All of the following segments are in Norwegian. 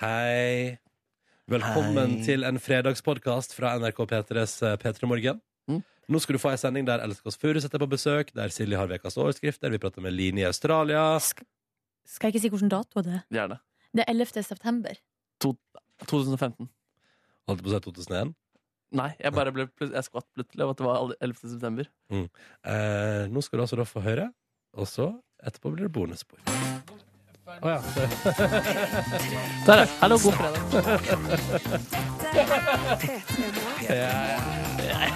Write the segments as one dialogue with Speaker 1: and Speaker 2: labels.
Speaker 1: Hei. Velkommen
Speaker 2: Hei.
Speaker 1: til en fredagspodkast fra NRK P3s eh, P3 Morgen.
Speaker 2: Mm.
Speaker 1: Nå skal du få ei sending der Elsk oss Furuseth er på besøk, der Silje har ukas overskrift, der vi prater med Line i Australia.
Speaker 3: Skal jeg ikke si hvilken dato det er?
Speaker 2: Gjerne.
Speaker 3: Det er 11. september.
Speaker 2: 2015.
Speaker 1: Holdt på å si 2001.
Speaker 2: Nei, jeg bare ble, plut- jeg skvatt plutselig av at det var alle- 11. september.
Speaker 1: Eh, nå skal du altså da få høre, og så etterpå blir det bonusspor. Å ja. det-
Speaker 2: Der, ja. Hallo, god fredag.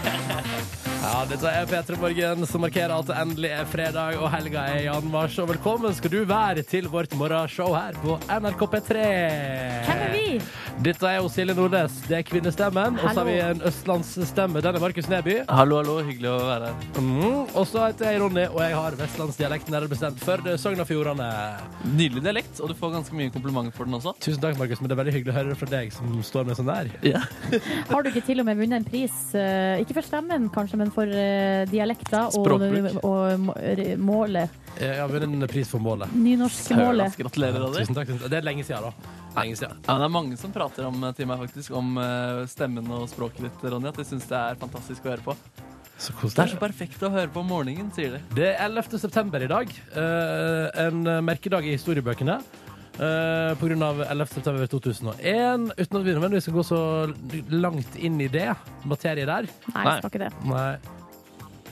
Speaker 1: ja, dette er P3 Morgen, som markerer at det endelig er fredag, og helga er i anmarsj. Og velkommen skal du være til vårt morgenshow her på NRK P3.
Speaker 3: Hvem er vi?
Speaker 1: Dette er jo Silje Nordnes. Det er kvinnestemmen. Og så har vi en østlandsstemme. Den er Markus Neby.
Speaker 2: Hallo, hallo, hyggelig å være her.
Speaker 1: Mm. Og så heter jeg Ronny, og jeg har vestlandsdialekt nærmere bestemt Førde, Sogn og Fjordane.
Speaker 2: Nydelig dialekt, og du får ganske mye komplimenter for den også.
Speaker 1: Tusen takk, Markus, men det er veldig hyggelig å høre det fra deg som står sånn meg så nær.
Speaker 2: Ja.
Speaker 3: Har du ikke til og med vunnet en pris? eh, Ikke for stemmen, kanskje, men for eh, dialekter og,
Speaker 2: Språkbruk.
Speaker 3: og må- r- målet.
Speaker 1: Jeg har vunnet en pris for målet.
Speaker 3: Nynorske målet.
Speaker 2: Gratulerer, Ronny.
Speaker 1: Tusen takk. tusen takk. Det er lenge siden, da. Lenge siden.
Speaker 2: Ja, det er mange som prater om, eh, til meg faktisk, om eh, stemmen og språket ditt, Ronny. At de syns det er fantastisk å høre på.
Speaker 1: Så
Speaker 2: Det er så perfekt å høre på om morgenen, sier de.
Speaker 1: Det er 11. september i dag. eh, en merkedag i historiebøkene. eh, på grunn av 11. september 2001. Uten at vi nødvendigvis skal gå så langt inn i det materiet der.
Speaker 3: Nei,
Speaker 2: Nei.
Speaker 3: jeg skal ikke det.
Speaker 1: Nei,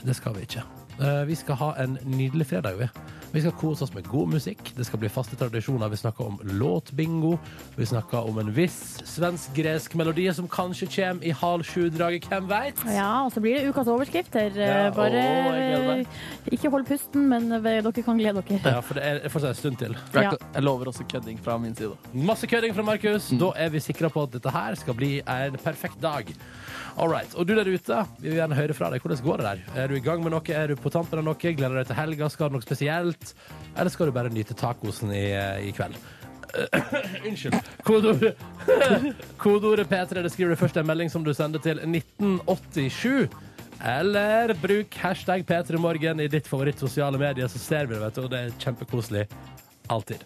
Speaker 1: det skal vi ikke. Eh, vi skal ha en nydelig fredag, vi. Vi skal kose oss med god musikk. Det skal bli faste tradisjoner. Vi snakker om låtbingo. Vi snakker om en viss svensk-gresk melodi som kanskje kommer i halv sju-draget, hvem veit?
Speaker 3: Ja, og så blir det ukas overskrifter. eh,
Speaker 1: Ja, å,
Speaker 3: Bare
Speaker 2: jeg gleder meg.
Speaker 3: ikke hold pusten, men eh, dere kan glede dere.
Speaker 1: Ja, for det er fortsatt en stund til.
Speaker 2: Jeg,
Speaker 3: Ja.
Speaker 2: jeg lover også kødding fra min side. Mm.
Speaker 1: Masse kødding fra Markus. Da er vi sikra på at dette her skal bli en perfekt dag. All right. Og du der ute, vi vil gjerne høre fra deg. Hvordan går det der? Er du i gang med noe? Er du på tampen av noe? Gleder du deg til helga? Skal du noe spesielt? Eller skal du bare nyte tacosen i, eh, i kveld? Unnskyld. Kodeordet Kodeordet P3. Det skriver du først i en melding som du sender til 1987. Eller bruk hashtag P3morgen i ditt favoritt sosiale medier, så ser vi det, vet du. Og det er kjempekoselig. Alltid.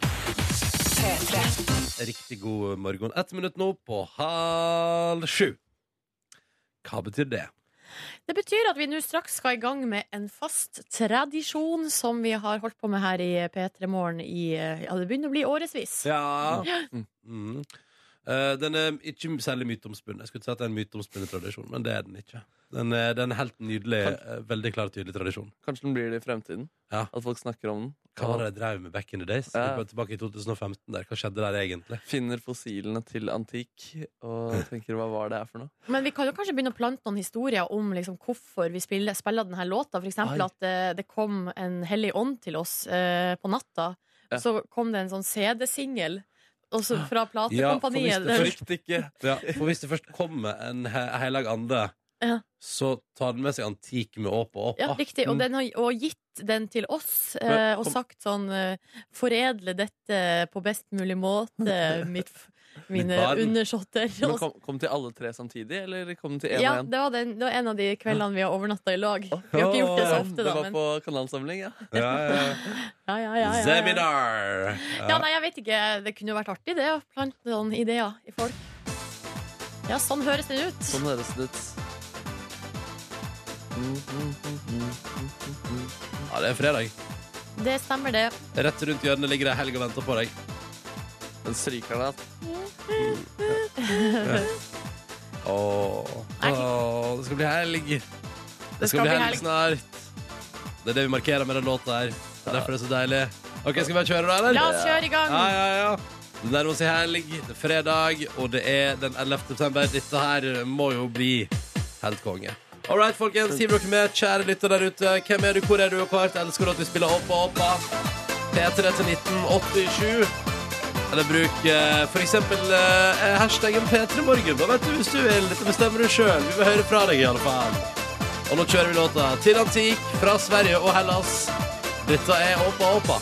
Speaker 1: Riktig god morgen. Ett minutt nå på halv sju. Hva betyr det?
Speaker 4: Det betyr at vi nå straks skal i gang med en fast tradisjon som vi har holdt på med her i P3 Morgen i eh, Ja, det begynner å bli årevis.
Speaker 1: Ja
Speaker 2: Mm.
Speaker 1: mm. Eh, Den er ikke særlig myteomspunnet. Jeg skulle ikke si at det er en myteomspunnet tradisjon, men det er den ikke. Den er, den er helt nydelig, eh, veldig klar og tydelig tradisjon.
Speaker 2: Kanskje den blir det i fremtiden?
Speaker 1: Ja.
Speaker 2: At folk snakker om den?
Speaker 1: Hva var det jeg drev med back in the days?
Speaker 2: Ja.
Speaker 1: Tilbake i 2015 der. Hva skjedde der egentlig?
Speaker 2: Finner fossilene til antikk og tenker hva var det her for noe?
Speaker 4: Men vi kan jo kanskje begynne å plante noen historier om liksom, hvorfor vi spiller, spiller denne låta. For eksempel
Speaker 2: Oi.
Speaker 4: at eh, det kom en hellig ånd til oss eh, på natta.
Speaker 2: Ja.
Speaker 4: Så kom det en sånn CD-singel og så fra
Speaker 1: Ja, for hvis
Speaker 4: platekompaniet.
Speaker 1: det-
Speaker 4: Der-
Speaker 2: Frykt ikke!
Speaker 1: Ja, for hvis det først kommer en he heilag ande,
Speaker 4: Ja.
Speaker 1: så tar den med seg antik med åp og åp.
Speaker 4: ja,
Speaker 1: Ah,
Speaker 4: riktig. Og,
Speaker 2: mm.
Speaker 4: den har, og gitt den til oss eh,
Speaker 2: Men
Speaker 4: og
Speaker 2: kom-
Speaker 4: sagt sånn eh, Foredle dette på best mulig måte, mitt, f-
Speaker 1: Mitt
Speaker 4: mine
Speaker 1: barn.
Speaker 4: undersåtter.
Speaker 2: Men
Speaker 4: Og
Speaker 2: kom, kom til alle tre samtidig, eller kom den til én
Speaker 4: Ja,
Speaker 2: og én?
Speaker 4: det var, den, det var en av de kveldene vi har overnatta i lag. Vi har ikke gjort det så ofte,
Speaker 2: det
Speaker 4: da.
Speaker 2: var
Speaker 4: Men,
Speaker 2: på kanalsamling, ja.
Speaker 1: ja, ja, ja.
Speaker 4: ja, ja, ja, ja, ja.
Speaker 1: Zeminar!
Speaker 4: ja, nei, jeg vet ikke. Det kunne jo vært artig, det. Å plante sånne ideer i folk. Ja, sånn høres den ut.
Speaker 2: Sånn høres det ut. Mm,
Speaker 1: Ja, det er fredag.
Speaker 4: Det stemmer, det.
Speaker 1: Rett rundt hjørnet ligger det ei helg og venter på deg.
Speaker 2: Den stryker deg.
Speaker 1: Åh,
Speaker 4: Nei.
Speaker 1: åh, det skal bli helg. Det skal, bli, helg. snart. Det er det vi markerer med den låta her. Det er Derfor det er så deilig. Ok, Skal vi bare kjøre, da? eller?
Speaker 4: La oss kjøre i gang.
Speaker 1: Ja, ja, ja. Det nærmer seg helg, det er fredag, og det er den 11. september. Dette her må jo bli helt konge. All right, folkens, hiv dere med, kjære lytter der ute. Hvem er du, hvor er du, og hvor hardt elsker du at vi spiller Oppa Oppa? P3 til 1987. Eller bruk eh, for eksempel eh, hashtaggen P3morgen. Da vet du hvis du vil. Dette bestemmer du sjøl. Vi vil høre fra deg, i alle fall. Og nå kjører vi låta til Antik fra Sverige og Hellas. Dette er Oppa Oppa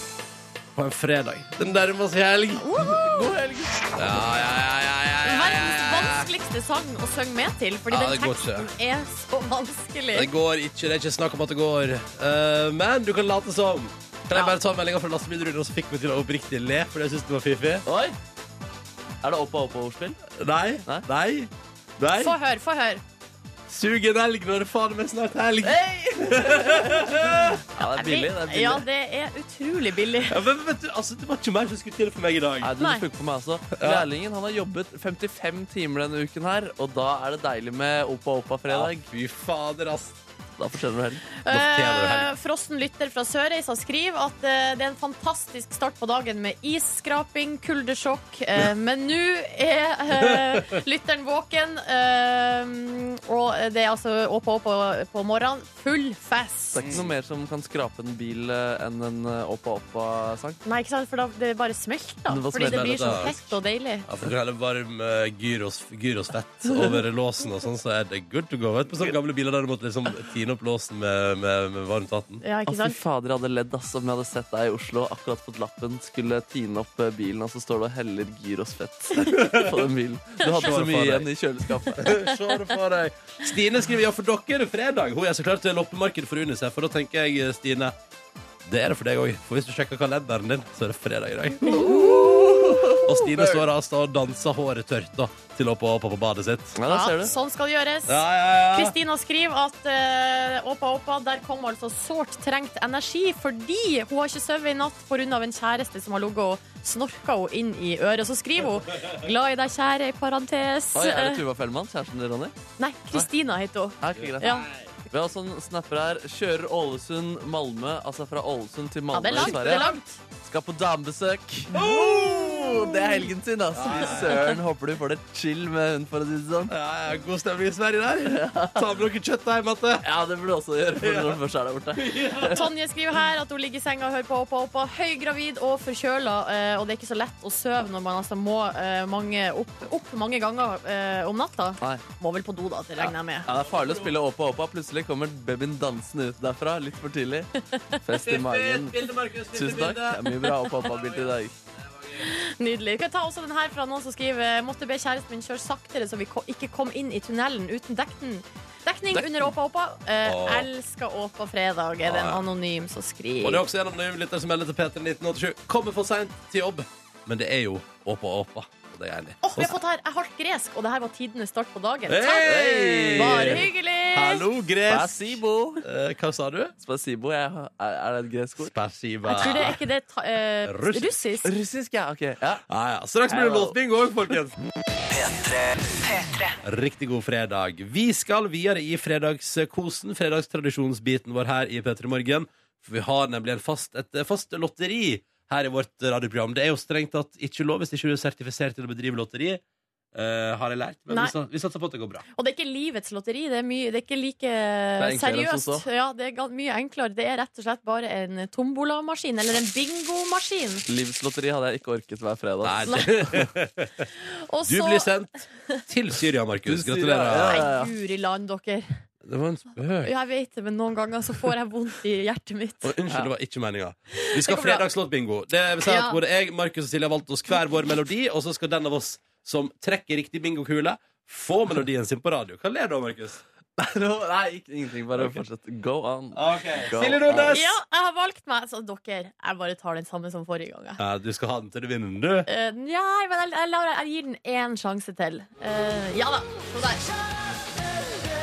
Speaker 1: på en fredag. Den nærmer seg helg.
Speaker 2: God helg!
Speaker 1: Ja, ja, ja, ja, ja, ja,
Speaker 4: Verdens
Speaker 1: ja, ja.
Speaker 4: vanskeligste sang å synge med til, fordi
Speaker 1: Ja, det
Speaker 4: den
Speaker 1: går
Speaker 4: teksten er så vanskelig.
Speaker 1: Det går ikke. Det er ikke snakk om at det går. Eh, men du kan late som. Kan jeg bare ta meldinga fra lastebilruller, og så fikk vi til å oppriktig le? Fordi jeg synes det var fiffig.
Speaker 2: Oi! Er det opp og opp og ordspill?
Speaker 1: Nei.
Speaker 2: Nei.
Speaker 1: Nei.
Speaker 4: Få
Speaker 1: Nei.
Speaker 4: høre, få høre.
Speaker 1: Sug en elg når det faen meg snart er helg.
Speaker 2: Ja, det er billig. Det er billig.
Speaker 4: Ja, det er utrolig billig.
Speaker 1: Ja, men, vet du, altså, det var ikke mer som skulle til for meg i dag.
Speaker 2: Nei, du,
Speaker 4: Nei.
Speaker 2: du funker på meg også. Lærlingen han har jobbet 55 timer denne uken her, og da er det deilig med Opa Opa fredag.
Speaker 1: Fy fader, ass.
Speaker 2: Da fortjener du helg.
Speaker 1: fortjener du helg.
Speaker 4: Eh, Frossen lytter fra Sørreisa skriver at eh, det er en fantastisk start på dagen med isskraping, kuldesjokk, eh, men nå er eh, lytteren våken, eh, og det er altså opp og opp og- på morgenen. Full
Speaker 2: Det
Speaker 4: fest.
Speaker 2: er ikke noe mer som kan skrape en bil eh, enn en eh, Opa Opa-sang.
Speaker 4: Nei, ikke sant, for da det bare smelter,
Speaker 2: Det var
Speaker 4: fordi det
Speaker 1: smelter,
Speaker 4: blir så
Speaker 1: da.
Speaker 4: hett og deilig.
Speaker 1: Altså, du heller varm eh, gyros, gyrosfett over låsen og sånn, så er det good to go. Vet du, på sånne gamle biler der du måtte liksom tine opp låsen med, med, med varmt vann.
Speaker 4: Ja,
Speaker 2: Ah,
Speaker 4: ikke
Speaker 2: fy
Speaker 4: sant?
Speaker 2: fader, jeg hadde ledd ass, om jeg hadde sett deg i Oslo akkurat fått lappen, skulle tine opp eh, bilen, og så står du og heller gyrosfett på den bilen. Du hadde så
Speaker 1: Slår
Speaker 2: mye
Speaker 1: for deg.
Speaker 2: igjen i kjøleskapet.
Speaker 1: Se det for deg. Stine skriver ja for dere fredag. Hun er så klar til loppemarked for UNICEF, og da tenker jeg, eh, Stine det er det for deg òg, for hvis du sjekker kalenderen din, så er det fredag i dag. Og Stine står altså og danser håret tørt da, til å hoppe på badet sitt.
Speaker 2: Ja,
Speaker 4: Ja,
Speaker 2: der ser du.
Speaker 4: sånn skal det gjøres.
Speaker 1: Ja, ja, ja.
Speaker 4: Kristina skriver at eh, Åpa Åpa, der kom altså sårt trengt energi fordi hun har ikke sovet i natt pga. en kjæreste som har ligget og snorka henne inn i øret. Så skriver hun 'Glad i deg, kjære', i parentes.
Speaker 2: Oi, er det
Speaker 4: Eh,
Speaker 2: Tuva Fellmann, kjæresten til Ronny?
Speaker 4: Nei, Kristina heter hun.
Speaker 2: Ja, ok, greit.
Speaker 4: Ja.
Speaker 2: Vi har også en snapper her. Kjører Ålesund-Malmö, altså fra Ålesund til
Speaker 4: ja,
Speaker 2: Malmö
Speaker 4: det er
Speaker 2: i
Speaker 4: langt. Det
Speaker 2: Sverige.
Speaker 4: er langt.
Speaker 2: Skal på damebesøk. Oh, det er helgen sin, altså. Fy søren. Håper du får det chill med hun, for å si det sånn.
Speaker 1: Ja, ja, god stemning i Sverige der. Ta med dere kjøtt hjem, Matte.
Speaker 2: Ja, det burde du også gjøre for når du først er der borte.
Speaker 4: Tonje skriver her at hun ligger i senga og hører på Åpa Åpa. Høygravid og forkjøla, eh, og det er ikke så lett å sove når man altså må eh, mange opp, opp mange ganger eh, om natta.
Speaker 2: Nei.
Speaker 4: Må vel på do, da. Det regner jeg med.
Speaker 2: Ja, det er farlig å spille Åpa Åpa. Plutselig kommer babyen dansende ut derfra litt for tidlig. Fest i magen. Tusen takk. Det er mye bra Åpa Åpa-bilder i dag.
Speaker 4: Nydelig. Vi kan ta også den her fra noen som skriver Måtte be kjæresten min kjøre saktere så vi ko ikke kom inn i tunnelen uten dekten. Dekning
Speaker 2: Dekten.
Speaker 4: under Åpa Åpa. Eh,
Speaker 1: Åh.
Speaker 4: Elsker Åpa fredag, er det en
Speaker 1: Nei.
Speaker 4: anonym som
Speaker 1: Og det
Speaker 4: skriver.
Speaker 1: er også en anonym lytter som melder til Peter 1987. Kommer for seint til jobb, men det er jo åpa åpa. Og det er jeg enig i.
Speaker 4: Åh, vi har fått her Jeg halvt gresk, og det her var tidenes start på dagen.
Speaker 1: Hey!
Speaker 4: Takk. Bare hyggelig!
Speaker 1: Hallo, gress.
Speaker 2: Spasibo.
Speaker 1: Eh, hva sa du?
Speaker 2: Spasibo, jeg, har- er, er det et gresk ord?
Speaker 1: Spasiba.
Speaker 4: Jeg tror det er ikke det ta, eh,
Speaker 1: Russisk.
Speaker 4: russisk.
Speaker 2: Russisk, ja. OK. Ja.
Speaker 1: Ja, ja. Straks blir det låtbingo òg, folkens. Riktig god fredag. Vi skal videre i fredagskosen, fredagstradisjonsbiten vår her i P3 Morgen. For vi har nemlig en fast, et fast lotteri her i vårt radioprogram. Det er jo strengt tatt ikke lov hvis ikke du er sertifisert til å bedrive lotteri. eh, har jeg lært. Men
Speaker 4: Nei.
Speaker 1: vi, sat- vi satser på at det går bra.
Speaker 4: Og det er ikke livets lotteri. Det er, mye, det er ikke like eh,
Speaker 2: enklere enn som
Speaker 4: seriøst.
Speaker 2: så.
Speaker 4: Ja, det er gan- mye enklere. Det er rett og slett bare en tombolamaskin eller en bingomaskin.
Speaker 2: Livslotteri hadde jeg ikke orket hver fredag.
Speaker 1: Nei,
Speaker 4: Nei.
Speaker 1: det-
Speaker 4: Og
Speaker 1: du
Speaker 4: så-
Speaker 1: blir sendt til Syria, Markus.
Speaker 2: Til Syria,
Speaker 1: Gratulerer.
Speaker 2: ja.
Speaker 4: Nei, guri land, dere.
Speaker 1: Det var en spøk.
Speaker 4: Jeg vet det, men noen ganger så får jeg vondt i hjertet mitt.
Speaker 1: Og unnskyld, det var ikke meninga. Vi skal
Speaker 4: Det
Speaker 1: ha
Speaker 4: går bra.
Speaker 1: fredagslåtbingo. Det vil si at
Speaker 4: Ja.
Speaker 1: både jeg, Markus og Silje har valgt oss hver vår melodi, og så skal den av oss som trekker riktig bingokule, få melodien sin på radio. Hva ler du av, Markus?
Speaker 2: Nå- Nei, ikke, ingenting. Bare fortsett. Go on. Go
Speaker 1: Silje
Speaker 2: on.
Speaker 1: Nordnes!
Speaker 4: Ja, jeg har valgt meg, så dere, jeg bare tar den samme som forrige gang. jeg.
Speaker 1: Ja, du skal ha den til du vinner den, du.
Speaker 4: Eh, nei, men jeg, jeg, lar- jeg gir den én sjanse til. Eh, ja da. Så der.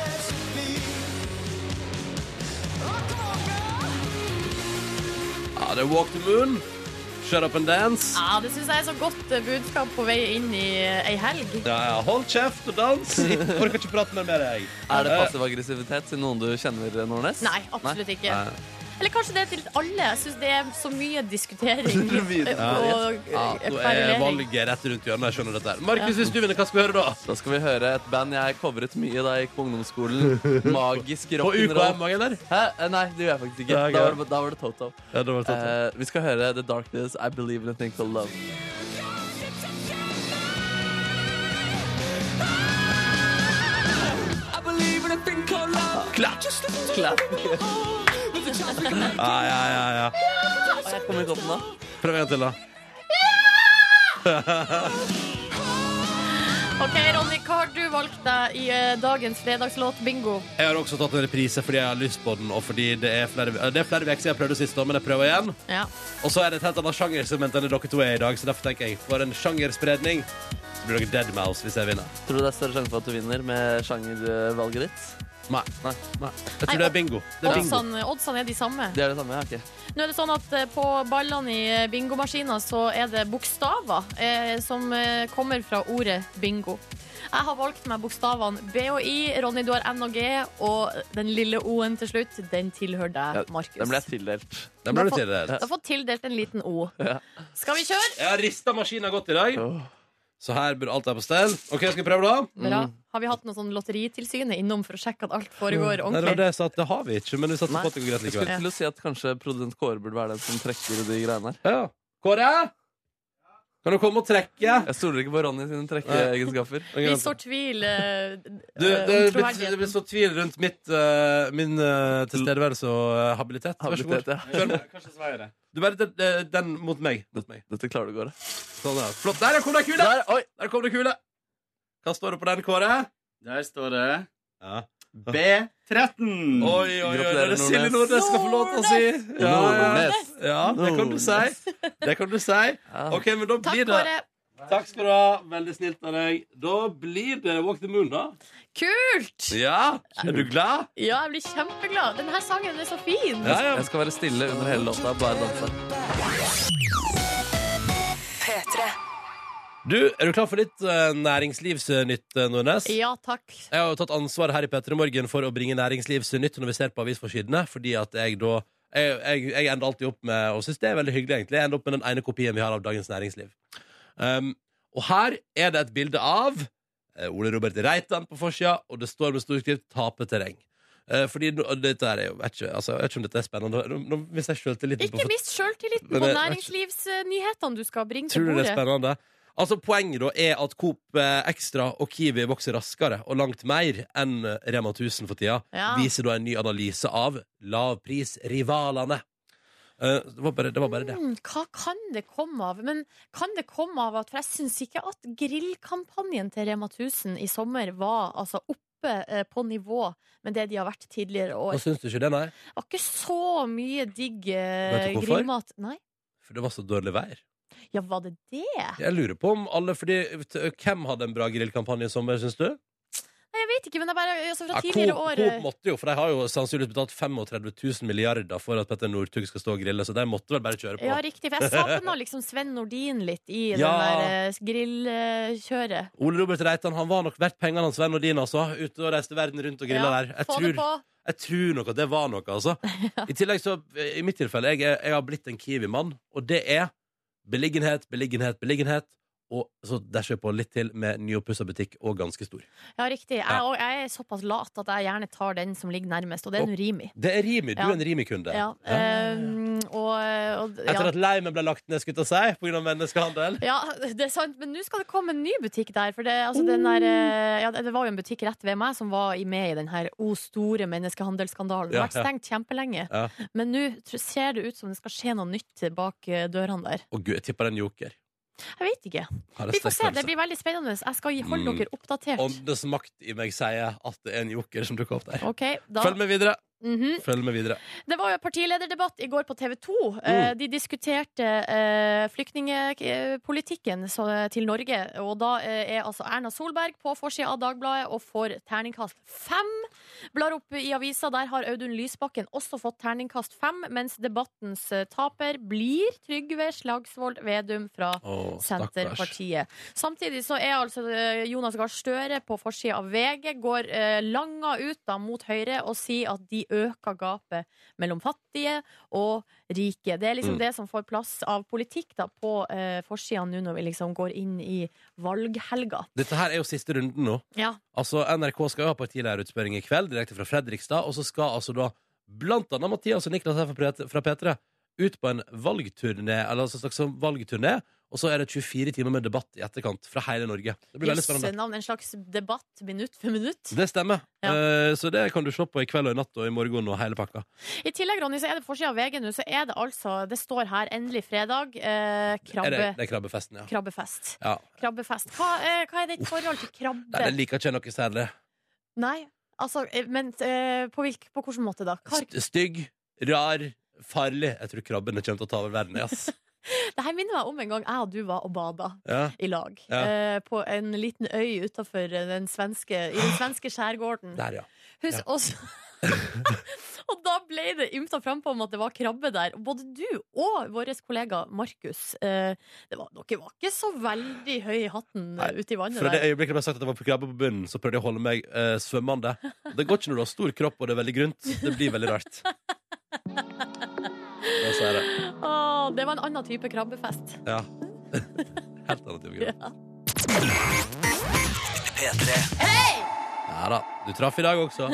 Speaker 1: Ja, det er Walk the Moon. Shut up and dance.
Speaker 4: Ja, det syns jeg er så godt eh, budskap på vei inn i eh, ei helg.
Speaker 1: Ja, ja. Hold kjeft og dans. Jeg Orker ikke prate mer med deg. Eh.
Speaker 2: Er det passiv aggressivitet til noen du kjenner, Nordnes?
Speaker 4: Nei, absolutt ikke.
Speaker 1: Nei.
Speaker 4: Eller kanskje det er til alle. Jeg syns det er så mye diskutering
Speaker 2: Det er mye
Speaker 4: eh, og
Speaker 1: Ja,
Speaker 4: eh,
Speaker 1: nå er
Speaker 4: kverulering.
Speaker 1: valget rett rundt hjørnet. Jeg skjønner dette. her. Markus, hvis du vinner, hva skal vi høre da?
Speaker 2: Da skal vi høre et band jeg covret mye da jeg gikk på ungdomsskolen. Magisk
Speaker 1: På UKM,
Speaker 2: rock'n'roll.
Speaker 1: eller?
Speaker 2: Hæ? Eh, Nei, det gjør jeg faktisk ikke.
Speaker 1: Ja, ok.
Speaker 2: Da var det, da var det Toto.
Speaker 1: Ja, det var tatt.
Speaker 2: Eh, vi skal høre The Darkness, I Believe in a Thing Called Love. Klapp! Klapp.
Speaker 1: Ja, ja, ja, ja.
Speaker 2: Jeg kom i toppen da.
Speaker 1: Prøv en til, da.
Speaker 4: OK, Ronny, hva har du valgt deg i eh, dagens fredagslåt bingo.
Speaker 1: Jeg har også tatt en reprise fordi jeg har lyst på den, og fordi det er flere eh, Det er flere uker siden jeg prøvde sist, da, men jeg prøver igjen.
Speaker 4: Ja.
Speaker 1: Og så er det et helt annet sjangersegment enn det dere to er i dag, så derfor tenker jeg for en sjangerspredning så blir dere Deadmouse hvis jeg vinner.
Speaker 2: Tror du det er større sjanse for at du vinner med Eh, sjangervalget ditt?
Speaker 1: Nei.
Speaker 2: Nei.
Speaker 1: Jeg tror
Speaker 4: Nei, sånn-
Speaker 1: det er bingo. Det er bingo.
Speaker 4: Oddsene, oddsene er de samme.
Speaker 2: Det er det samme, ja. ok.
Speaker 4: Nå er det sånn at eh, På ballene i eh, bingomaskinen så er det bokstaver eh, som eh, kommer fra ordet bingo. Jeg har valgt meg bokstavene B og I, Ronny du har N og G, og den lille O-en til slutt, den tilhører deg,
Speaker 2: Ja,
Speaker 4: Markus.
Speaker 2: Den ble jeg tildelt.
Speaker 1: Den ble du tildelt.
Speaker 4: Du har fått tildelt en liten O. Skal vi kjøre?
Speaker 1: Jeg har rista maskina godt i dag,
Speaker 2: Åh.
Speaker 1: så her burde alt være på stell. OK, skal vi prøve, da?
Speaker 4: Bra. Har vi hatt noe sånn Lotteritilsynet innom for å sjekke at alt foregår
Speaker 1: Mm. Nei, det var
Speaker 4: ordentlig?
Speaker 1: det jeg sa at det har vi ikke, men vi satser
Speaker 2: Nei.
Speaker 1: på at det går greit
Speaker 2: Jeg
Speaker 1: likevel.
Speaker 2: skulle til å si at kanskje produsent Kåre burde være den som trekker de greiene her.
Speaker 1: Ja. Kåre? Kan du komme og trekke?
Speaker 2: Jeg stoler ikke på Ronny sine trekkeegenskaper.
Speaker 4: Vi sår tvil eh,
Speaker 1: Du,
Speaker 4: eh,
Speaker 1: det,
Speaker 4: om
Speaker 1: blir- det blir
Speaker 4: troverdigheten.
Speaker 1: så tvil rundt mitt, eh, min eh, tilstedeværelse og eh, habilitet. Vær så god.
Speaker 2: Habilitet, ja.
Speaker 1: Kjør på. Du bare den, eh, den mot meg. Mot meg.
Speaker 2: Dette klarer du, Kåre.
Speaker 1: Sånn, ja. Flott. Der kom det kule!
Speaker 2: Der, oi!
Speaker 1: Der kom det kule! Hva står det på den, Kåre?
Speaker 5: Der står det
Speaker 1: Ja.
Speaker 5: B13.
Speaker 1: Oi, oi, oi, det er
Speaker 2: Gratulerer,
Speaker 1: det Silje
Speaker 2: Nordnes.
Speaker 1: Nordnes skal få lov til å si. Ja, ja.
Speaker 2: Nordnes.
Speaker 1: ja, det kan du si. Det kan du si.
Speaker 2: Ja.
Speaker 1: OK, men da
Speaker 4: Takk,
Speaker 1: blir det
Speaker 4: Kåre.
Speaker 1: Takk skal du ha. Veldig snilt av deg. Da blir det Walk the Moon, da.
Speaker 4: Kult!
Speaker 1: Ja, Er du glad?
Speaker 4: Ja, jeg blir kjempeglad. Denne sangen er så fin.
Speaker 1: Ja, ja.
Speaker 2: Jeg skal være stille under hele låta, bare danse.
Speaker 1: Du, Er du klar for litt eh, næringslivsnytt, eh, Nordnes?
Speaker 4: Ja, takk.
Speaker 1: Jeg har jo tatt ansvaret her i Petter i Morgen for å bringe næringslivsnytt når vi ser på avisforsidene, fordi at jeg da jeg, jeg, jeg ender alltid opp med og synes det er veldig hyggelig egentlig, jeg ender opp med den ene kopien vi har av Dagens Næringsliv. Um, og her er det et bilde av eh, Ole Robert Reitan på forsida, og det står med stor skrift 'Tape terreng'. Eh, fordi nå- og dette her er jo vet ikke, altså, jeg vet ikke om dette er spennende. Nå, nå mister jeg sjøltilliten på
Speaker 4: Ikke mist sjøltilliten på
Speaker 1: Men jeg-
Speaker 4: næringslivsnyhetene du skal bringe til
Speaker 1: Tror du det er
Speaker 4: bordet.
Speaker 1: spennende? Altså Poenget da er at Coop eh, Extra og Kiwi vokser raskere og langt mer enn Rema 1000 for tida.
Speaker 4: Ja.
Speaker 1: Viser da en ny analyse av lavprisrivalene. Eh, det, var bare, det var bare det.
Speaker 4: Mm, Hva kan det komme av? Men kan det komme av at For jeg syns ikke at grillkampanjen til Rema 1000 i sommer var altså oppe eh, på nivå med det de har vært tidligere
Speaker 1: Hva
Speaker 4: år.
Speaker 1: syns du ikke det, nei?
Speaker 4: Det var ikke så mye digg eh,
Speaker 1: Vet du hvorfor?
Speaker 4: grillmat. Nei?
Speaker 1: For det var så dårlig vær.
Speaker 4: Ja, var det det?
Speaker 1: Jeg lurer på om alle fordi, t- Hvem hadde en bra grillkampanje i sommer, syns du?
Speaker 4: Nei, jeg vet ikke, men jeg bare altså, Fra
Speaker 1: Ja,
Speaker 4: tidligere
Speaker 1: Coop,
Speaker 4: år eh,
Speaker 1: Coop måtte jo, for de har jo sannsynligvis betalt 35 000 milliarder for at Petter Northug skal stå og grille, så de måtte vel bare kjøre på.
Speaker 4: Ja, riktig. For jeg savna liksom Sven Nordin litt i
Speaker 1: Ja.
Speaker 4: den der grillkjøret.
Speaker 1: Ole Robert Reitan han var nok verdt pengene hans, venn og din, altså. Ute og reiste verden rundt og grilla der. Jeg
Speaker 4: få det
Speaker 1: tror,
Speaker 4: på.
Speaker 1: jeg tror nok at det var noe, altså. I tillegg så, i mitt tilfelle, jeg, er- jeg har blitt en Kiwi-mann, og det er beliggenhet, beliggenhet, beliggenhet. Og så dæsjer jeg på litt til med nyoppussa butikk og ganske stor.
Speaker 4: Ja, riktig. Jeg,
Speaker 1: Ja.
Speaker 4: og jeg er såpass lat at jeg gjerne tar den som ligger nærmest, og det er nå Rimi.
Speaker 1: Det er Rimi. Du
Speaker 4: Ja.
Speaker 1: er en Rimi-kunde.
Speaker 4: Ja. ehm, og, og,
Speaker 1: Etter
Speaker 4: ja.
Speaker 1: at leimen ble lagt ned, skulle jeg til å si, på grunn av menneskehandel.
Speaker 4: ja, det er sant, men nå skal det komme en ny butikk der. For det, altså, den
Speaker 1: Oh.
Speaker 4: der, eh, ja, det det var jo en butikk rett ved meg som var i- med i den her O store menneskehandelsskandalen. Den
Speaker 1: Ja,
Speaker 4: har vært
Speaker 1: ja.
Speaker 4: stengt kjempelenge.
Speaker 1: Ja.
Speaker 4: Men nå tr- ser det ut som det skal skje noe nytt bak eh, dørene der.
Speaker 1: Og gud, jeg tipper det er en joker.
Speaker 4: Jeg vet ikke.
Speaker 1: Har en
Speaker 4: Vi får
Speaker 1: sterk
Speaker 4: se. Det
Speaker 1: følelse.
Speaker 4: blir veldig spennende. Jeg skal gi- holde
Speaker 1: Mm.
Speaker 4: dere oppdatert.
Speaker 1: Åndenes makt i meg sier at det er en joker som dukker opp der.
Speaker 4: OK, da.
Speaker 1: Følg med videre.
Speaker 4: Mhm.
Speaker 1: Følg med videre.
Speaker 4: Det var jo partilederdebatt i går på TV 2. Eh, de diskuterte eh, flyktningepolitikken så- til Norge. Og da eh, er altså Erna Solberg på forsida av Dagbladet og får terningkast fem. Blar opp i avisa, der har Audun Lysbakken også fått terningkast fem, mens debattens eh, taper blir Trygve Slagsvold Vedum fra
Speaker 1: Å, stakkars.
Speaker 4: Senterpartiet. Samtidig så er altså eh, Jonas Gahr Støre på forsida av VG, går eh, langa ut da mot Høyre og sier at de øker gapet mellom fattige og rike. Det er liksom
Speaker 1: Mm.
Speaker 4: det som får plass av politikk da på eh, forsida nå når vi liksom går inn i valghelga.
Speaker 1: Dette her er jo siste runden nå.
Speaker 4: Ja.
Speaker 1: Altså, NRK skal jo ha partilærerutspørring i kveld, direkte fra Fredrikstad. Og så skal altså da blant annet Mathias og Niklas her fra P- fra P3 ut på en valgturné, eller altså en slags sånn valgturné, Og så er det 24 timer med debatt i etterkant fra hele Norge. Det blir veldig spennende.
Speaker 4: Jøsse navn. En slags debatt minutt for minutt.
Speaker 1: Det stemmer.
Speaker 4: Ja.
Speaker 1: Eh, så det kan du se på i kveld og i natt og i morgen og hele pakka.
Speaker 4: I tillegg Ronny, så er det på forsida av VG nå, så er det altså Det står her 'Endelig fredag'. Eh,
Speaker 1: Er det,
Speaker 4: krabbe,
Speaker 1: det er krabbefesten, ja.
Speaker 4: krabbefest.
Speaker 1: ja.
Speaker 4: Krabbefest. Hva, eh, hva er ditt forhold til
Speaker 1: Nei,
Speaker 4: krabbe?
Speaker 1: den liker ikke jeg noe særlig.
Speaker 4: Nei, altså eh, Men eh, på, hvilk, på hvilken måte, da? Kar
Speaker 1: St- Stygg, rar, farlig. Jeg tror krabbene kommer til å ta over verden, ass.
Speaker 4: Det her minner meg om en gang jeg og du var og bada
Speaker 1: Ja.
Speaker 4: i lag.
Speaker 1: Ja.
Speaker 4: Eh, på en liten øy utafor den svenske, i den svenske skjærgården.
Speaker 1: Der, ja.
Speaker 4: Husk,
Speaker 1: Ja.
Speaker 4: og, så, og da ble det ymta frampå om at det var krabbe der. Og Både du og vår kollega Markus eh, det var, Dere var ikke så veldig høy i hatten eh,
Speaker 1: Nei,
Speaker 4: ute i vannet
Speaker 1: Fra det
Speaker 4: der.
Speaker 1: øyeblikket det ble sagt at jeg var på krabbe på bunnen, så prøvde jeg å holde meg eh, svømmende. Det går ikke når du har stor kropp og det er veldig grunt. Det blir veldig rart. Ja, så er det.
Speaker 4: Åh, det var en annen type krabbefest.
Speaker 1: Ja. Helt annet type kropp. Ja da. Du traff i dag også.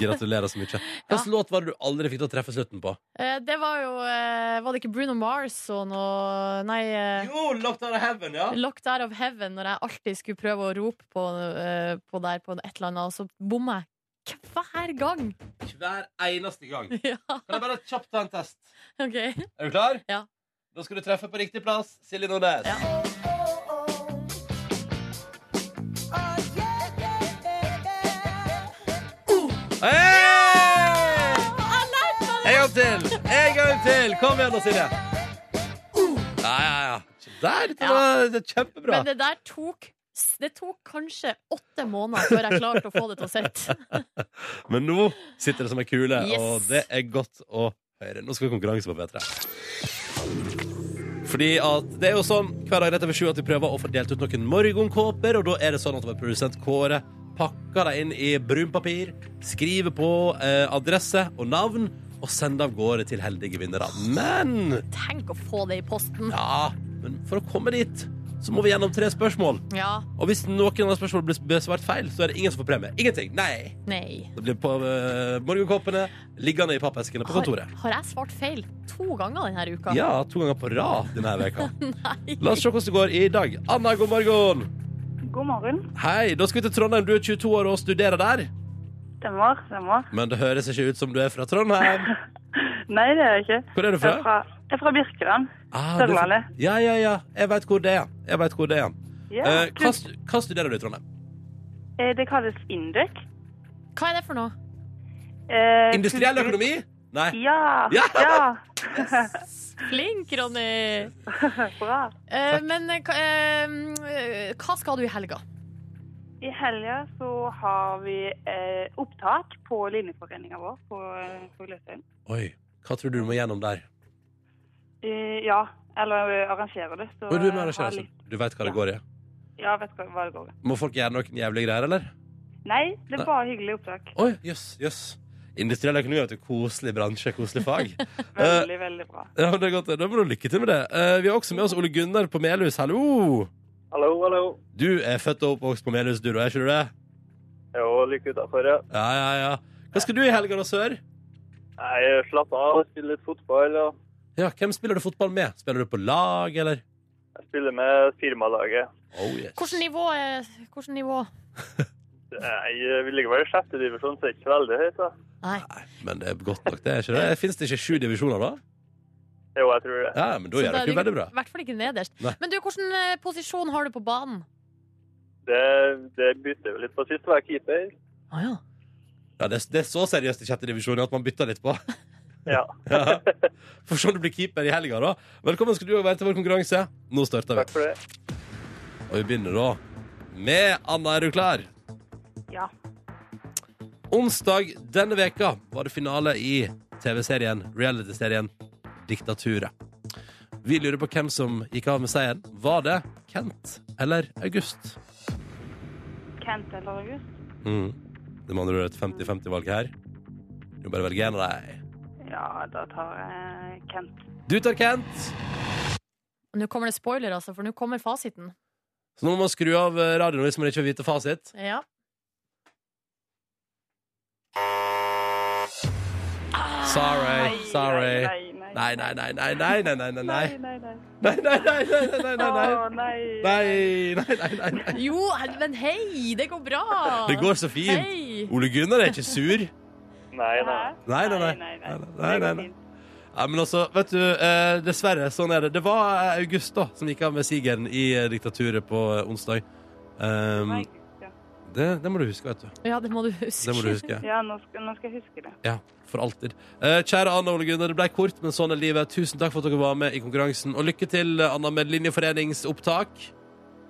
Speaker 1: Gratulerer så mye. Hvilken låt var det du aldri fikk til å treffe slutten på?
Speaker 4: Eh, det var jo eh, Var det ikke Bruno Mars og noe Nei. Eh,
Speaker 1: Jo, Locked Out of Heaven, ja.
Speaker 4: Locked Out of Heaven, når jeg alltid skulle prøve å rope på, eh, på der på et eller annet, og så bomma jeg hver gang.
Speaker 1: Hver eneste gang.
Speaker 4: Ja,
Speaker 1: Kan jeg bare kjapt ta en test?
Speaker 4: ok
Speaker 1: Er du klar?
Speaker 4: Ja.
Speaker 1: Da skal du treffe på riktig plass. Silje Nordnes.
Speaker 4: Ja.
Speaker 1: Hey! En gang til! En gang til! Kom igjen, da, Silje. Ja, ja, ja. Der, dette
Speaker 4: Ja.
Speaker 1: var det er kjempebra.
Speaker 4: Men det der tok det tok kanskje åtte måneder før jeg klarte å få det til å sitte.
Speaker 1: Men nå sitter det som ei kule,
Speaker 4: Yes.
Speaker 1: og det er godt å høre. Nå skal vi ha konkurranse på P3. Fordi at det er jo sånn hver dag rett over sju at vi prøver å få delt ut noen morgenkåper, og da er det sånn at vår produsent Kåre pakker dem inn i brunpapir, skriver på eh, adresse og navn, og sender av gårde til heldige vinnere. Men
Speaker 4: Tenk å få det i posten!
Speaker 1: Ja, men for å komme dit, så må vi gjennom tre spørsmål.
Speaker 4: Ja.
Speaker 1: Og hvis noen av spørsmålene blir besvart feil, så er det ingen som får premie. Ingenting. Nei.
Speaker 4: Nei.
Speaker 1: Det blir på eh, morgenkåpene liggende i pappeskene på
Speaker 4: Har,
Speaker 1: kontoret.
Speaker 4: har jeg svart feil to ganger denne uka?
Speaker 1: Ja, to ganger på rad denne veka.
Speaker 4: Nei.
Speaker 1: La oss se hvordan det går i dag. Anna, god morgen.
Speaker 5: God morgen.
Speaker 1: Hei, da skal vi til Trondheim. Du er 22 år og studerer der.
Speaker 5: Stemmer, stemmer.
Speaker 1: Men det høres ikke ut som du er fra Trondheim.
Speaker 5: Nei, det er jeg ikke.
Speaker 1: Hvor er du
Speaker 5: Jeg er
Speaker 1: fra?
Speaker 5: fra, jeg er fra Birkeland.
Speaker 1: Ah, du er fra-
Speaker 5: Sørlandet.
Speaker 1: Ja, ja, ja. Jeg veit hvor det er. Jeg vet hvor det er.
Speaker 5: Ja,
Speaker 1: Eh, hva,
Speaker 5: kult.
Speaker 1: stu- hva studerer du i Trondheim?
Speaker 5: Eh, Det kalles Indek.
Speaker 4: Hva er det for noe?
Speaker 5: Eh,
Speaker 1: Industriell
Speaker 5: kultur-
Speaker 1: økonomi? Nei.
Speaker 5: Ja.
Speaker 1: Ja!
Speaker 5: Ja.
Speaker 4: Flink, Ronny!
Speaker 5: Bra.
Speaker 4: Eh, men eh, hva- eh, hva skal du i helga?
Speaker 5: I helga så har vi eh, opptak på linjeforeninga vår på, eh, på Gløshaugen.
Speaker 1: Oi. Hva tror du du må gjennom der?
Speaker 5: Eh, ja, eller eh, arrangerer det. Så
Speaker 1: Oi, du, er med
Speaker 4: eh,
Speaker 5: har
Speaker 1: arrangør, altså.
Speaker 5: litt-
Speaker 1: du vet hva det
Speaker 5: Ja.
Speaker 1: går i?
Speaker 5: Ja, vet hva, hva det går i.
Speaker 1: Må folk gjøre noen jævlige greier, eller?
Speaker 5: Nei, det
Speaker 1: Eh.
Speaker 5: er bare hyggelig opptak.
Speaker 1: Oi, jøss, jøss. Industriell økonomi er jo en koselig bransje, koselig fag. Eh,
Speaker 5: Veldig, veldig bra.
Speaker 1: ja, men det er godt. Da må du lykke til med det. Eh, vi har også med oss Ole Gunnar på Melhus. Hallo!
Speaker 6: Hallo, hallo.
Speaker 1: Du er født og oppvokst på Melhus, du, da, er ikke du det?
Speaker 6: Jo, like utafor, ja.
Speaker 1: Ja, ja, ja. Hva skal du i helga, da, sør?
Speaker 6: Nei, slapp av. Jeg spiller litt fotball. og
Speaker 1: Ja, hvem spiller du fotball med? Spiller du på lag, eller?
Speaker 6: Jeg spiller med firmalaget.
Speaker 1: Oh, yes.
Speaker 4: Hvilket nivå? er- Hvilket nivå?
Speaker 6: Nei, vi ligger vel i sjette divisjon, så det er ikke veldig høyt. da.
Speaker 4: Nei.
Speaker 1: Nei, men det er godt nok, det. er ikke det? Fins det ikke sju divisjoner, da?
Speaker 6: Jo, jeg tror det.
Speaker 1: Ja, men da
Speaker 4: Så
Speaker 1: gjør
Speaker 4: da
Speaker 1: dere jo
Speaker 4: ligger
Speaker 1: veldig
Speaker 4: du
Speaker 1: bra.
Speaker 4: I hvert fall ikke nederst.
Speaker 1: Nei.
Speaker 4: Men du, hvilken eh, posisjon har du på banen?
Speaker 6: Det, det bytter vi litt på sist, var jeg keeper.
Speaker 4: Å ja.
Speaker 1: Ja, det, det er så seriøst i sjette divisjon at man bytter litt på.
Speaker 6: Ja.
Speaker 1: Ja. Får se om du blir keeper i helga, da. Velkommen skal du også være til vår konkurranse. Nå starter vi.
Speaker 6: Takk for det.
Speaker 1: Og vi begynner da med Anna, er du klar?
Speaker 5: Ja.
Speaker 1: Onsdag denne veka var det finale i TV-serien, reality-serien Diktaturet. Vi lurer på hvem som gikk av med seieren. Var det Kent eller August?
Speaker 5: Kent eller August?
Speaker 1: Mm. Det må andre ord et 50-50-valg her. Du må bare velge en av dem.
Speaker 5: Ja, da tar jeg Kent.
Speaker 1: Du tar Kent.
Speaker 4: Nå kommer det spoiler, altså, for nå kommer fasiten.
Speaker 1: Så nå må man skru av eh, radioen hvis man ikke vil vite fasit.
Speaker 4: Ja.
Speaker 1: Sorry.
Speaker 5: Nei,
Speaker 1: sorry.
Speaker 5: Nei, nei,
Speaker 1: Nei, nei, nei, nei, nei, nei, nei, nei, nei.
Speaker 5: Nei, nei, nei.
Speaker 1: Nei, nei, nei, nei, nei, nei, nei, nei.
Speaker 5: Å, nei.
Speaker 1: Nei, nei, nei, nei, nei.
Speaker 4: Jo, men hei, det går bra!
Speaker 1: Det går så fint.
Speaker 4: Hei!
Speaker 1: Ole Gunnar er ikke sur.
Speaker 6: Nei, nei.
Speaker 5: Hæ?
Speaker 1: Nei, nei, nei.
Speaker 5: Nei, nei,
Speaker 1: Nei, nei,
Speaker 5: Det går
Speaker 1: nei.
Speaker 5: fint.
Speaker 1: Ja, men altså, vet du, eh, dessverre, sånn er det. Det var eh, August da, som gikk av med sigeren i eh, diktaturet på eh, onsdag. Um,
Speaker 5: Nei, gud, ja.
Speaker 1: det, det må du huske, vet du.
Speaker 4: Ja, det må du huske.
Speaker 1: Det må du huske.
Speaker 5: Ja, nå skal, nå skal jeg huske det.
Speaker 1: Ja, for alltid. Eh, kjære Anna Ole Gunnar, det ble kort, men sånn er livet. Tusen takk for at dere var med i konkurransen. Og lykke til, eh, Anna, med linjeforeningsopptak.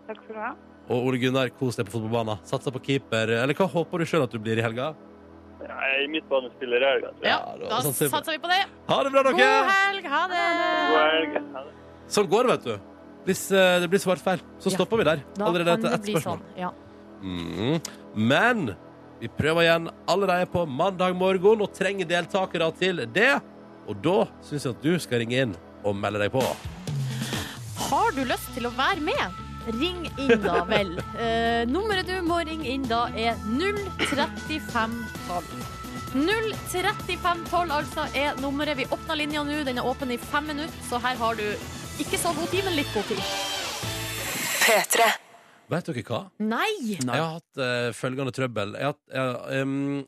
Speaker 5: Takk skal du ha.
Speaker 1: Og Ole Gunnar, kos deg på fotballbanen. Satsa på keeper. Eller hva håper du sjøl at du blir i helga?
Speaker 6: Jeg er midtbanespiller i helga, tror jeg.
Speaker 4: Ja,
Speaker 1: Ja, sånn da satser
Speaker 4: da
Speaker 1: vi på-
Speaker 4: satser vi på det.
Speaker 1: Ha det bra, dere!
Speaker 4: God helg! Ha det!
Speaker 6: God helg. Ha det.
Speaker 1: Sånn går det, vet du. Hvis eh, det blir svart feil, så
Speaker 4: Ja.
Speaker 1: stopper vi der.
Speaker 4: Da
Speaker 1: Allerede
Speaker 4: kan
Speaker 1: etter
Speaker 4: det
Speaker 1: ett
Speaker 4: bli
Speaker 1: spørsmål.
Speaker 4: Sånn. Ja.
Speaker 1: Mm. Men vi prøver igjen allerede på mandag morgen og trenger deltakere til det. Og da syns jeg at du skal ringe inn og melde deg på.
Speaker 4: Har du lyst til å være med? Ring inn, da vel. Eh, nummeret du må ringe inn da, er 03512. 03512 altså er nummeret. Vi åpner linja nå. Den er åpen i fem minutter, så her har du ikke så god tid, men litt god tid.
Speaker 1: Vet dere hva?
Speaker 4: Nei!
Speaker 2: Nei.
Speaker 1: Jeg har hatt eh, følgende trøbbel. Jeg har, hatt- jeg, em,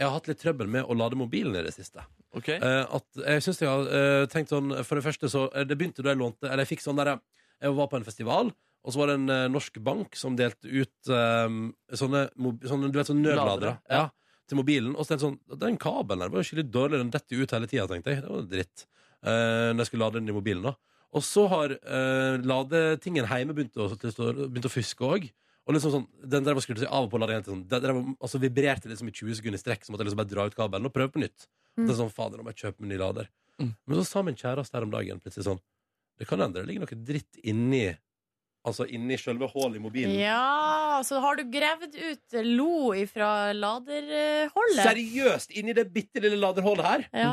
Speaker 1: jeg har hatt litt trøbbel med å lade mobilen i det siste.
Speaker 2: OK?
Speaker 1: Eh, at jeg synes jeg har eh, tenkt sånn For det første så eh, Det begynte da jeg lånte Eller jeg fikk sånn der Jeg var på en festival Og så var det en eh, norsk bank Som delte ut eh, sånne, mob- sånne Du vet sånne nødladere
Speaker 2: Ladere,
Speaker 1: ja, Til mobilen Og så tenkte jeg sånn Den kabelen der var jo skikkelig dårlig Den dette ut hele tiden tenkte jeg Det var dritt eh, Når jeg skulle lade den i mobilen da Og så har eh, ladetingen hjemme begynt å, til å stå- begynt å fyske også og liksom sånn, den der var skrudd til av og på lade igjen til sånn, den der var, altså vibrerte liksom i 20 sekunder i strekk, så måtte jeg liksom bare dra ut kabelen og prøve på nytt. Det er sånn, fader, nå må jeg kjøpe en ny lader.
Speaker 2: Mm.
Speaker 1: Men så sa min kjæreste her om dagen plutselig sånn Det kan hende det ligger noe dritt inni Altså inni selve hullet i mobilen.
Speaker 4: Ja, så har du gravd ut lo ifra laderholdet.
Speaker 1: Seriøst! Inni det bitte lille laderhullet her?
Speaker 4: Ja.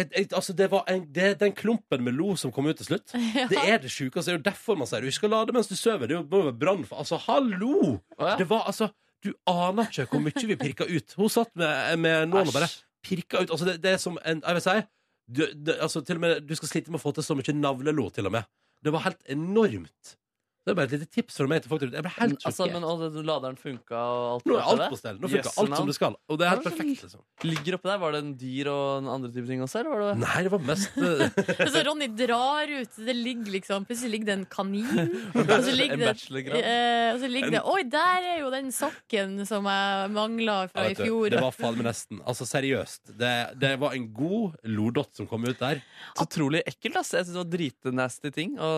Speaker 1: Et, et, altså, det var en, det, den klumpen med lo som kom ut til slutt. Det er det sjukeste. Det er jo derfor man sier du ikke skal lade mens du sover. Det er jo- må jo være brann for Altså, hallo!
Speaker 2: Å, ja.
Speaker 1: Det var altså Du aner ikke hvor mye vi pirka ut. Hun satt med, med nålen og bare
Speaker 2: Æsj.
Speaker 1: pirka ut. Altså, det, det er som en Jeg vil si du, det, altså, til og med, du skal slite med å få til så mye navlelo, til og med. Det var helt enormt. Det er bare et lite tips fra meg til folk der ute. Jeg ble helt sjokkert.
Speaker 2: Altså, men og det, laderen funka og alt
Speaker 1: Nå er
Speaker 2: det
Speaker 1: alt
Speaker 2: der?
Speaker 1: på stell. Nå funker
Speaker 2: Jøsse
Speaker 1: alt
Speaker 2: navn.
Speaker 1: som det skal. Og det er helt
Speaker 2: Det var så
Speaker 1: perfekt, liksom.
Speaker 2: Ligger oppe der, Var det en dyr og en andre type ting også? Eller var det...
Speaker 1: Nei, det var mest eh,
Speaker 4: Så Altså, Ronny drar ut, det ligger liksom Plutselig ligger det en kanin. Og så ligger
Speaker 2: En
Speaker 4: det,
Speaker 2: bachelorgrad?
Speaker 4: eh, og så ligger det Oi, der er jo den sokken som jeg mangla fra
Speaker 1: jeg
Speaker 4: i
Speaker 1: vet du, Det
Speaker 4: fjor.
Speaker 1: var faen meg nesten. Altså, seriøst. Det, det var en god lodott som kom ut der.
Speaker 2: Så utrolig ekkelt. ass Jeg synes Det var dritenasty ting å,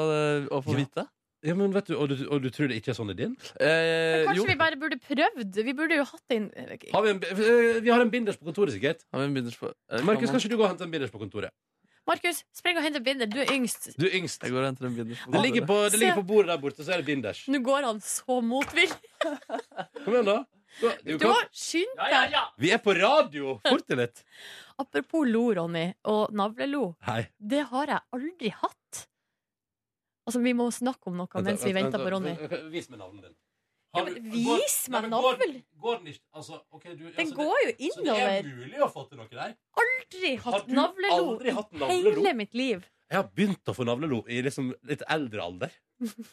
Speaker 2: å få
Speaker 1: Ja.
Speaker 2: vite.
Speaker 1: Ja, men vet du, og, du, og du tror det ikke er sånn i din?
Speaker 2: Eh,
Speaker 4: Kanskje
Speaker 2: jo,
Speaker 4: vi bare burde prøvd? Vi burde jo hatt en
Speaker 1: Har vi, en, bi- eh, vi har en binders på kontoret, sikkert.
Speaker 2: har vi en binders på eh,
Speaker 1: Markus,
Speaker 2: kan man-
Speaker 1: kan ikke du gå og hente en binders på kontoret?
Speaker 4: Markus, spring og hent en binder. Du er yngst.
Speaker 1: Du er yngst.
Speaker 2: Jeg går og henter en binders på
Speaker 1: Det ligger,
Speaker 2: kontoret.
Speaker 1: på, det ligger på bordet der borte, så er det binders.
Speaker 4: Nå går han så motvillig.
Speaker 1: Kom igjen, da. Gå- Du
Speaker 4: Du
Speaker 1: kan,
Speaker 4: må skynde deg.
Speaker 1: vi er på radio! Fort deg litt.
Speaker 4: Apropos lo, Ronny, og navlelo.
Speaker 1: Hei.
Speaker 4: Det har jeg aldri hatt. Altså, vi må snakke om noe mens vi
Speaker 1: Vent,
Speaker 4: venter
Speaker 1: vent,
Speaker 4: på Ronny.
Speaker 1: vent, vent, Vis meg navnet ditt.
Speaker 4: Ja, men vis meg navlen.
Speaker 1: Går den ikke altså, ok, du,
Speaker 4: Den
Speaker 1: altså,
Speaker 4: går jo
Speaker 1: det, Så det er
Speaker 4: innover.
Speaker 1: mulig å få til noe der?
Speaker 4: Aldri
Speaker 1: Har
Speaker 4: hatt
Speaker 1: du
Speaker 4: navlelo
Speaker 1: aldri hatt
Speaker 4: i
Speaker 1: navlelo?
Speaker 4: hele mitt liv.
Speaker 1: Jeg har begynt å få navlelo i liksom litt eldre alder.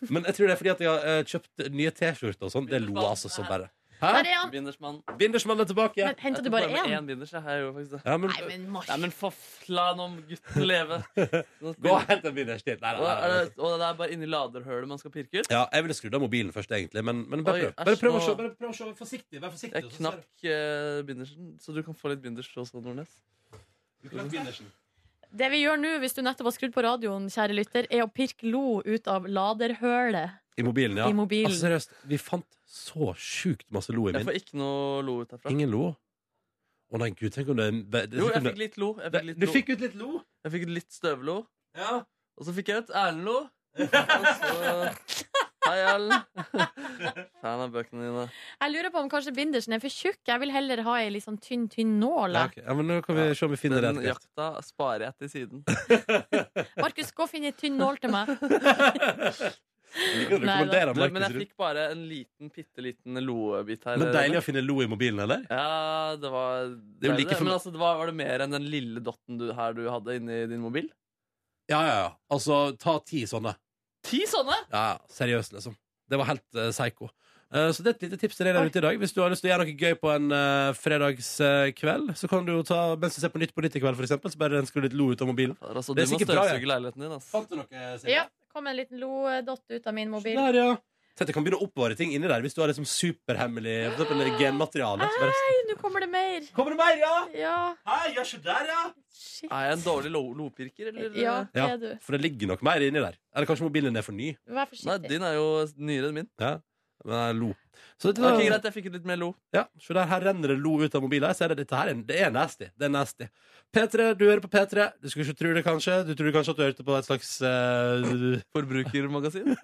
Speaker 1: Men jeg tror det er fordi at jeg har eh, kjøpt nye T-skjorter og sånn. Det lo jeg altså som bare.
Speaker 4: Der
Speaker 1: Hæ?
Speaker 4: er han.
Speaker 2: Bindersmann.
Speaker 1: Bindersmannen er tilbake.
Speaker 4: Men henter
Speaker 2: Jeg
Speaker 4: du
Speaker 2: tok
Speaker 4: bare
Speaker 2: med
Speaker 4: én?
Speaker 2: én binders. Jeg har jo faktisk det.
Speaker 1: Ja, men,
Speaker 4: Nei, men Mark.
Speaker 2: Nei, men for f- la nå gutten leve. Nå
Speaker 1: gå
Speaker 2: spiller-
Speaker 1: og hent en binders til. Nei,
Speaker 2: Og,
Speaker 1: nei,
Speaker 2: er
Speaker 1: nei,
Speaker 2: det, og det er bare inni laderhølet man skal pirke ut?
Speaker 1: Ja, jeg ville skrudd av mobilen først, egentlig. Men, men bare,
Speaker 2: Oi,
Speaker 1: prøv.
Speaker 2: æsj,
Speaker 1: bare prøv å
Speaker 2: nå-
Speaker 1: se. Bare prøv å se. Forsiktig. Vær forsiktig.
Speaker 2: Jeg
Speaker 1: og så ser
Speaker 2: knakk eh, bindersen, så du kan få litt binders også, Nordnes.
Speaker 1: du. Du knakk bindersen.
Speaker 4: Det vi gjør nå, hvis du nettopp har skrudd på radioen, kjære lytter, er å pirke lo ut av laderhølet
Speaker 1: I mobilen, ja.
Speaker 4: i mobilen.
Speaker 1: Altså, seriøst, vi fant så sjukt masse lo i
Speaker 2: Jeg
Speaker 1: min.
Speaker 2: får ikke noe lo ut herfra.
Speaker 1: Ingen lo. Å nei, gud, tenk om det, det, det
Speaker 2: Jo, jeg
Speaker 1: det-
Speaker 2: fikk litt lo. Jeg fikk litt,
Speaker 1: Du
Speaker 2: lo.
Speaker 1: fikk ut litt lo?
Speaker 2: Jeg fikk litt støvlo.
Speaker 1: Ja.
Speaker 2: Og så fikk jeg ut Erlend-lo. Og så Hei, Erlend. Fan av bøkene dine.
Speaker 4: Jeg lurer på om kanskje bindersen er for tjukk. Jeg vil heller ha ei litt sånn tynn, tynn nål.
Speaker 1: ja
Speaker 4: jeg.
Speaker 1: ok. Ja, men nå kan vi se om vi finner det.
Speaker 2: Den
Speaker 1: etter hvert.
Speaker 2: jakta sparer jeg til siden.
Speaker 4: Markus, gå og finn ei tynn nål til meg.
Speaker 1: Jeg liker kan
Speaker 4: Nei,
Speaker 1: rekommendere
Speaker 2: Du, men
Speaker 1: Markus
Speaker 2: jeg
Speaker 1: Rubb.
Speaker 2: fikk bare en liten, bitte liten loebit her.
Speaker 1: Men deilig å finne lo i mobilen, eller?
Speaker 2: Ja, det var
Speaker 1: Det er jo like
Speaker 2: deilig,
Speaker 1: for-
Speaker 2: Men altså, det var, var det mer enn den lille dotten du, her du hadde inni din mobil?
Speaker 1: Ja, ja, ja. Altså, ta ti sånne.
Speaker 2: Ti sånne!
Speaker 1: Ja, seriøst, liksom. Det var helt eh, psycho. Eh, så det er et lite tips til deg der ute i dag. Hvis du har lyst til å gjøre noe gøy på en eh, fredagskveld, så kan du jo ta mens du ser på Nytt på Nytt i kveld, for eksempel, så bare rensker du litt lo ut av mobilen.
Speaker 2: Fader, Altså, du
Speaker 1: Det er
Speaker 2: må
Speaker 1: sikkert bra,
Speaker 2: støvsuge leiligheten din. altså. Ass.
Speaker 1: Fant du noe,
Speaker 4: Ja, kom en liten lodott ut av min mobil.
Speaker 1: Der, ja. Tenk, du kan begynne å oppbevare ting inni der hvis du har liksom superhemmelig for eksempel, eh, genmateriale. så bare-
Speaker 4: Nei, nå kommer det mer!
Speaker 1: Kommer det mer, ja?
Speaker 4: Ja,
Speaker 1: Hei, gjør ikke der, ja?
Speaker 4: shit.
Speaker 2: Er jeg en dårlig lo lopirker, eller?
Speaker 4: Ja, det
Speaker 1: Ja.
Speaker 4: er du.
Speaker 1: For det ligger nok mer inni der. Eller kanskje mobilen er for ny.
Speaker 4: Vær
Speaker 2: Nei,
Speaker 4: forsiktig.
Speaker 2: din er jo nyere enn min.
Speaker 1: Men jeg lo. Så dette,
Speaker 2: Ok, Greit, jeg fikk ut litt mer lo.
Speaker 1: Ja, så der her renner det lo ut av mobilen. Jeg ser det, dette her, er- det er nasty. Det er nasty. P3, du hører på P3. Du skulle ikke tro det, kanskje. Du tror kanskje at du hørte på et slags eh,
Speaker 2: Forbrukermagasin.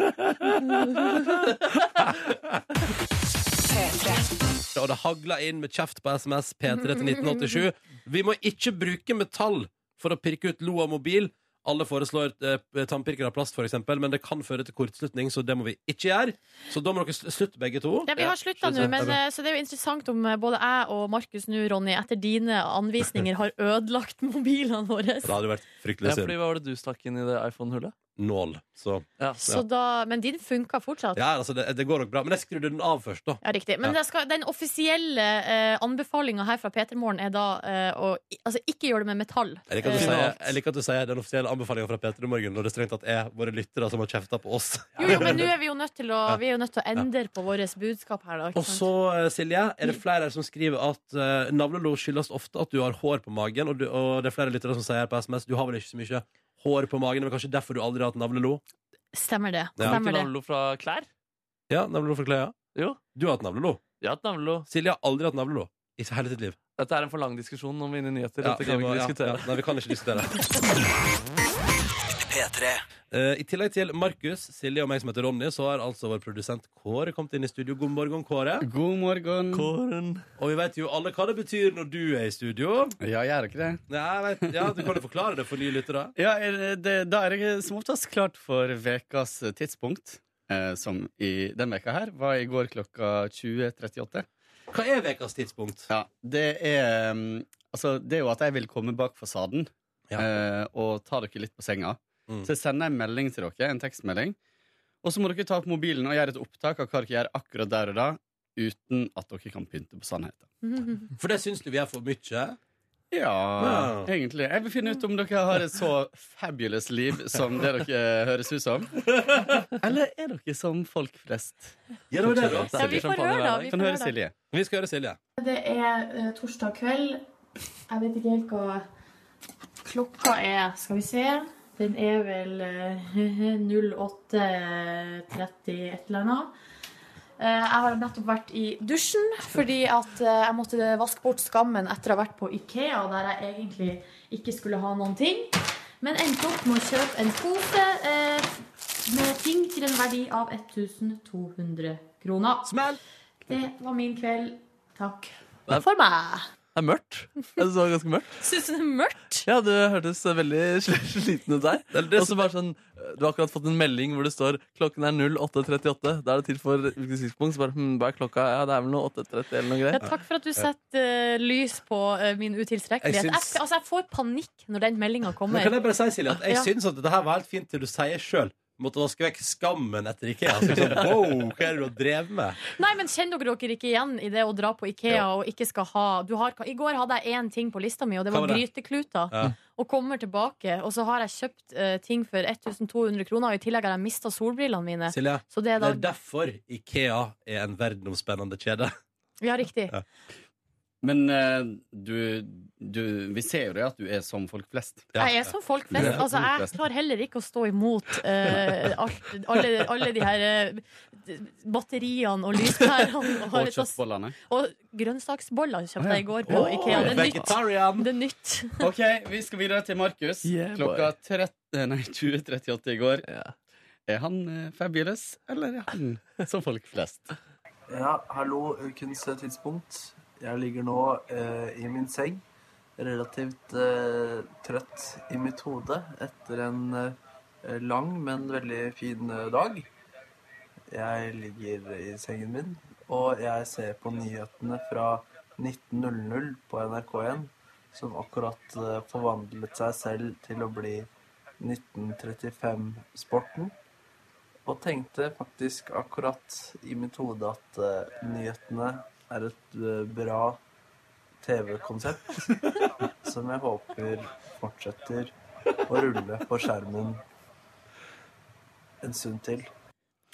Speaker 1: Og det hagla inn med kjeft på SMS P3 til 1987. Vi må ikke bruke metall for å pirke ut lo av mobil. Alle foreslår eh, tannpirkere av plast, for eksempel, men det kan føre til kortslutning, så det må vi ikke gjøre. Så da må dere sl- slutte, begge to.
Speaker 4: Ja, vi har slutta nå, men, eh, så det er jo interessant om eh, både jeg og Markus nå, Ronny, etter dine anvisninger har ødelagt mobilene våre.
Speaker 1: Det hadde jo vært
Speaker 2: Ja,
Speaker 1: fryktelig
Speaker 2: fordi
Speaker 1: synd.
Speaker 2: Hva var det du stakk inn i det iPhone-hullet?
Speaker 1: Nål. Så
Speaker 2: Ja.
Speaker 4: Så da, men din funka fortsatt.
Speaker 1: ja, altså, det, det går nok bra. Men jeg skrudde den av først, da.
Speaker 4: Ja, riktig. Men
Speaker 1: Ja.
Speaker 4: det skal, den offisielle eh, anbefalinga her fra Petermorgen er da eh, å i- altså, ikke gjøre det med metall.
Speaker 1: Jeg liker at du
Speaker 4: Eh,
Speaker 1: sier, jeg liker at du sier den offisielle anbefalingen fra Peter i morgen når det strengt tatt er våre lyttere som har kjefta på oss.
Speaker 4: Jo, jo, men nå er vi jo nødt til å,
Speaker 1: Ja.
Speaker 4: vi er jo nødt til å endre på vårt budskap her, da.
Speaker 1: Og
Speaker 4: Ikke
Speaker 1: så,
Speaker 4: sant?
Speaker 1: eh, Silje, er det flere her som skriver at uh, navlelo skyldes ofte at du har hår på magen, og, du, og det er flere lyttere som sier her på SMS du har vel ikke så mye hår på magen, men kanskje derfor du aldri har hatt navlelo?
Speaker 4: Stemmer det.
Speaker 1: Ja.
Speaker 2: Ikke
Speaker 4: Stemmer det.
Speaker 2: navlelo fra klær?
Speaker 1: Ja, navlelo for klær, ja.
Speaker 2: Jo,
Speaker 1: Du har hatt navlelo.
Speaker 2: jeg har hatt navlelo.
Speaker 1: Silje har aldri hatt navlelo i hele sitt liv.
Speaker 2: Dette er en for lang diskusjon om vi er inne i nyheter.
Speaker 1: Ja,
Speaker 2: Dette kan vi
Speaker 1: må-
Speaker 2: ikke
Speaker 1: ja,
Speaker 2: diskutere.
Speaker 1: ja. Nei, vi kan ikke diskutere. Eh, I tillegg til Markus, Silje og meg som heter Ronny, så har altså vår produsent Kåre kommet inn i studio. God morgen, Kåre.
Speaker 7: God morgen.
Speaker 2: Kåren.
Speaker 1: Og vi vet jo alle hva det betyr når du er i studio.
Speaker 7: Ja, jeg er ikke det.
Speaker 1: Nei, jeg vet, ja, Du kan jo forklare det for nye lyttere.
Speaker 7: Ja, er det da er jeg som oftest klart for vekas tidspunkt. Eh, som i den veka her var i går klokka 20.38.
Speaker 1: Hva er ukas tidspunkt?
Speaker 7: Ja, det er mm, Altså, det er jo at jeg vil komme bak fasaden
Speaker 1: Ja.
Speaker 7: eh, og ta dere litt på senga.
Speaker 1: Mm.
Speaker 7: Så jeg sender en melding til dere, en tekstmelding. Og så må dere ta opp mobilen og gjøre et opptak av hva dere gjør akkurat der og da, uten at dere kan pynte på sannheten.
Speaker 1: For det syns du vi er for mye.
Speaker 7: Ja,
Speaker 1: Ja.
Speaker 7: egentlig. Jeg vil finne ut om dere har et så fabulous liv som det dere høres ut som. Eller er dere som folk flest?
Speaker 1: Ja, det var det, da.
Speaker 4: Ja, vi får høre, da. Vi
Speaker 7: Kan
Speaker 4: får
Speaker 7: høre
Speaker 4: høre, da.
Speaker 7: Silje.
Speaker 1: Vi skal høre Silje.
Speaker 8: Det er eh, torsdag kveld. Jeg vet ikke helt hva klokka er. Skal vi se. Den er vel eh, 08.30 et eller annet. Eh, Jeg har nettopp vært i dusjen fordi at eh, jeg måtte vaske bort skammen etter å ha vært på Ikea, der jeg egentlig ikke skulle ha noen ting. Men endte opp med å kjøpe en pose eh, med ting til en verdi av 1200 kroner.
Speaker 1: Smell!
Speaker 8: Det var min kveld. Takk for meg.
Speaker 2: Det er mørkt. Jeg synes det var ganske mørkt.
Speaker 4: Syns du det er mørkt?
Speaker 2: Ja, du hørtes veldig sl- sliten ut der. Og så bare sånn, Du har akkurat fått en melding hvor det står klokken er 08.38. Da er det til for hvilket tidspunkt. Så bare, hm, hva er klokka? Ja, det er vel noe 8.30 eller noe
Speaker 4: Ja,
Speaker 2: greier.
Speaker 4: takk for at du setter eh, lys på eh, min utilstrekkelighet.
Speaker 1: Jeg
Speaker 4: Jeg,
Speaker 1: syns-
Speaker 4: altså, jeg får panikk når den meldinga
Speaker 1: Men kan
Speaker 4: kommer.
Speaker 1: jeg bare si, Silje, at jeg
Speaker 4: Ja.
Speaker 1: syns at dette her var helt fint til du sier sjøl. Måtte vaske vekk skammen etter Ikea. Så liksom, wow, hva er det du har drevet med?
Speaker 4: Nei, men Kjenner dere dere ikke igjen i det å dra på Ikea og ikke skal ha du har, I går hadde jeg én ting på lista mi, og det
Speaker 1: Hva var
Speaker 4: var
Speaker 1: det?
Speaker 4: grytekluter.
Speaker 1: Ja.
Speaker 4: Og kommer tilbake, og så har jeg kjøpt eh, ting for 1200 kroner, og i tillegg har jeg mista solbrillene mine.
Speaker 1: Silje,
Speaker 4: Så det er
Speaker 1: det
Speaker 4: da
Speaker 1: er derfor Ikea er en verdenomspennende kjede.
Speaker 4: Ja, riktig.
Speaker 1: Ja.
Speaker 7: Men eh, du, du Vi ser jo det at du er som folk flest.
Speaker 4: Jeg er som folk flest.
Speaker 7: Ja,
Speaker 4: Altså,
Speaker 7: folk
Speaker 4: jeg
Speaker 7: flest.
Speaker 4: klarer heller ikke å stå imot eh, alt, alle, alle de her eh, batteriene og lyspærene. Og,
Speaker 7: Og
Speaker 4: og,
Speaker 7: kjøttbollene.
Speaker 4: og grønnsaksboller kjøpte jeg i går på
Speaker 1: Åh,
Speaker 4: Ikea. Det er nytt.
Speaker 1: vegetarian!
Speaker 4: Det er nytt.
Speaker 7: OK, vi skal videre til Markus.
Speaker 2: Yeah, boy.
Speaker 7: Klokka
Speaker 9: eh,
Speaker 7: 13, nei, 20.38 i går.
Speaker 2: Ja.
Speaker 7: Er han eh, fabulous, eller er han som folk flest?
Speaker 10: Ja, hallo, ukens tidspunkt. Jeg ligger nå eh, i min seng, relativt eh, trøtt i mitt hode etter en eh, lang, men veldig fin eh, dag.
Speaker 11: Jeg ligger i sengen min, og jeg ser på nyhetene fra 19.00 på NRK1, som akkurat eh, forvandlet seg selv til å bli 1935-sporten. Og tenkte faktisk akkurat i mitt hode at eh, nyhetene er et eh, bra TV-konsept som jeg håper fortsetter å rulle på skjermen en stund til.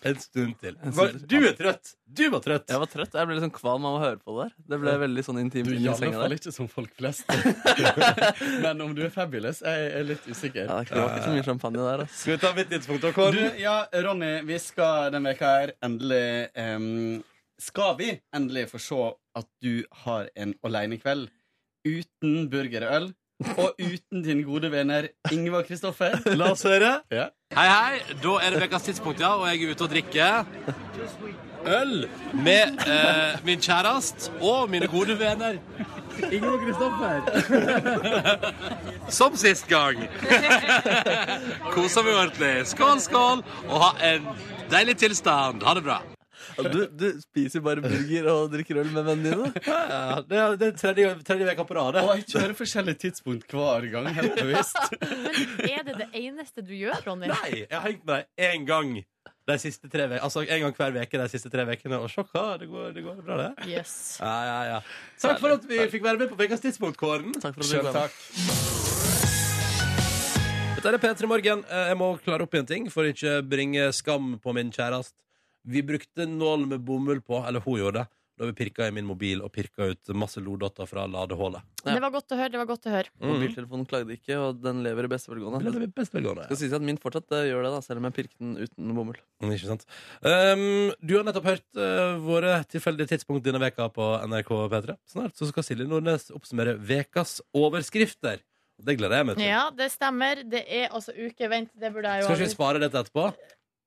Speaker 1: En stund til.
Speaker 2: En
Speaker 1: Var-
Speaker 2: stund til.
Speaker 1: Du er trøtt! Du var trøtt!
Speaker 2: Jeg var trøtt. Jeg ble litt sånn kvalm av å høre på det der. Det ble veldig sånn intimt
Speaker 9: Du er i
Speaker 2: inn i
Speaker 9: alle
Speaker 2: senga
Speaker 9: fall
Speaker 2: der.
Speaker 9: ikke som folk flest. Men om du er fabulous, jeg er litt usikker. Eh,
Speaker 2: Ja, det var ikke så mye champagne der, altså. ass.
Speaker 1: Skal vi ta mitt tidspunkt, da,
Speaker 9: Du,
Speaker 1: Kåren?
Speaker 9: ja, Ronny, vi skal denne veka her endelig em, Skal vi endelig få se at du har en alenekveld uten burger og øl? Og uten din gode venner Ingvar Kristoffer.
Speaker 1: La oss høre.
Speaker 9: Ja.
Speaker 1: Hei, hei. Da er det ukas tidspunkt, ja, og jeg er ute og drikker øl med eh, min kjæreste og mine gode venner.
Speaker 9: Ingvar Kristoffer.
Speaker 1: Som sist gang. Koser vi ordentlig. Skål, skål, og ha en deilig tilstand. Ha det bra.
Speaker 2: Ja, Du, du spiser bare burger og drikker øl med vennene dine.
Speaker 1: Ja, det er, det er tredje, tredje veka på rad.
Speaker 9: Og
Speaker 1: det.
Speaker 9: jeg kjører forskjellige tidspunkt hver gang. helt bevisst
Speaker 4: Er det det eneste du gjør, Ronny?
Speaker 1: Nei, jeg har hengt med deg én gang. De siste tre ve altså En gang hver veke de siste tre ukene. Og se hva, det går, det går bra, det.
Speaker 4: Yes.
Speaker 1: Ja, ja, ja. Takk for at vi fikk være med på Ukas tidspunkt, Kåren.
Speaker 2: Takk for at du
Speaker 9: Selv
Speaker 2: kom.
Speaker 9: takk.
Speaker 1: Dette er P3 Morgen. Eh, Jeg må klare opp i en ting for ikke å bringe skam på min kjæreste. Vi brukte nål med bomull på, eller hun gjorde det, da vi pirka i min mobil og pirka ut masse loddotter fra ladehullet. Mm.
Speaker 2: Ja.
Speaker 4: Det var godt å høre. det var godt å høre
Speaker 2: Mobiltelefonen klagde ikke, og den lever i beste
Speaker 1: Det
Speaker 2: velgående.
Speaker 1: er best velgående.
Speaker 2: Skal sies at min fortsatt eh, gjør det, da, selv om jeg pirket den uten bomull.
Speaker 1: Mm, Ikke sant? Um, du har nettopp hørt eh, våre tilfeldige tidspunkt denne veka på NRK P3. Snart så skal Silje Nordnes oppsummere vekas overskrifter. Det gleder jeg meg til.
Speaker 4: Ja, det stemmer. Det er altså uke Vent, det burde jeg jo
Speaker 1: Skal ikke vi
Speaker 4: aldri-
Speaker 1: spare dette etterpå?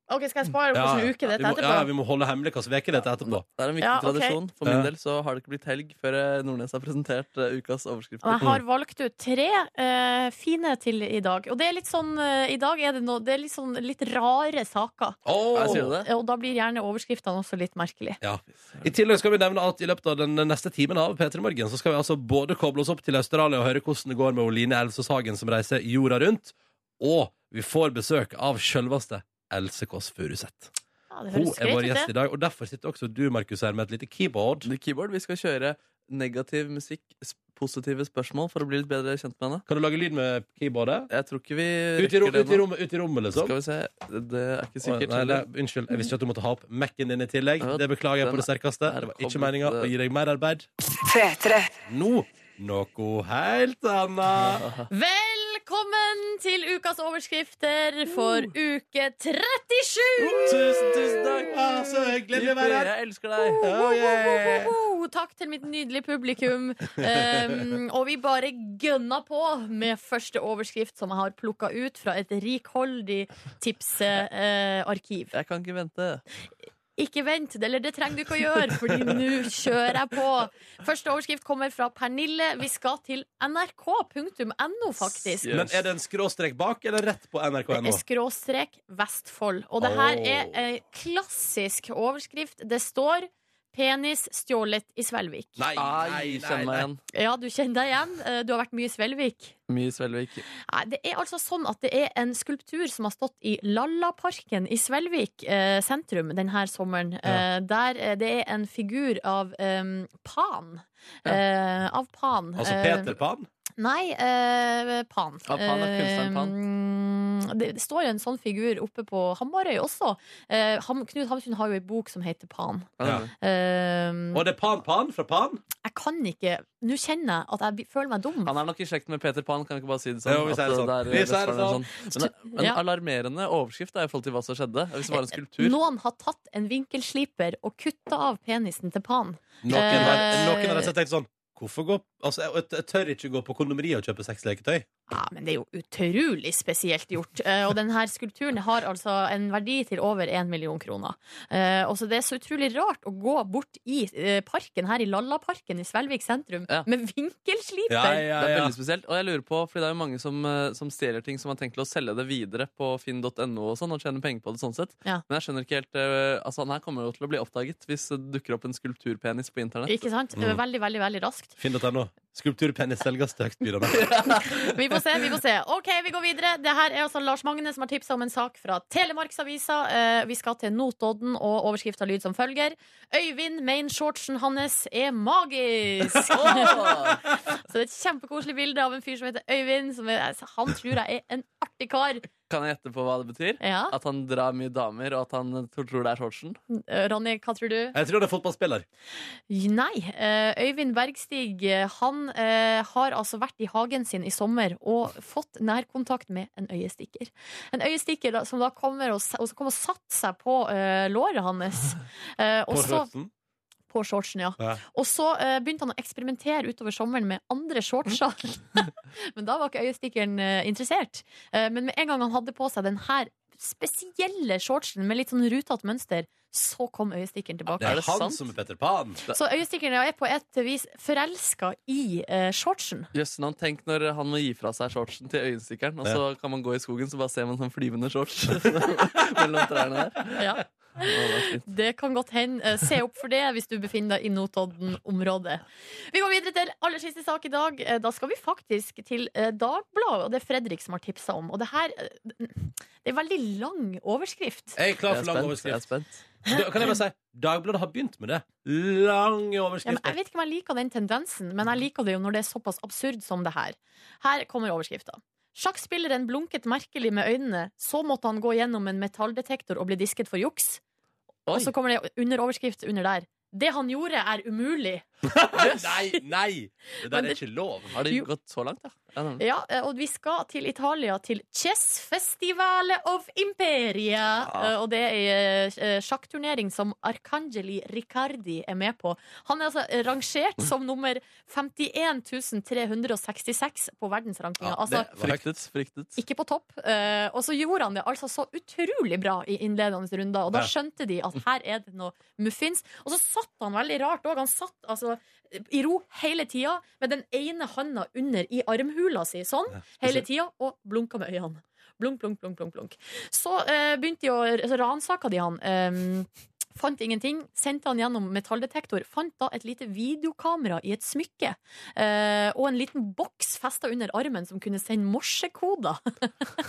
Speaker 4: Ok, Skal jeg spare
Speaker 1: Ja,
Speaker 4: hvilken uke
Speaker 1: vi
Speaker 4: dette
Speaker 1: må,
Speaker 4: er
Speaker 1: ja,
Speaker 4: etterpå?
Speaker 1: vi må holde hemmelig hvilken veke dette er etterpå.
Speaker 2: Det er en viktig
Speaker 4: Ja, ok.
Speaker 2: tradisjon. For min
Speaker 1: Ja.
Speaker 2: del så har det ikke blitt helg før eh, Nordnes har presentert eh, ukas
Speaker 4: Og jeg
Speaker 2: overskrifter.
Speaker 4: har valgt ut tre eh, fine til i dag. Og det er litt sånn eh, I dag er det, noe- det er litt, sånn, litt rare saker.
Speaker 1: Åh!
Speaker 2: Jeg sier du det?
Speaker 4: Og da blir gjerne overskriftene også litt merkelige.
Speaker 1: Ja. I tillegg skal vi nevne at i løpet av den neste timen av P3 Morgen så skal vi altså både koble oss opp til Australia og høre hvordan det går med Oline Elsås Hagen som reiser jorda rundt, og vi får besøk av sjølveste Else Kåss Furuseth.
Speaker 4: Ja, det
Speaker 1: Hun
Speaker 4: høres
Speaker 1: er vår
Speaker 4: greit ut,
Speaker 1: gjest
Speaker 4: det.
Speaker 1: i dag, og derfor sitter også du, Markus, her med et lite keyboard.
Speaker 2: The Keyboard, Vi skal kjøre negativ musikk, s- positive spørsmål, for å bli litt bedre kjent med henne.
Speaker 1: Kan du lage lyd med keyboardet?
Speaker 2: Jeg tror ikke vi
Speaker 1: Ut i, rom,
Speaker 2: rekker
Speaker 1: ut i,
Speaker 2: det nå.
Speaker 1: rom, ut i rommet, liksom?
Speaker 2: Skal vi se. Det det er ikke
Speaker 1: Å,
Speaker 2: sikkert.
Speaker 1: nei, nei,
Speaker 2: heller.
Speaker 1: unnskyld, jeg visste ikke at du måtte ha opp Mac-en din i tillegg.
Speaker 2: Ja,
Speaker 1: Det beklager jeg på
Speaker 2: den
Speaker 1: det sterkeste.
Speaker 2: er eh.
Speaker 1: Det var ikke
Speaker 2: koblet-
Speaker 1: meninga å gi deg mer arbeid. Nå noe helt annet.
Speaker 4: Velkommen til ukas overskrifter for uke 37!
Speaker 1: Tusen, tusen takk! Ah, så hyggelig å være her.
Speaker 2: Jeg elsker deg!
Speaker 1: Oh, yeah.
Speaker 4: Woho! Takk til mitt nydelige publikum. Um, og vi bare gønna på med første overskrift som jeg har plukka ut fra et rikholdig tipsarkiv.
Speaker 2: Jeg kan ikke vente.
Speaker 4: Ikke vent, eller det trenger du ikke å gjøre, Fordi nå kjører jeg på. Første overskrift kommer fra Pernille. Vi skal til nrk.no, faktisk.
Speaker 1: Men er det en skråstrek bak, eller rett på
Speaker 4: Det
Speaker 1: nrk.no?
Speaker 4: er Skråstrek Vestfold. Og det her
Speaker 1: Åh.
Speaker 4: er en klassisk overskrift. Det står 'Penis stjålet i Svelvik'.
Speaker 1: Nei,
Speaker 2: Ai, kjenn meg igjen.
Speaker 4: Ja, du kjenner deg igjen. Eh, Du har vært mye i Svelvik.
Speaker 2: Mye Svelvik.
Speaker 4: Nei, det er altså sånn at det er en skulptur som har stått i Lallaparken i Svelvik eh, sentrum denne sommeren. Eh, der eh, det er en figur av em, Pan.
Speaker 2: Ja.
Speaker 4: Eh, av Pan.
Speaker 1: Altså
Speaker 4: Eh,
Speaker 1: Peter Pan?
Speaker 4: Nei, eh, Pan.
Speaker 2: Ja, Pan er kunstneren Pan.
Speaker 4: Eh, det, det står jo en sånn figur oppe på Hamarøy også. Eh, Ham, Knut Hamsun har jo ei bok som heter Pan.
Speaker 1: Ja.
Speaker 4: Eh,
Speaker 1: Og det er Pan Pan fra Pan?
Speaker 4: jeg kan ikke Nå kjenner jeg at jeg bi- føler meg dum.
Speaker 2: Han er nok i slekt med Peter Pan, kan vi ikke bare si det sånn?
Speaker 1: Jo, vi sier
Speaker 2: At,
Speaker 1: det sånn.
Speaker 2: uh,
Speaker 1: Vi sier det
Speaker 2: Vestfold er
Speaker 1: sånn.
Speaker 2: Men, men
Speaker 4: Ja. Eh,
Speaker 2: alarmerende overskrift da, i forhold til hva som skjedde. Hvis det var en skulptur.
Speaker 4: Noen har tatt en vinkelsliper og kutta av penisen til Pan.
Speaker 1: Noen
Speaker 4: Eh,
Speaker 1: har, noen har rett og slett tenkt sånn Hvorfor gå Altså, jeg, jeg tør ikke gå på kondomeriet og kjøpe sexleketøy.
Speaker 4: Ja, men det er jo utrolig spesielt gjort. Eh, Og denne skulpturen har altså en verdi til over én million kroner. Eh, Og så det er så utrolig rart å gå bort i eh, parken her i Lallaparken i Svelvik sentrum
Speaker 2: Ja.
Speaker 4: med
Speaker 1: Ja,
Speaker 4: vinkelsliper.
Speaker 1: ja,
Speaker 2: Det er
Speaker 1: ja.
Speaker 2: veldig spesielt. Og jeg lurer på, fordi det er jo mange som, eh, som stjeler ting som har tenkt til å selge det videre på finn.no og sånn, og tjener penger på det sånn sett.
Speaker 4: Ja.
Speaker 2: Men jeg skjønner ikke helt eh, Altså, han her kommer jo til å bli oppdaget hvis det dukker opp en skulpturpenis på internett.
Speaker 4: Ikke sant?
Speaker 1: Mm.
Speaker 4: Veldig, veldig, veldig raskt.
Speaker 1: Finn.no. Skulpturpenis selges til høystbydende.
Speaker 4: Vi får se, vi får se. Ok, vi går videre. Det her er altså Lars Magne som har tipsa om en sak fra Telemarksavisa. Eh, vi skal til Notodden, og overskrifta lyd som følger. Øyvind Main-shortsen hans er magisk! Så det er et kjempekoselig bilde av en fyr som heter Øyvind. Som er, altså, han tror jeg er en artig kar.
Speaker 2: Kan jeg gjette på hva det betyr?
Speaker 4: Ja.
Speaker 2: At han drar mye damer, og at han eh, tror det er shortsen?
Speaker 4: Eh, Ronny, hva tror du?
Speaker 1: Jeg tror det er fotballspiller.
Speaker 4: Nei. eh, Øyvind Bergstig eh, han eh, har altså vært i hagen sin i sommer og fått nærkontakt med en øyestikker. En øyestikker da, som da kommer og, s- og, som kom og satt seg på eh, låret hans. Eh, og
Speaker 1: På
Speaker 4: så,
Speaker 1: høsten.
Speaker 4: på shortsen, ja.
Speaker 1: Ja.
Speaker 4: Og så eh, begynte han å eksperimentere utover sommeren med andre shortser. men da var ikke øyestikkeren eh, interessert. Eh, men med en gang han hadde på seg den her spesielle shortsen med litt sånn rutete mønster, så kom øyestikkeren tilbake.
Speaker 1: Det er,
Speaker 2: Er det
Speaker 1: han
Speaker 2: sant?
Speaker 1: som er Petter Pan.
Speaker 4: Så øyestikkerne er på et vis forelska i eh, shortsen.
Speaker 2: Jøssen, han tenk når han må gi fra seg shortsen til øyenstikkeren, og så kan man gå i skogen, så bare ser man sånn flyvende shorts mellom trærne der. Å, det er fint.
Speaker 4: Det kan godt hende. Eh, se opp for det hvis du befinner deg i Notodden-området. Vi går videre til aller siste sak i dag. Eh, da skal vi faktisk til eh, Dagbladet, og det er Fredrik som har tipsa om. Og det her eh, Det er veldig lang overskrift.
Speaker 1: Jeg er klar
Speaker 2: Jeg er
Speaker 1: for lang
Speaker 2: spent. Jeg er
Speaker 1: overskrift.
Speaker 2: spent.
Speaker 1: Da, kan jeg bare si Dagbladet har begynt med det. Lange
Speaker 4: Ja, men jeg
Speaker 1: overskrifter.
Speaker 4: vet ikke om jeg liker den tendensen, men jeg liker det jo når det er såpass absurd som det her. Her kommer overskrifta. Sjakkspilleren blunket merkelig med øynene, så måtte han gå gjennom en metalldetektor og bli disket for juks.
Speaker 2: Oi.
Speaker 4: Og så kommer det underoverskrift under der. Det han gjorde, er umulig.
Speaker 1: nei, nei! Det
Speaker 4: Men
Speaker 1: der er
Speaker 4: det-
Speaker 1: ikke lov.
Speaker 2: Har det
Speaker 4: Jo.
Speaker 2: gått så langt, ja? ja? nemlig.
Speaker 1: Mm.
Speaker 4: Ja, eh, Og vi skal til Italia, til Chess Festivale of Imperia. Eh, Og det er eh, sjakkturnering som Arkangeli Riccardi er med på. Han er altså eh, rangert som nummer 51 366 på verdensrankinga.
Speaker 1: Ja,
Speaker 4: altså,
Speaker 1: det var høyt.
Speaker 2: Fryktet, fryktet.
Speaker 4: ikke på topp. Eh, og så gjorde han det altså så utrolig bra i innledende runder. Og da
Speaker 1: Ja.
Speaker 4: skjønte de at her er det noe muffins. Og så satt han veldig rart òg. Han satt altså i ro hele tida med den ene handa under i armhula si, sånn hele tida, og blunka med øynene. Blunk, blunk, blunk, blunk. blunk. Så eh, begynte de å Så ransaka de han. em, Fant ingenting, sendte han gjennom metalldetektor. Fant da et lite videokamera i et smykke. eh, og en liten boks festa under armen som kunne sende morsekoder.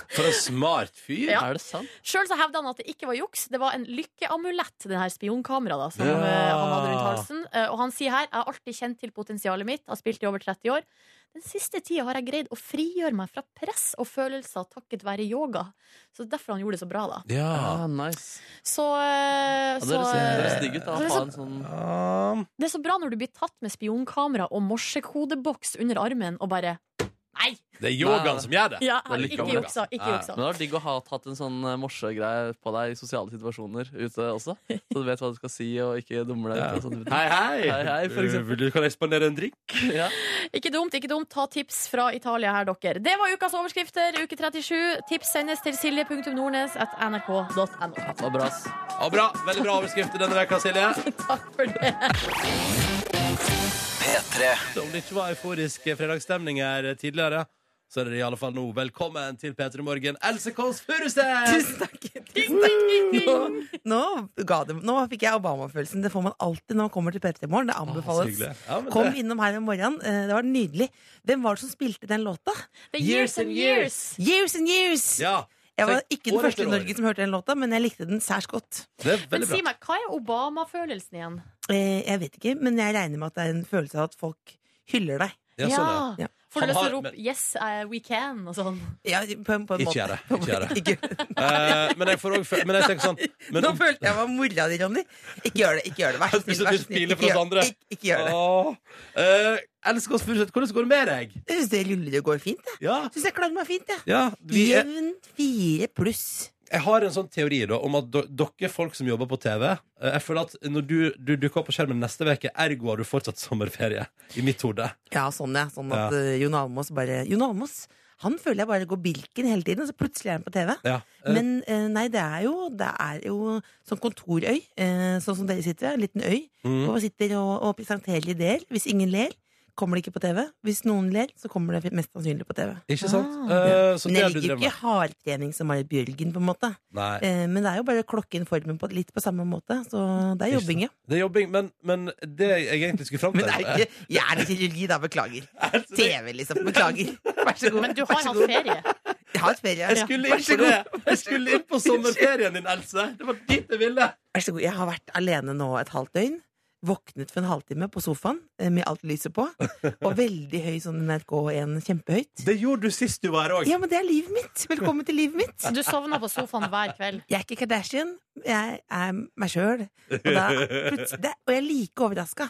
Speaker 1: For en smart fyr.
Speaker 4: Ja.
Speaker 2: Er det sant?
Speaker 4: Sjøl hevda han at det ikke var juks, det var en lykkeamulett, den her spionkameraet da, som
Speaker 1: Ja.
Speaker 4: eh, han hadde rundt halsen. Eh, og han sier her jeg har alltid kjent til potensialet mitt, har spilt i over 30 år. Den siste tida har jeg greid å frigjøre meg fra press og følelser takket være yoga. Så derfor han gjorde det så bra, da.
Speaker 1: Ja.
Speaker 2: Ah, nice.
Speaker 4: Så, eh,
Speaker 2: Ja,
Speaker 4: så
Speaker 2: det høres digg ut. da,
Speaker 4: så
Speaker 12: eh,
Speaker 2: å
Speaker 4: det er
Speaker 2: ha
Speaker 4: så-
Speaker 2: en sånn
Speaker 4: Det er så bra når du blir tatt med spionkamera og morsekodeboks under armen og bare Nei!
Speaker 1: Det er yogaen
Speaker 2: Nei.
Speaker 1: som gjør det.
Speaker 4: Ja,
Speaker 2: Det er
Speaker 4: ikke
Speaker 2: lykkeamulett.
Speaker 4: juksa. Ikke
Speaker 1: Ja.
Speaker 4: juksa.
Speaker 2: Men det var digg å ha hatt en sånn eh, morsegreie på deg i sosiale situasjoner ute også. Så du vet hva du skal si og ikke dummer deg ut. og sånne ting.
Speaker 1: Hei, hei!
Speaker 2: Hei, hei, for eksempel.
Speaker 1: Vil du kan jeg spandere en drink?
Speaker 2: Ja.
Speaker 4: Ikke dumt, ikke dumt. Ta tips fra Italia her, dere. Det var ukas overskrifter, uke 37. Tips sendes til silje.nordnes.nrk.no.
Speaker 2: Det var bra, ass.
Speaker 1: Ja, bra. Veldig bra overskrifter denne veka, Silje.
Speaker 4: Takk for det.
Speaker 1: Om det ikke var euforisk fredagsstemning her tidligere, så er det i alle fall nå. Velkommen til P3 Morgen, Else Kåss Furuseth!
Speaker 12: Tusen takk. Tusen takk. Nå, nå, ga det, nå fikk jeg Obama-følelsen. Det får man alltid når man kommer til P3 Morgen. Det anbefales.
Speaker 1: hyggelig. Ja, men
Speaker 12: Kom
Speaker 1: det-
Speaker 12: innom her om morgenen. Eh, Det var nydelig. Hvem var det som spilte den låta?
Speaker 4: The years and years.
Speaker 12: Years and Years!
Speaker 1: Ja,
Speaker 12: Jeg var
Speaker 1: tenk,
Speaker 12: ikke den
Speaker 1: år
Speaker 12: første
Speaker 1: etter
Speaker 12: i
Speaker 1: år.
Speaker 12: Norge som hørte den låta, men jeg likte den særs godt.
Speaker 1: det er
Speaker 4: Men
Speaker 1: veldig bra.
Speaker 4: si meg, hva er Obama-følelsen igjen?
Speaker 12: Eh, Jeg vet ikke, men jeg regner med at det er en følelse av at folk hyller deg.
Speaker 1: Ja, sånn,
Speaker 12: Ja.
Speaker 4: Får du
Speaker 1: Han
Speaker 4: lyst til
Speaker 1: har-
Speaker 4: å rope
Speaker 1: men-
Speaker 4: 'yes, eh, we can' og sånn?
Speaker 12: Ja, på en, på en
Speaker 1: Ikke
Speaker 12: måte.
Speaker 1: gjør det, ikke gjør det.
Speaker 12: Ikke-
Speaker 1: ja. Eh, men jeg får også, men jeg tenker sånn men,
Speaker 12: Nå følte jeg var mora di, Ronny. Ikke gjør det. ikke gjør det, Vær så
Speaker 1: Jeg
Speaker 12: snill.
Speaker 1: synes
Speaker 12: vær
Speaker 1: du
Speaker 12: så snill.
Speaker 1: spiller
Speaker 12: Ikke
Speaker 1: for oss
Speaker 12: gjør-
Speaker 1: andre.
Speaker 12: Ikke, ikke gjør det.
Speaker 1: Åh. Eh, Else Kåss Furuseth, hvordan går det med deg?
Speaker 12: Jeg syns det ruller og går fint. Jeg
Speaker 1: Ja,
Speaker 12: syns jeg klarer meg fint. jeg.
Speaker 1: ja vi er,
Speaker 12: Jevn fire pluss.
Speaker 1: jeg har en sånn teori da, om at do- dere folk som jobber på TV eh, Jeg føler at når du, du dukker opp på skjermen neste uke, ergo har du fortsatt sommerferie. I mitt hode.
Speaker 12: Ja, sånn, ja. Sånn at eh, Jon Almaas bare Jon Almaas, Han føler jeg bare går bilken hele tiden, og så plutselig er han på TV.
Speaker 1: Ja. Eh,
Speaker 12: Men eh, nei, det er jo, det er jo sånn kontorøy, eh, sånn som dere sitter, en liten øy,
Speaker 1: Mhm.
Speaker 12: hvor man sitter og, og presenterer ideer. Hvis ingen ler, kommer det ikke på TV. Hvis noen ler, så kommer det mest sannsynlig på TV.
Speaker 1: Ikke sant?
Speaker 12: Ah. Ja.
Speaker 1: Eh, så
Speaker 12: men
Speaker 1: det
Speaker 12: jeg
Speaker 1: har du
Speaker 12: ligger jo
Speaker 1: drevet med.
Speaker 12: ikke i hardtrening som Marit Bjørgen, på en måte.
Speaker 1: Nei.
Speaker 12: Eh, men det er jo bare å klokke inn formen på, litt på samme måte, så det er jobbing, ja.
Speaker 1: Det er jobbing, men, men det jeg egentlig skulle fram til
Speaker 12: Men det er ikke hjernekirurgi, da. Beklager. TV, liksom. Beklager. Vær så god.
Speaker 4: Men du
Speaker 12: Vær
Speaker 4: har
Speaker 12: så
Speaker 4: hatt
Speaker 12: god.
Speaker 4: ferie.
Speaker 12: Jeg har hatt ferie.
Speaker 1: Jeg skulle inn
Speaker 12: Vær så
Speaker 1: på
Speaker 12: god.
Speaker 1: det. Jeg skulle inn på sommerferien din, Else. Det var dit jeg ville.
Speaker 12: Vær så god. Jeg har vært alene nå et halvt døgn. Våknet for en halvtime på sofaen eh, med alt lyset på. Og veldig høy sånn NRK1, kjempehøyt.
Speaker 1: Det gjorde du sist du var her òg.
Speaker 12: Ja, men det er livet mitt. Velkommen til livet mitt.
Speaker 4: Du sovner på sofaen hver kveld.
Speaker 12: Jeg er ikke Kardashian. Jeg er meg sjøl. Og, da plutselig- det- og jeg er like overraska.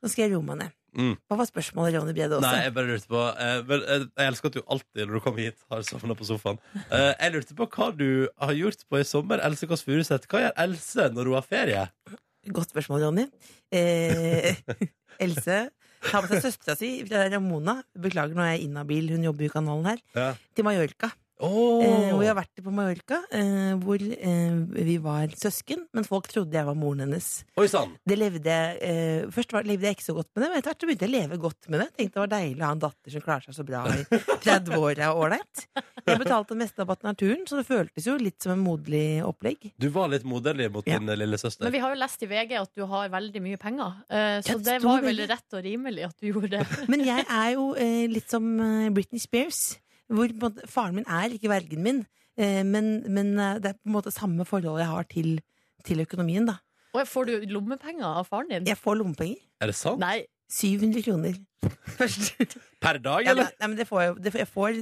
Speaker 12: Nå skal jeg roe meg ned.
Speaker 1: Mm.
Speaker 12: Hva var spørsmålet, Ronny Brede
Speaker 1: Nei,
Speaker 12: Aase?
Speaker 1: jeg bare lurte på eh, men, eh, Jeg elsker at du alltid når du kommer hit, har sovna på sofaen. Eh, jeg lurte på hva du har gjort på i sommer. Else Kåss Furuseth, hva gjør Else når hun har ferie?
Speaker 12: Godt spørsmål, Ronny. Eh, Else tar med seg søstera si, Ramona, beklager nå er jeg inhabil, hun jobber jo i kanalen her,
Speaker 1: Ja.
Speaker 12: til Mallorca.
Speaker 1: Åh.
Speaker 12: Eh, og jeg har vært på Mallorca, eh, hvor eh, vi var søsken, men folk trodde jeg var moren hennes.
Speaker 1: Oi sann!
Speaker 12: Det levde jeg, eh, først var, levde jeg ikke så godt med det, men etter hvert så begynte jeg å leve godt med det. Tenkte det var deilig å ha en datter som klarer seg så bra i 30-åra og ålreit. Jeg betalte mesteparten av turen, så det føltes jo litt som en moderlig opplegg.
Speaker 1: Du var litt moderlig mot din eh, lille
Speaker 4: Men
Speaker 1: søster.
Speaker 4: vi har jo lest i VG at du har veldig mye penger, eh,
Speaker 12: Ja,
Speaker 4: så
Speaker 12: det
Speaker 4: det
Speaker 12: sto
Speaker 4: var vel
Speaker 12: veldig.
Speaker 4: rett og rimelig at du gjorde det.
Speaker 12: Men jeg er jo eh, litt som eh, Britney Spears, hvor på en måte faren min er ikke vergen min, eh, men, men eh, det er på en måte samme forhold jeg har til, til økonomien, da.
Speaker 4: Og får du lommepenger av faren din?
Speaker 12: Jeg får lommepenger.
Speaker 1: Er det sant?
Speaker 4: Nei.
Speaker 12: 700 kroner. Først.
Speaker 1: Per dag,
Speaker 12: Ja, det,
Speaker 1: eller?
Speaker 12: nei, men det får jeg, det, får- jeg får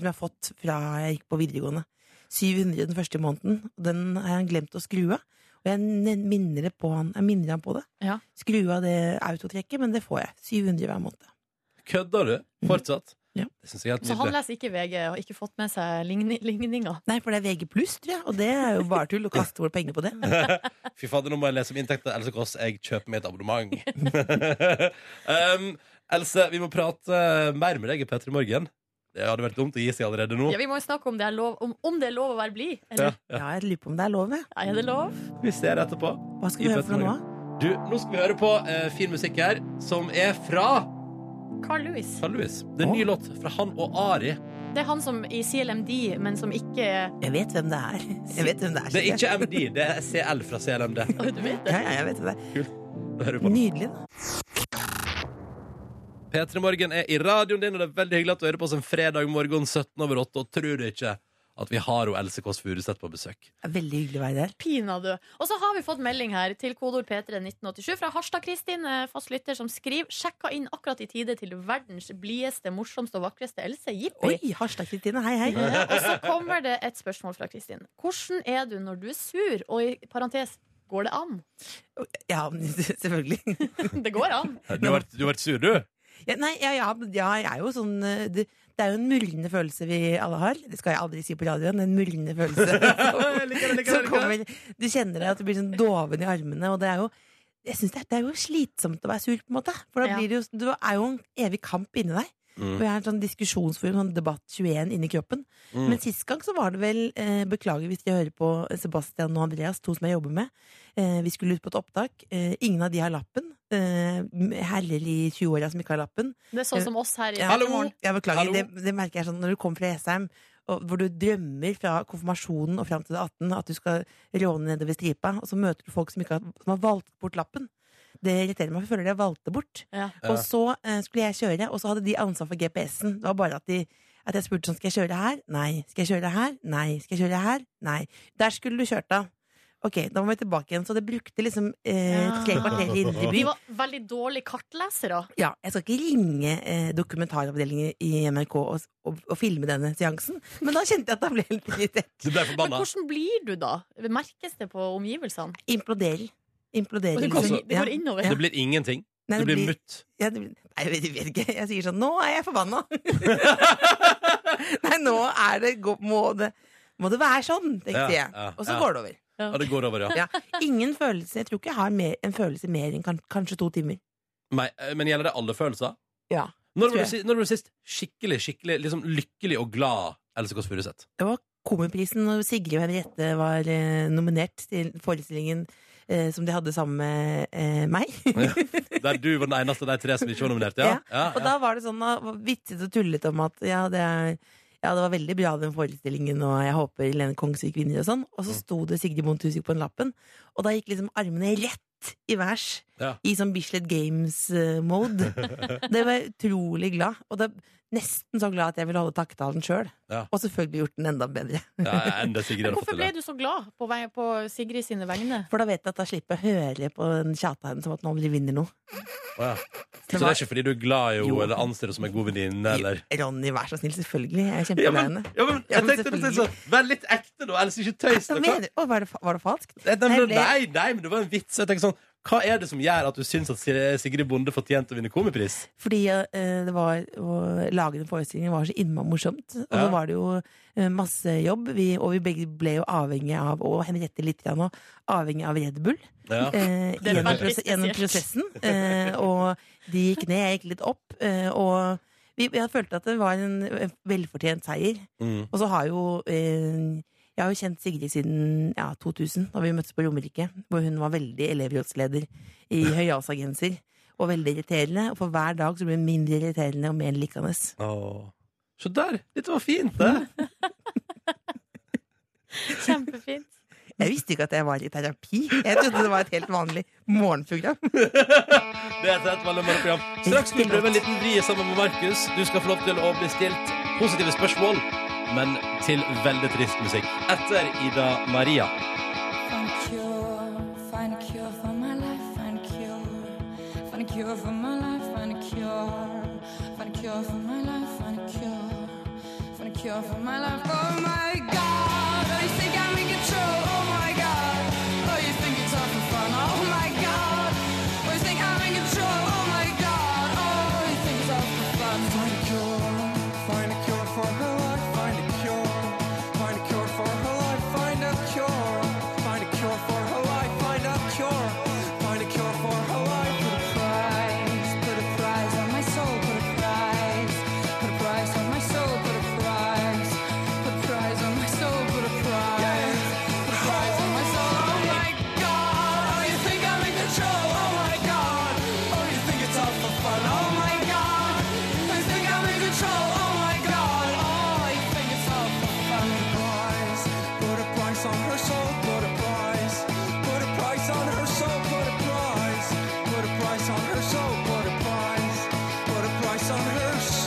Speaker 12: 700 som jeg har fått fra jeg gikk på videregående. 700 den første måneden, og den har han glemt å skru av. Og jeg n- minner, det på han, jeg minner han på det.
Speaker 4: Ja.
Speaker 12: Skru av det autotrekket, men det får jeg. 700 hver måned.
Speaker 1: Kødder du? Fortsatt?
Speaker 12: Mm. Ja.
Speaker 1: Det syns jeg er helt
Speaker 4: Så han
Speaker 1: nydelig.
Speaker 4: leser ikke VG og har ikke fått med seg ligni- ligninger?
Speaker 12: Nei, for det er VG pluss, tror jeg, og det er jo bare tull å kaste bort penger på det.
Speaker 1: Fy fader, nå må jeg lese om inntekter. Else Kåss, jeg kjøper meg et abonnement. um, Else, vi må prate eh, mer med deg i P3 Morgen. Det hadde vært dumt å gi seg allerede nå.
Speaker 4: Ja, vi må jo snakke om det er lov, om, om det er lov å være blid.
Speaker 1: Ja,
Speaker 4: Eller
Speaker 1: ja.
Speaker 12: Ja, jeg lurer på om det er lov, jeg.
Speaker 4: er det lov?
Speaker 1: Vi ser etterpå.
Speaker 12: Hva skal vi
Speaker 1: I
Speaker 12: høre
Speaker 1: P3
Speaker 12: for noe nå?
Speaker 1: Morgen. Du, nå skal vi høre på eh, fin musikk her, som er fra
Speaker 4: Carl Lewis.
Speaker 1: Carl Louis. Det er en ny låt fra han og Ari.
Speaker 4: Det er han som i CLMD, men som ikke
Speaker 12: Jeg vet hvem det er. Jeg vet hvem det er.
Speaker 1: Det er ikke MD, det er CL fra CLMD.
Speaker 4: Å, Du vet
Speaker 12: Ja,
Speaker 4: det.
Speaker 12: ja, jeg vet hvem det.
Speaker 1: Nå hører
Speaker 12: er.
Speaker 1: du på.
Speaker 12: Nydelig, da.
Speaker 1: P3 Morgen er i radioen din, og det er veldig hyggelig at du hører på oss en fredag morgen 17 over 8. Og tror du ikke at vi har jo Else Kåss Furuseth på besøk?
Speaker 12: Det er Veldig hyggelig å være der.
Speaker 4: Pinadø. Og så har vi fått melding her til kodeord P31987 fra Harstad-Kristin, eh, fast lytter, som skriver sjekka inn akkurat i tide til verdens blideste, morsomste og vakreste Else.
Speaker 12: Oi,
Speaker 4: Jippi!
Speaker 12: Harstad-Kristine, hei, hei.
Speaker 4: Eh, Og så kommer det et spørsmål fra Kristin. Hvordan er du når du er sur? Og i parentes går det an?
Speaker 12: Ja, men selvfølgelig.
Speaker 4: Det går an.
Speaker 1: Du har vært, du har vært sur, du?
Speaker 12: Ja, nei, ja, ja, men- ja, jeg er jo sånn eh, det, det er jo en murrende følelse vi alle har. Det skal jeg aldri si på radioen. En murrende følelse. som kommer, du kjenner deg at du blir sånn doven i armene, og det er jo jeg synes det, er, det er jo slitsomt å være sur, på en måte. For da
Speaker 4: Ja.
Speaker 12: blir det jo, du er jo en evig kamp inni deg.
Speaker 1: Mm.
Speaker 12: Og jeg er en sånn diskusjonsforum, sånn debatt 21 inni kroppen.
Speaker 1: Mm.
Speaker 12: Men sist gang så var det vel eh, Beklager hvis dere hører på Sebastian og Andreas, to som jeg jobber med. Eh, vi skulle ut på et opptak. Eh, ingen av de har lappen. Eh, Herrer i 20-åra som ikke har lappen. Eh,
Speaker 4: Det er sånn som oss her i
Speaker 12: Ja,
Speaker 1: Hallo!
Speaker 4: morgen.
Speaker 12: Ja, beklager.
Speaker 1: Hallo?
Speaker 12: Det, det merker jeg sånn når du kommer fra Jessheim, og, hvor du drømmer fra konfirmasjonen og fram til du er 18 at du skal råne nedover stripa, og så møter du folk som, ikke har, som har valgt bort lappen. Det irriterer meg, for jeg føler de har valgt det bort.
Speaker 4: Ja.
Speaker 1: Ja.
Speaker 12: Og så eh, skulle jeg kjøre, og så hadde de ansvar for GPS-en. Det var bare at, de, at jeg spurte sånn, skal jeg kjøre her? Nei. Skal jeg kjøre her? Nei. Skal jeg kjøre her? Nei. Der skulle du kjørt av. Ok, da må vi tilbake igjen. Så det brukte liksom eh,
Speaker 4: Ja.
Speaker 12: tre kvarter i indre by.
Speaker 4: Ah. Vi var veldig dårlige kartlesere.
Speaker 12: Ja, jeg skal ikke ringe eh, dokumentaravdelingen i NRK og, og, og filme denne seansen, men da kjente jeg at da ble jeg litt irritert.
Speaker 1: Du ble
Speaker 4: Men
Speaker 1: forbanna?
Speaker 4: hvordan blir du da? Merkes det på omgivelsene?
Speaker 12: Imploderer. Imploderer.
Speaker 4: Og det går,
Speaker 12: liksom.
Speaker 4: det går
Speaker 12: Ja.
Speaker 4: innover.
Speaker 1: Det blir ingenting.
Speaker 12: Nei,
Speaker 1: Det
Speaker 12: det
Speaker 1: blir
Speaker 12: blir-
Speaker 1: mutt.
Speaker 12: Ja, det blir- Nei, jeg vet, jeg vet ikke. Jeg sier sånn Nå er jeg forbanna! Nei, nå er det gå- Må det, må det være sånn, tenkte
Speaker 1: Ja,
Speaker 12: jeg.
Speaker 1: ja,
Speaker 12: Og så
Speaker 1: ja.
Speaker 12: går det over.
Speaker 1: Ja, det går over, ja.
Speaker 12: Ja. Ingen følelse. Jeg tror ikke jeg har mer, en følelse mer enn kan, kanskje to timer.
Speaker 1: Nei, eh, Men gjelder det alle følelser?
Speaker 12: Ja.
Speaker 1: Når
Speaker 12: Tror
Speaker 1: var,
Speaker 12: jeg.
Speaker 1: du, si- når var du sist skikkelig skikkelig liksom lykkelig og glad Else Kåss Furuseth?
Speaker 12: Det var Komiprisen når Sigrid og Henriette var eh, nominert til forestillingen eh, som de hadde sammen med eh, meg.
Speaker 1: Der du var den eneste av de tre som ikke var nominert? Ja.
Speaker 12: Ja, Og da var det sånn da, vitset og tullet om at ja det, er, ja, det var veldig bra den forestillingen, og jeg håper Lene Kongsvik vinner og sånn. Og
Speaker 1: Mm.
Speaker 12: så sto det Sigrid Bonde Tusvik på den lappen, og da gikk liksom armene rett i værs.
Speaker 1: Ja.
Speaker 12: I sånn Bislett Games-mode. det var jeg utrolig glad. Og det nesten så glad at jeg ville holde takketalen sjøl.
Speaker 1: Ja.
Speaker 12: Og selvfølgelig gjort den enda bedre.
Speaker 1: Ja, enda Sigrid hadde
Speaker 4: Hvorfor ble du så glad på, vei, på Sigrid sine vegne?
Speaker 12: For da vet jeg at da slipper jeg å høre på den tjata hennes om at hun aldri vinner noe.
Speaker 1: Å, ja. Så det er ikke fordi du er glad i henne eller anser henne som en god venninne? eller?
Speaker 12: Ronny, vær så snill, selvfølgelig. Jeg er
Speaker 1: Ja,
Speaker 12: kjempeglad i
Speaker 1: men,
Speaker 12: henne.
Speaker 1: ja, men, jeg tenkte litt sånn, Vær litt ekte, da. Ellers ikke tøys.
Speaker 12: Hva
Speaker 1: da.
Speaker 12: mener du? Å, var, det, fa- var det falskt?
Speaker 1: Nei, nei,
Speaker 12: Jeg
Speaker 1: men-
Speaker 12: ble-
Speaker 1: nei, nei, men det var en vits. Jeg tenker sånn, Hva er det som gjør at du syns at Sig- Sigrid Bonde fortjente å vinne Komipris?
Speaker 12: Fordi eh, det var å lage den forestillingen var så innmari morsomt. Og
Speaker 1: Ja.
Speaker 12: så var det jo eh, masse jobb, vi, og vi begge ble jo avhengige av, og Henriette litt grann òg, avhengig av Red Bull.
Speaker 1: Ja.
Speaker 12: Eh,
Speaker 1: Det er
Speaker 12: gjennom,
Speaker 1: veldig
Speaker 12: prose- gjennom prosessen.
Speaker 1: spesielt.
Speaker 12: Eh, og de gikk ned, jeg gikk litt opp. Eh, og vi, jeg følte at det var en eh, velfortjent seier.
Speaker 1: Mm.
Speaker 12: Og så har jo eh, Jeg har jo kjent Sigrid siden ja, 2000, da vi møttes på Romerike. Hvor hun var veldig elevrådsleder i høyhalsa-genser. Og veldig irriterende. Og for hver dag så blir hun mindre irriterende og mer likende.
Speaker 1: Så der! Dette var fint, det!
Speaker 4: Kjempefint.
Speaker 12: Jeg visste ikke at jeg var i terapi. Jeg trodde det var et helt vanlig morgenprogram.
Speaker 1: Det er et helt vanlig morgenprogram. Straks skal vi prøve en liten vri sammen med Markus. Du skal få lov til å bli stilt positive spørsmål, men til veldig trist musikk. Etter Ida Maria.
Speaker 13: Find a cure, find a cure for my life, find a cure. Find a cure for my life, find a cure. Find a cure for my life, find a cure. Find a cure for my life, oh my god. Oh, you think I'm in control, oh my god. Oh, you think it's all for fun, oh my god. Oh, you think I'm in control, oh my god. Oh, you think it's all for fun. Find a cure, find a cure for her life, find a cure. Find a cure for her life, find a cure. Find a cure for her life, find a cure. Find a cure for her life. Put a price, put a price on my soul, put a price. Put a price on my soul, put a price. Put a price on my soul, put a price. Put a price on my soul, oh my god. Oh, you think I'm in control, oh my god. Oh, you think it's all for fun, oh my god. Oh, you think I'm in control, oh my god. Oh, you think it's all for fun, price. Put a price on her soul, put a price. Put a price on her soul, put a price. Put a price on her soul, put a price. Put a price on her soul.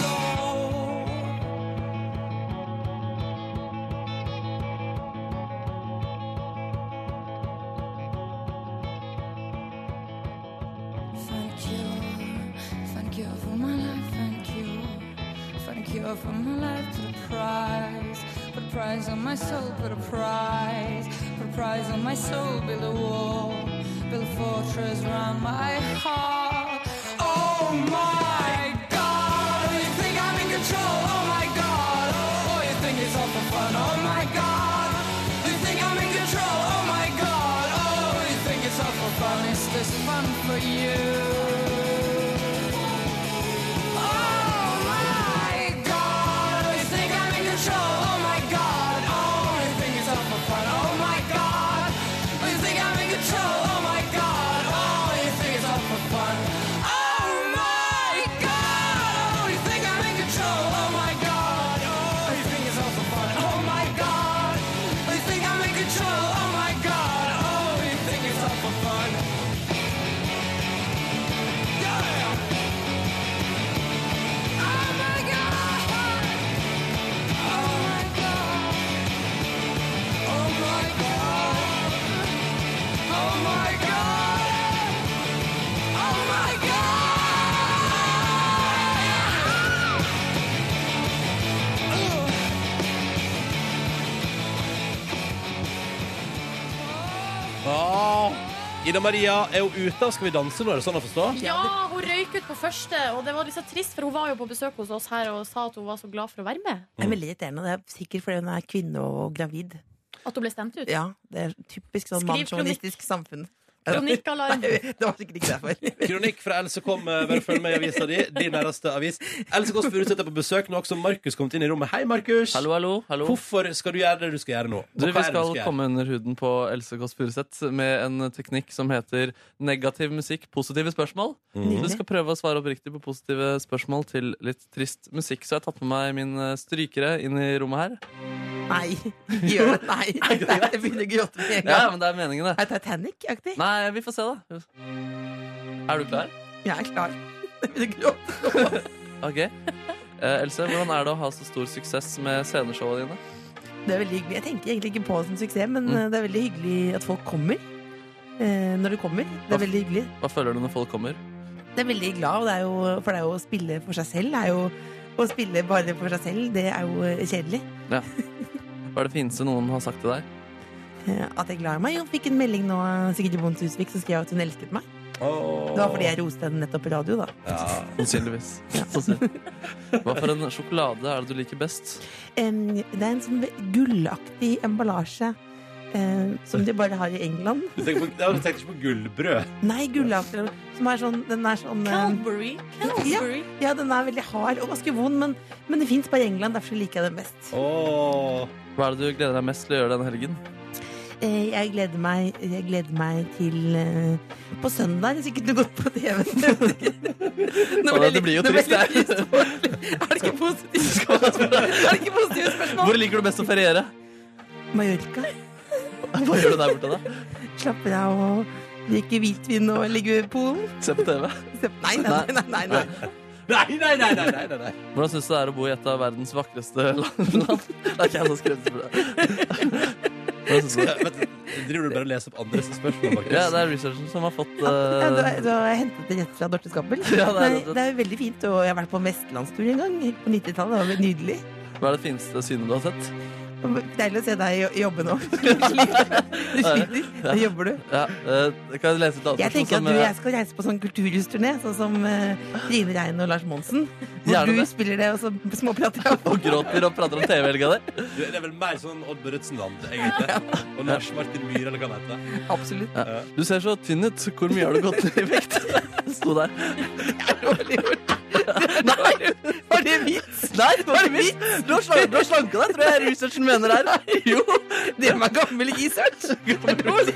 Speaker 13: Find a cure, find a cure for my life, find a cure, find a cure for my life. Put a price, put a price on my soul, put a price, put a price on my soul. Build a wall, build a fortress around my heart. Oh my God, oh, you think I'm in control? Oh my God, oh, you think it's all for fun? Oh my God, you think I'm in control? Oh my God, oh, you think it's all for fun? Is this fun for you? Oh my God, oh, you think I'm in control? Oh my God, oh, you think it's all for fun? Oh my God, oh, you think I'm in control? Oh my God, oh, you think it's all for fun? Oh my God, oh, you think I'm in control? Oh my God, oh, you think it's all for fun? Oh my God, oh, you think I'm in control? Oh my God, oh, you think it's all for fun? Yeah. Oh my God, oh my God, oh my God, oh my God, oh my God. Ugh.
Speaker 1: Ah, Ida Maria er jo ute av Skal vi danse nå, er det sånn å forstå?
Speaker 4: Ja, hun røyk ut på første, og det var litt så trist, for hun var jo på besøk hos oss her og sa at hun var så glad for å være med.
Speaker 2: Mm.
Speaker 12: Det er veldig irriterende. Det er sikkert fordi hun er kvinne og gravid.
Speaker 4: At hun ble stemt ut.
Speaker 12: Ja, Det er typisk sånn
Speaker 4: Skriv kronikk.
Speaker 12: mannssjåvinistisk samfunn.
Speaker 4: Kronikkalarm.
Speaker 12: Det var sikkert ikke derfor.
Speaker 1: Kronikk fra Else kom, eh, bare følg med i avisa di. Din nærmeste avis. Else Kåss Furuseth er på besøk nå, også Markus kommet inn i rommet. Hei, Markus.
Speaker 2: Hallo, hallo, hallo.
Speaker 1: Hvorfor skal du gjøre det du skal gjøre nå? Og
Speaker 2: Du,
Speaker 1: hva er
Speaker 2: vi
Speaker 1: det
Speaker 2: skal
Speaker 1: gjøre?
Speaker 2: komme under huden på Else Kåss Furuseth med en teknikk som heter negativ musikk, positive spørsmål.
Speaker 1: Mhm.
Speaker 2: Så du skal prøve å svare oppriktig på positive spørsmål til litt trist musikk. Så jeg har tatt med meg min eh, strykere inn i rommet her.
Speaker 12: Nei. Gjør det. Nei. Nei, Jeg begynner å gråte med en gang.
Speaker 2: Ja, men det er meningen, det.
Speaker 12: Er det Titanic-aktig?
Speaker 2: Nei, vi får se, da. Er du klar?
Speaker 12: Jeg er klar.
Speaker 2: Ok. Eh, Else, hvordan er det å ha så stor suksess med sceneshowene dine?
Speaker 12: Det er veldig hyggelig. Jeg tenker egentlig ikke på det som suksess, men
Speaker 2: Mm.
Speaker 12: eh, det er veldig hyggelig at folk kommer. Eh, når de kommer. Det er veldig hyggelig.
Speaker 2: Hva føler du når folk kommer?
Speaker 12: Det er veldig glad, og det er jo, for det er jo å spille for seg selv. Det er jo, å spille bare for seg selv, det er jo eh, kjedelig.
Speaker 2: Ja. Hva er det fineste noen har sagt til deg?
Speaker 12: Eh, At jeg er glad i meg. Jeg fikk en melding nå, Sigrid Bonde Tusvik, som skrev at hun elsket meg. Det var fordi jeg roste henne nettopp i radio, da.
Speaker 2: Ja, sannsynligvis. Sannsynlig. Hva for en sjokolade er det du liker best?
Speaker 12: Em, det er en sånn ve- gullaktig emballasje eh, som de bare har i England.
Speaker 1: Du tenker, på, ja, du tenker ikke på gullbrød?
Speaker 12: Nei, gullaktig. Som er sånn, den er sånn eh,
Speaker 4: Calvary.
Speaker 12: Ja,
Speaker 4: Calvary.
Speaker 12: ja, den er veldig hard og ganske vond, men, men det fins bare i England. Derfor liker jeg den best.
Speaker 2: Hva er det du gleder deg mest til å gjøre denne helgen?
Speaker 12: Eh, Jeg gleder meg, jeg gleder meg til eh, På søndag, hvis ikke du går på TV. Nå
Speaker 2: Faen, det blir jo
Speaker 12: nå
Speaker 2: trist,
Speaker 12: litt
Speaker 2: det her.
Speaker 12: trist. Er det ikke positivt spørsmål? Er det ikke positivt spørsmål?
Speaker 2: Hvor liker du best å feriere?
Speaker 12: Mallorca.
Speaker 2: Hva gjør du der borte, da?
Speaker 12: Slapper av og drikker hvitvin og ligger ved poolen.
Speaker 2: Se på TV?
Speaker 12: Nei, nei, nei. nei, nei, nei.
Speaker 1: Nei, nei, nei, nei, nei, nei, nei.
Speaker 2: Hvordan syns du det er å bo i et av verdens vakreste land? Det er ikke jeg som skrev for deg. Hvordan synes du det?
Speaker 1: Vent, Driver du bare og leser opp andres spørsmål, Markus?
Speaker 2: Ja, det er researchen som har fått
Speaker 12: Ja, du,
Speaker 2: eh,
Speaker 12: har- du har hentet det rett fra Dorte Skappel.
Speaker 2: Ja, det er
Speaker 12: Nei,
Speaker 2: rett og slett.
Speaker 12: det er veldig fint, og jeg har vært på en vestlandstur en gang på 90-tallet. Det var nydelig.
Speaker 2: Hva er det fineste synet du har sett?
Speaker 12: Deilig å se deg jo- jobbe nå. Du
Speaker 2: sånn
Speaker 12: sliter. Du sliter. Da jobber du.
Speaker 2: Eh, Ja, eh, kan jeg lese et annet
Speaker 12: Jeg
Speaker 2: spørsmål
Speaker 12: tenker at
Speaker 2: som,
Speaker 12: du og
Speaker 2: eh,
Speaker 12: jeg skal reise på sånn kulturhusturné, sånn som eh, Trine Rein og Lars Monsen. Hvor
Speaker 2: Gjerne
Speaker 12: du
Speaker 2: det.
Speaker 12: spiller det, og så småprater jeg.
Speaker 2: og gråter og prater om TV-helga di?
Speaker 1: Du, det er vel mer sånn Odd Børretzen-land, egentlig. Og Lars Martin Myhre, eller hva han heter.
Speaker 12: Absolutt.
Speaker 2: Ja. Du ser så tynn ut. Hvor mye har du gått ned i vekt? Sto der. Nei!
Speaker 12: Var det vits?
Speaker 2: Nei, det var ikke vits. Du har slanka, du har slanka deg, tror jeg researchen mener her. Jo.
Speaker 12: Det gjør meg gammel i research! I 2011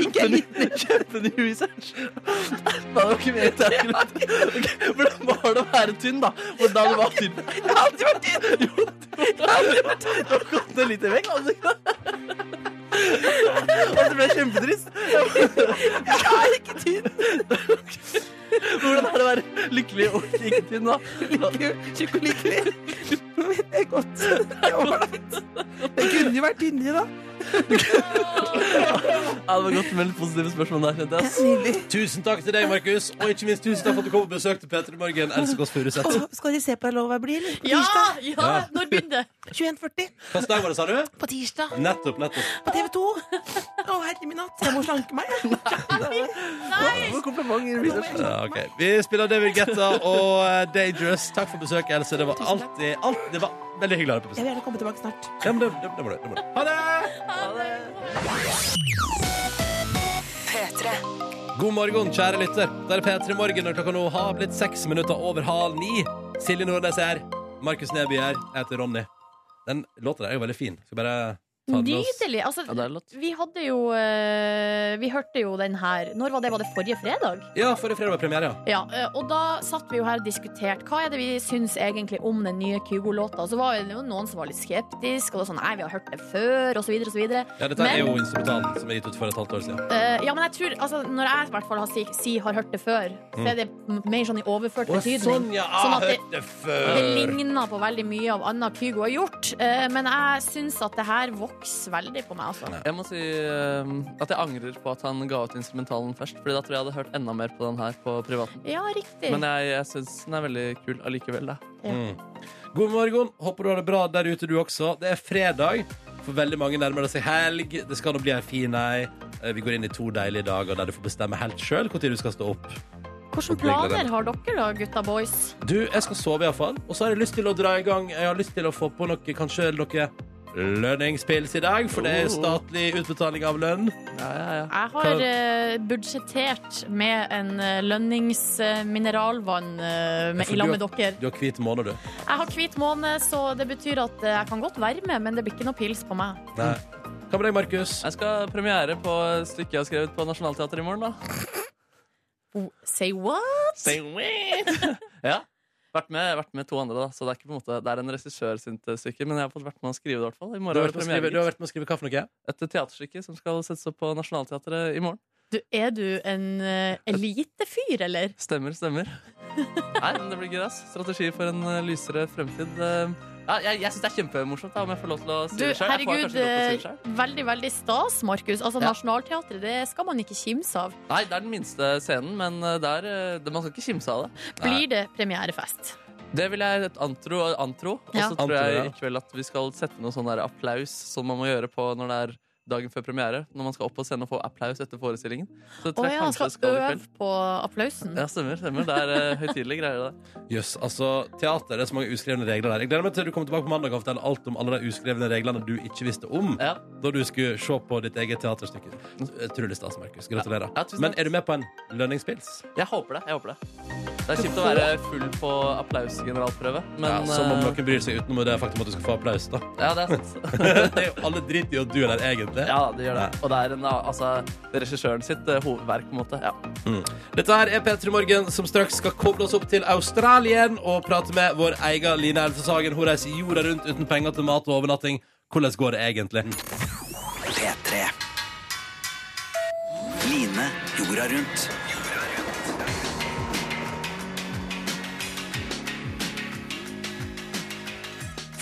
Speaker 12: gikk jeg litt ned.
Speaker 2: Kjøpte ny research. Nei, det var ikke mer akkurat. Ok, Hvordan var det å være tynn, da? Hvordan var tynn?
Speaker 12: Jeg har alltid vært tynn!
Speaker 2: Du har gått ned litt i vekt. altså. Og så ble jeg kjempetrist.
Speaker 12: Jeg er ikke tynn!
Speaker 2: Hvordan er det å være lykkelig og ikke tynn, da?
Speaker 12: Tjukk og lykkelig. Det er godt. Det er ålreit. Jeg kunne jo vært tynnere, da.
Speaker 2: Ja, det var godt med litt positive spørsmål der, kjente jeg. ass.
Speaker 12: Nydelig.
Speaker 1: Tusen takk til deg, Markus. Og ikke minst tusen takk for at du kom på besøk til P3 Morgen. Else Kåss Furuseth.
Speaker 12: Åh, skal de se på Lova bli, eller? På
Speaker 4: Ja,
Speaker 12: tirsdag?
Speaker 4: ja! Når begynner det?
Speaker 12: 21.40
Speaker 1: Hvilken dag var det, sa du?
Speaker 12: på tirsdag
Speaker 1: Nettopp, nettopp.
Speaker 12: på TV 2. Å, herre min hatt, jeg må slanke meg.
Speaker 2: Det var komplimenter i researchen.
Speaker 1: Ja, ok. Vi spiller David Guetta og eh, Dangerous. Takk for besøket, Else. Det var alltid alt, Det var veldig hyggelig å ha deg på
Speaker 12: Jeg
Speaker 1: besøk.
Speaker 12: vil gjerne komme tilbake snart.
Speaker 1: Ja, men det, det, det må du. Det må du. Ha det! God morgen, kjære lytter. Det er P3 Morgen når klokka nå har blitt seks minutter over halv ni. Silje Nordnes er her. Markus Neby er her. Jeg heter Ronny. Den låta der er jo veldig fin. Skal bare ta den med oss.
Speaker 4: Nydelig.
Speaker 2: Ja, det
Speaker 4: Altså,
Speaker 2: er lott.
Speaker 4: vi hadde jo eh, Vi hørte jo den her Når var det? Var det forrige fredag?
Speaker 1: Ja, forrige fredag var premiere, ja.
Speaker 4: Ja, eh, og da satt vi jo her og diskuterte hva er det vi syns egentlig om den nye Kygo-låta. Og Så var det jo noen som var litt skeptisk, og det var sånn nei, vi har hørt det før, og så videre og så videre.
Speaker 1: ja dette er
Speaker 4: Men-
Speaker 1: jo instrumentalen som er gitt ut for et halvt år siden.
Speaker 4: Eh, ja, men jeg tror, altså, når jeg i hvert fall har si, si har hørt det før, så er det m- mer sånn i overført
Speaker 1: Å,
Speaker 4: betydning.
Speaker 1: sånn, ja!
Speaker 4: Sånn
Speaker 1: Jeg
Speaker 4: at det,
Speaker 1: hørte det
Speaker 4: det
Speaker 1: før!
Speaker 4: ligner på veldig mye av anna Kygo har gjort. Eh, men jeg syns at det her vokser veldig på meg, altså.
Speaker 2: Jeg må si eh, at jeg angrer på at han ga ut instrumentalen først, Fordi da tror jeg jeg hadde hørt enda mer på den her på privaten.
Speaker 4: Ja, riktig.
Speaker 2: Men jeg, jeg syns den er veldig kul allikevel, da.
Speaker 1: Mm. God morgen. Håper du har det bra der ute, du også. Det er fredag. For veldig mange nærmer det seg helg. Det skal nå bli ei fin ei. Eh, Vi går inn i to deilige dager der du får bestemme helt sjøl når du skal stå opp.
Speaker 4: Hvilke planer har dere da, gutta boys?
Speaker 1: Du, jeg skal sove iallfall. Og så har jeg lyst til å dra i gang Jeg har lyst til å få på noe, kanskje noe lønningspils i dag, for
Speaker 2: Oh.
Speaker 1: det er statlig utbetaling av lønn.
Speaker 4: Jeg har eh, budsjettert med en eh, lønningsmineralvann i lag med dere.
Speaker 1: Du har hvit måne, du.
Speaker 4: Jeg har hvit måne, så det betyr at eh, jeg kan godt være med, men det blir ikke noe pils på meg.
Speaker 1: Nei. Hva med deg, Markus?
Speaker 2: Jeg skal premiere på et stykke jeg har skrevet på Nationaltheatret i morgen. da
Speaker 4: Oh, say what?
Speaker 2: Say Ja, vært med, vært med to andre, da så det er ikke på en måte Det er en regissør sitt eh, stykke, men jeg har fått vært med å skrive det. i hvert fall I
Speaker 1: Du
Speaker 2: morgen
Speaker 1: har
Speaker 2: er det
Speaker 1: vært med å
Speaker 2: premiere,
Speaker 1: skrive- du har
Speaker 2: gitt.
Speaker 1: vært med å skrive hva for noe?
Speaker 2: Et teaterstykke som skal settes opp på Nationaltheatret i morgen.
Speaker 4: Du, er du en eh, elitefyr, eller?
Speaker 2: Stemmer, stemmer. Nei, men det blir gøy. ass. Strategi for en eh, lysere fremtid. Eh, Ja, jeg jeg syns det er kjempemorsomt, da, om jeg får lov til å si
Speaker 4: Du,
Speaker 2: det selv. Jeg får
Speaker 4: herregud,
Speaker 2: kanskje lov til å si det selv.
Speaker 4: eh, veldig, veldig stas, Markus. Altså,
Speaker 2: Ja.
Speaker 4: Nationaltheatret, det skal man ikke kimse av.
Speaker 2: Nei, det er den minste scenen, men eh, det er, eh, det- man skal ikke kimse av det.
Speaker 4: Blir det premierefest?
Speaker 2: Det vil jeg antro. antro. Og
Speaker 4: Ja.
Speaker 2: så tror
Speaker 1: Antro,
Speaker 2: jeg
Speaker 1: ja.
Speaker 2: i kveld at vi skal sette noe sånn der applaus som man må gjøre på når det er dagen før premiere. Når man skal opp på scenen og få applaus etter forestillingen. Så det
Speaker 4: Å
Speaker 2: tror jeg
Speaker 4: ja,
Speaker 2: kanskje
Speaker 4: skal
Speaker 2: skal i
Speaker 4: øve
Speaker 2: kveld.
Speaker 4: på applausen.
Speaker 2: Ja, stemmer. stemmer. Det er eh, høytidelige greier, det.
Speaker 1: Jøss, altså teater, det er så mange uskrevne regler der. Jeg gleder meg til du kommer tilbake på mandag og forteller alt om alle de uskrevne reglene du ikke visste om da du skulle se på ditt eget teaterstykke. Utrolig stas, Markus. Gratulerer.
Speaker 2: Ja, tusen takk.
Speaker 1: Men er du med på en lønningspils?
Speaker 2: Jeg håper det. jeg håper Det Det er kjipt å være full på applausgeneralprøve, men
Speaker 1: ja, som om
Speaker 2: eh,
Speaker 1: noen bryr seg utenom det faktum at du skal få applaus, da.
Speaker 2: Ja, det er sant.
Speaker 1: det er jo alle driter i at du er der, egentlig.
Speaker 2: Ja, det gjør det. Og det er en, altså, regissøren sitt eh, hovedverk, på en måte. Ja.
Speaker 1: Mm. Dette her er P3 Morgen, som straks skal koble oss opp til Australien og prate med vår egen Line Elfesagen. Hun reiser jorda rundt uten penger til mat og overnatting. Hvordan går det egentlig?
Speaker 14: P3. Line jorda rundt.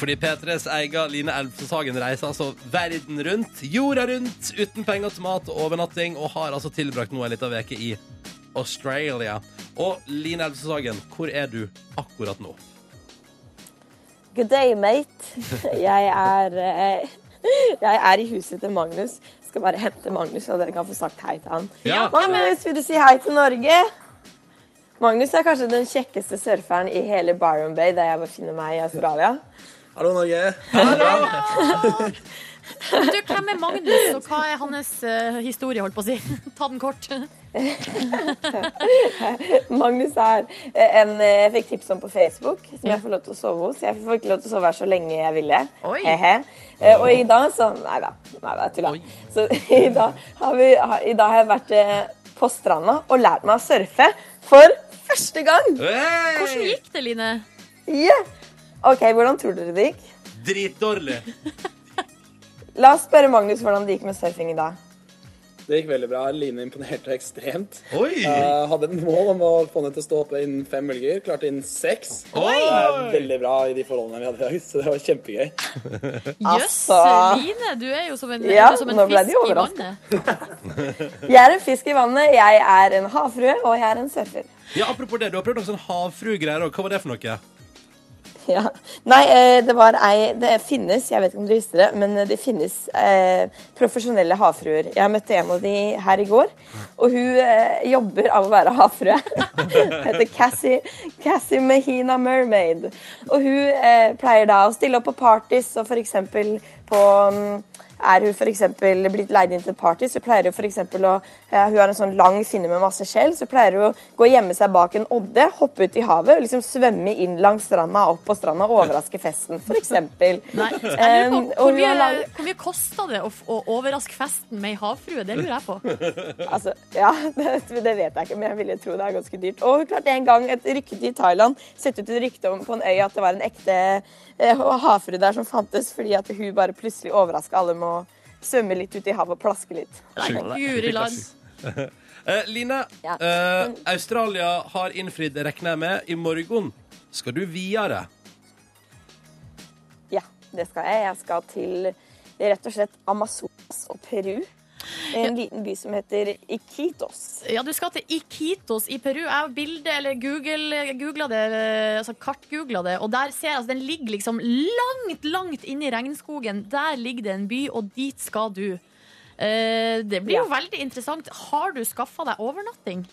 Speaker 1: Fordi P3s egen Line Elfesagen reiser altså verden rundt, jorda rundt, uten penger til mat og overnatting, og har altså tilbrakt nå en liten uke i Australia. Og Line Elfesagen, hvor er du akkurat nå?
Speaker 15: Good day, mate. Jeg er, eh, jeg er i huset til Magnus. Skal bare hente Magnus, så dere kan få sagt hei til han.
Speaker 16: Ja.
Speaker 15: Magnus, vil du si hei til Norge? Magnus er kanskje den kjekkeste surferen i hele Byron Bay, der jeg befinner meg i Australia.
Speaker 11: Hallo, Norge.
Speaker 4: Du, hvem er Magnus, og hva er hans eh, historie, holdt på å si? Ta den kort.
Speaker 15: Magnus er eh, en eh, Jeg fikk tips om på Facebook, som jeg får lov til å sove hos. Jeg får ikke lov til å sove her så lenge jeg ville.
Speaker 16: Oi.
Speaker 15: Hehe. Eh, Og i dag så Nei da, nei da, jeg tulla. Så i dag har, vi, har, i dag har jeg vært eh, på stranda og lært meg å surfe for første gang.
Speaker 4: Hvordan gikk det, Line?
Speaker 15: Ja. OK, hvordan tror dere det gikk?
Speaker 1: Dritdårlig.
Speaker 15: La oss spørre Magnus hvordan det gikk med surfing i dag.
Speaker 11: Det gikk veldig bra. Line imponerte ekstremt.
Speaker 1: Oi!
Speaker 11: Jeg hadde et mål om å få henne til å stå oppe innen fem bølger. Klarte innen seks.
Speaker 1: Oi!
Speaker 11: Det er veldig bra i de forholdene vi hadde i dag, så det var kjempegøy.
Speaker 4: Jøss,
Speaker 15: Altså.
Speaker 4: Line, du er jo som en,
Speaker 15: Ja,
Speaker 4: du er som en
Speaker 15: nå ble de
Speaker 4: fisk i
Speaker 15: overrasket.
Speaker 4: vannet.
Speaker 15: Jeg er en fisk i vannet, jeg er en havfrue, og jeg er en surfer.
Speaker 1: Ja, Apropos det, du har prøvd noen sånn havfruegreier òg. Hva var det for noe?
Speaker 15: Ja. Nei, eh, det var ei Det finnes, jeg vet ikke om dere visste det, men det finnes eh, profesjonelle havfruer. Jeg møtte en av de her i går, og hun eh, jobber av å være havfrue. Hun heter Cassie, Cassie Mahina Mermaid. Og hun eh, pleier da å stille opp på parties og f.eks. på mm, er hun for eksempel blitt leid inn til party, så pleier hun for eksempel å eh, Hun har en sånn lang finne med masse skjell, så pleier hun å gå og gjemme seg bak en odde, hoppe ut i havet og liksom svømme inn langs stranda, opp på stranda og overraske festen, for eksempel.
Speaker 4: Jeg lurer
Speaker 15: Eh,
Speaker 4: på, hvor,
Speaker 15: og hun har
Speaker 4: mye,
Speaker 15: laget-
Speaker 4: hvor mye kosta det å, f- å overraske festen med ei havfrue? Det lurer jeg på.
Speaker 15: Altså, ja, det, det vet jeg ikke, men jeg ville tro det er ganske dyrt. Og hun klarte en gang et rykte i Thailand. Sette ut et rykte om på en øy at det var en ekte eh, havfrue der som fantes, fordi at hun bare plutselig overraska alle med å svømme litt ut i havet og plaske litt.
Speaker 4: Guri land.
Speaker 1: Eh, Line, eh, Australia har innfridd, regner jeg med. I morgen skal du videre.
Speaker 15: Ja, det skal jeg. Jeg skal til rett og slett Amazonas og Peru. En liten by som heter Iquitos.
Speaker 4: Ja, du skal til Iquitos i Peru. Jeg har bilde, eller Google, googla det, eller, altså kartgoogla det, og der ser jeg altså, den ligger liksom langt, langt inne i regnskogen. Der ligger det en by, og dit skal du. Eh, det blir jo veldig interessant. Har du skaffa deg overnatting?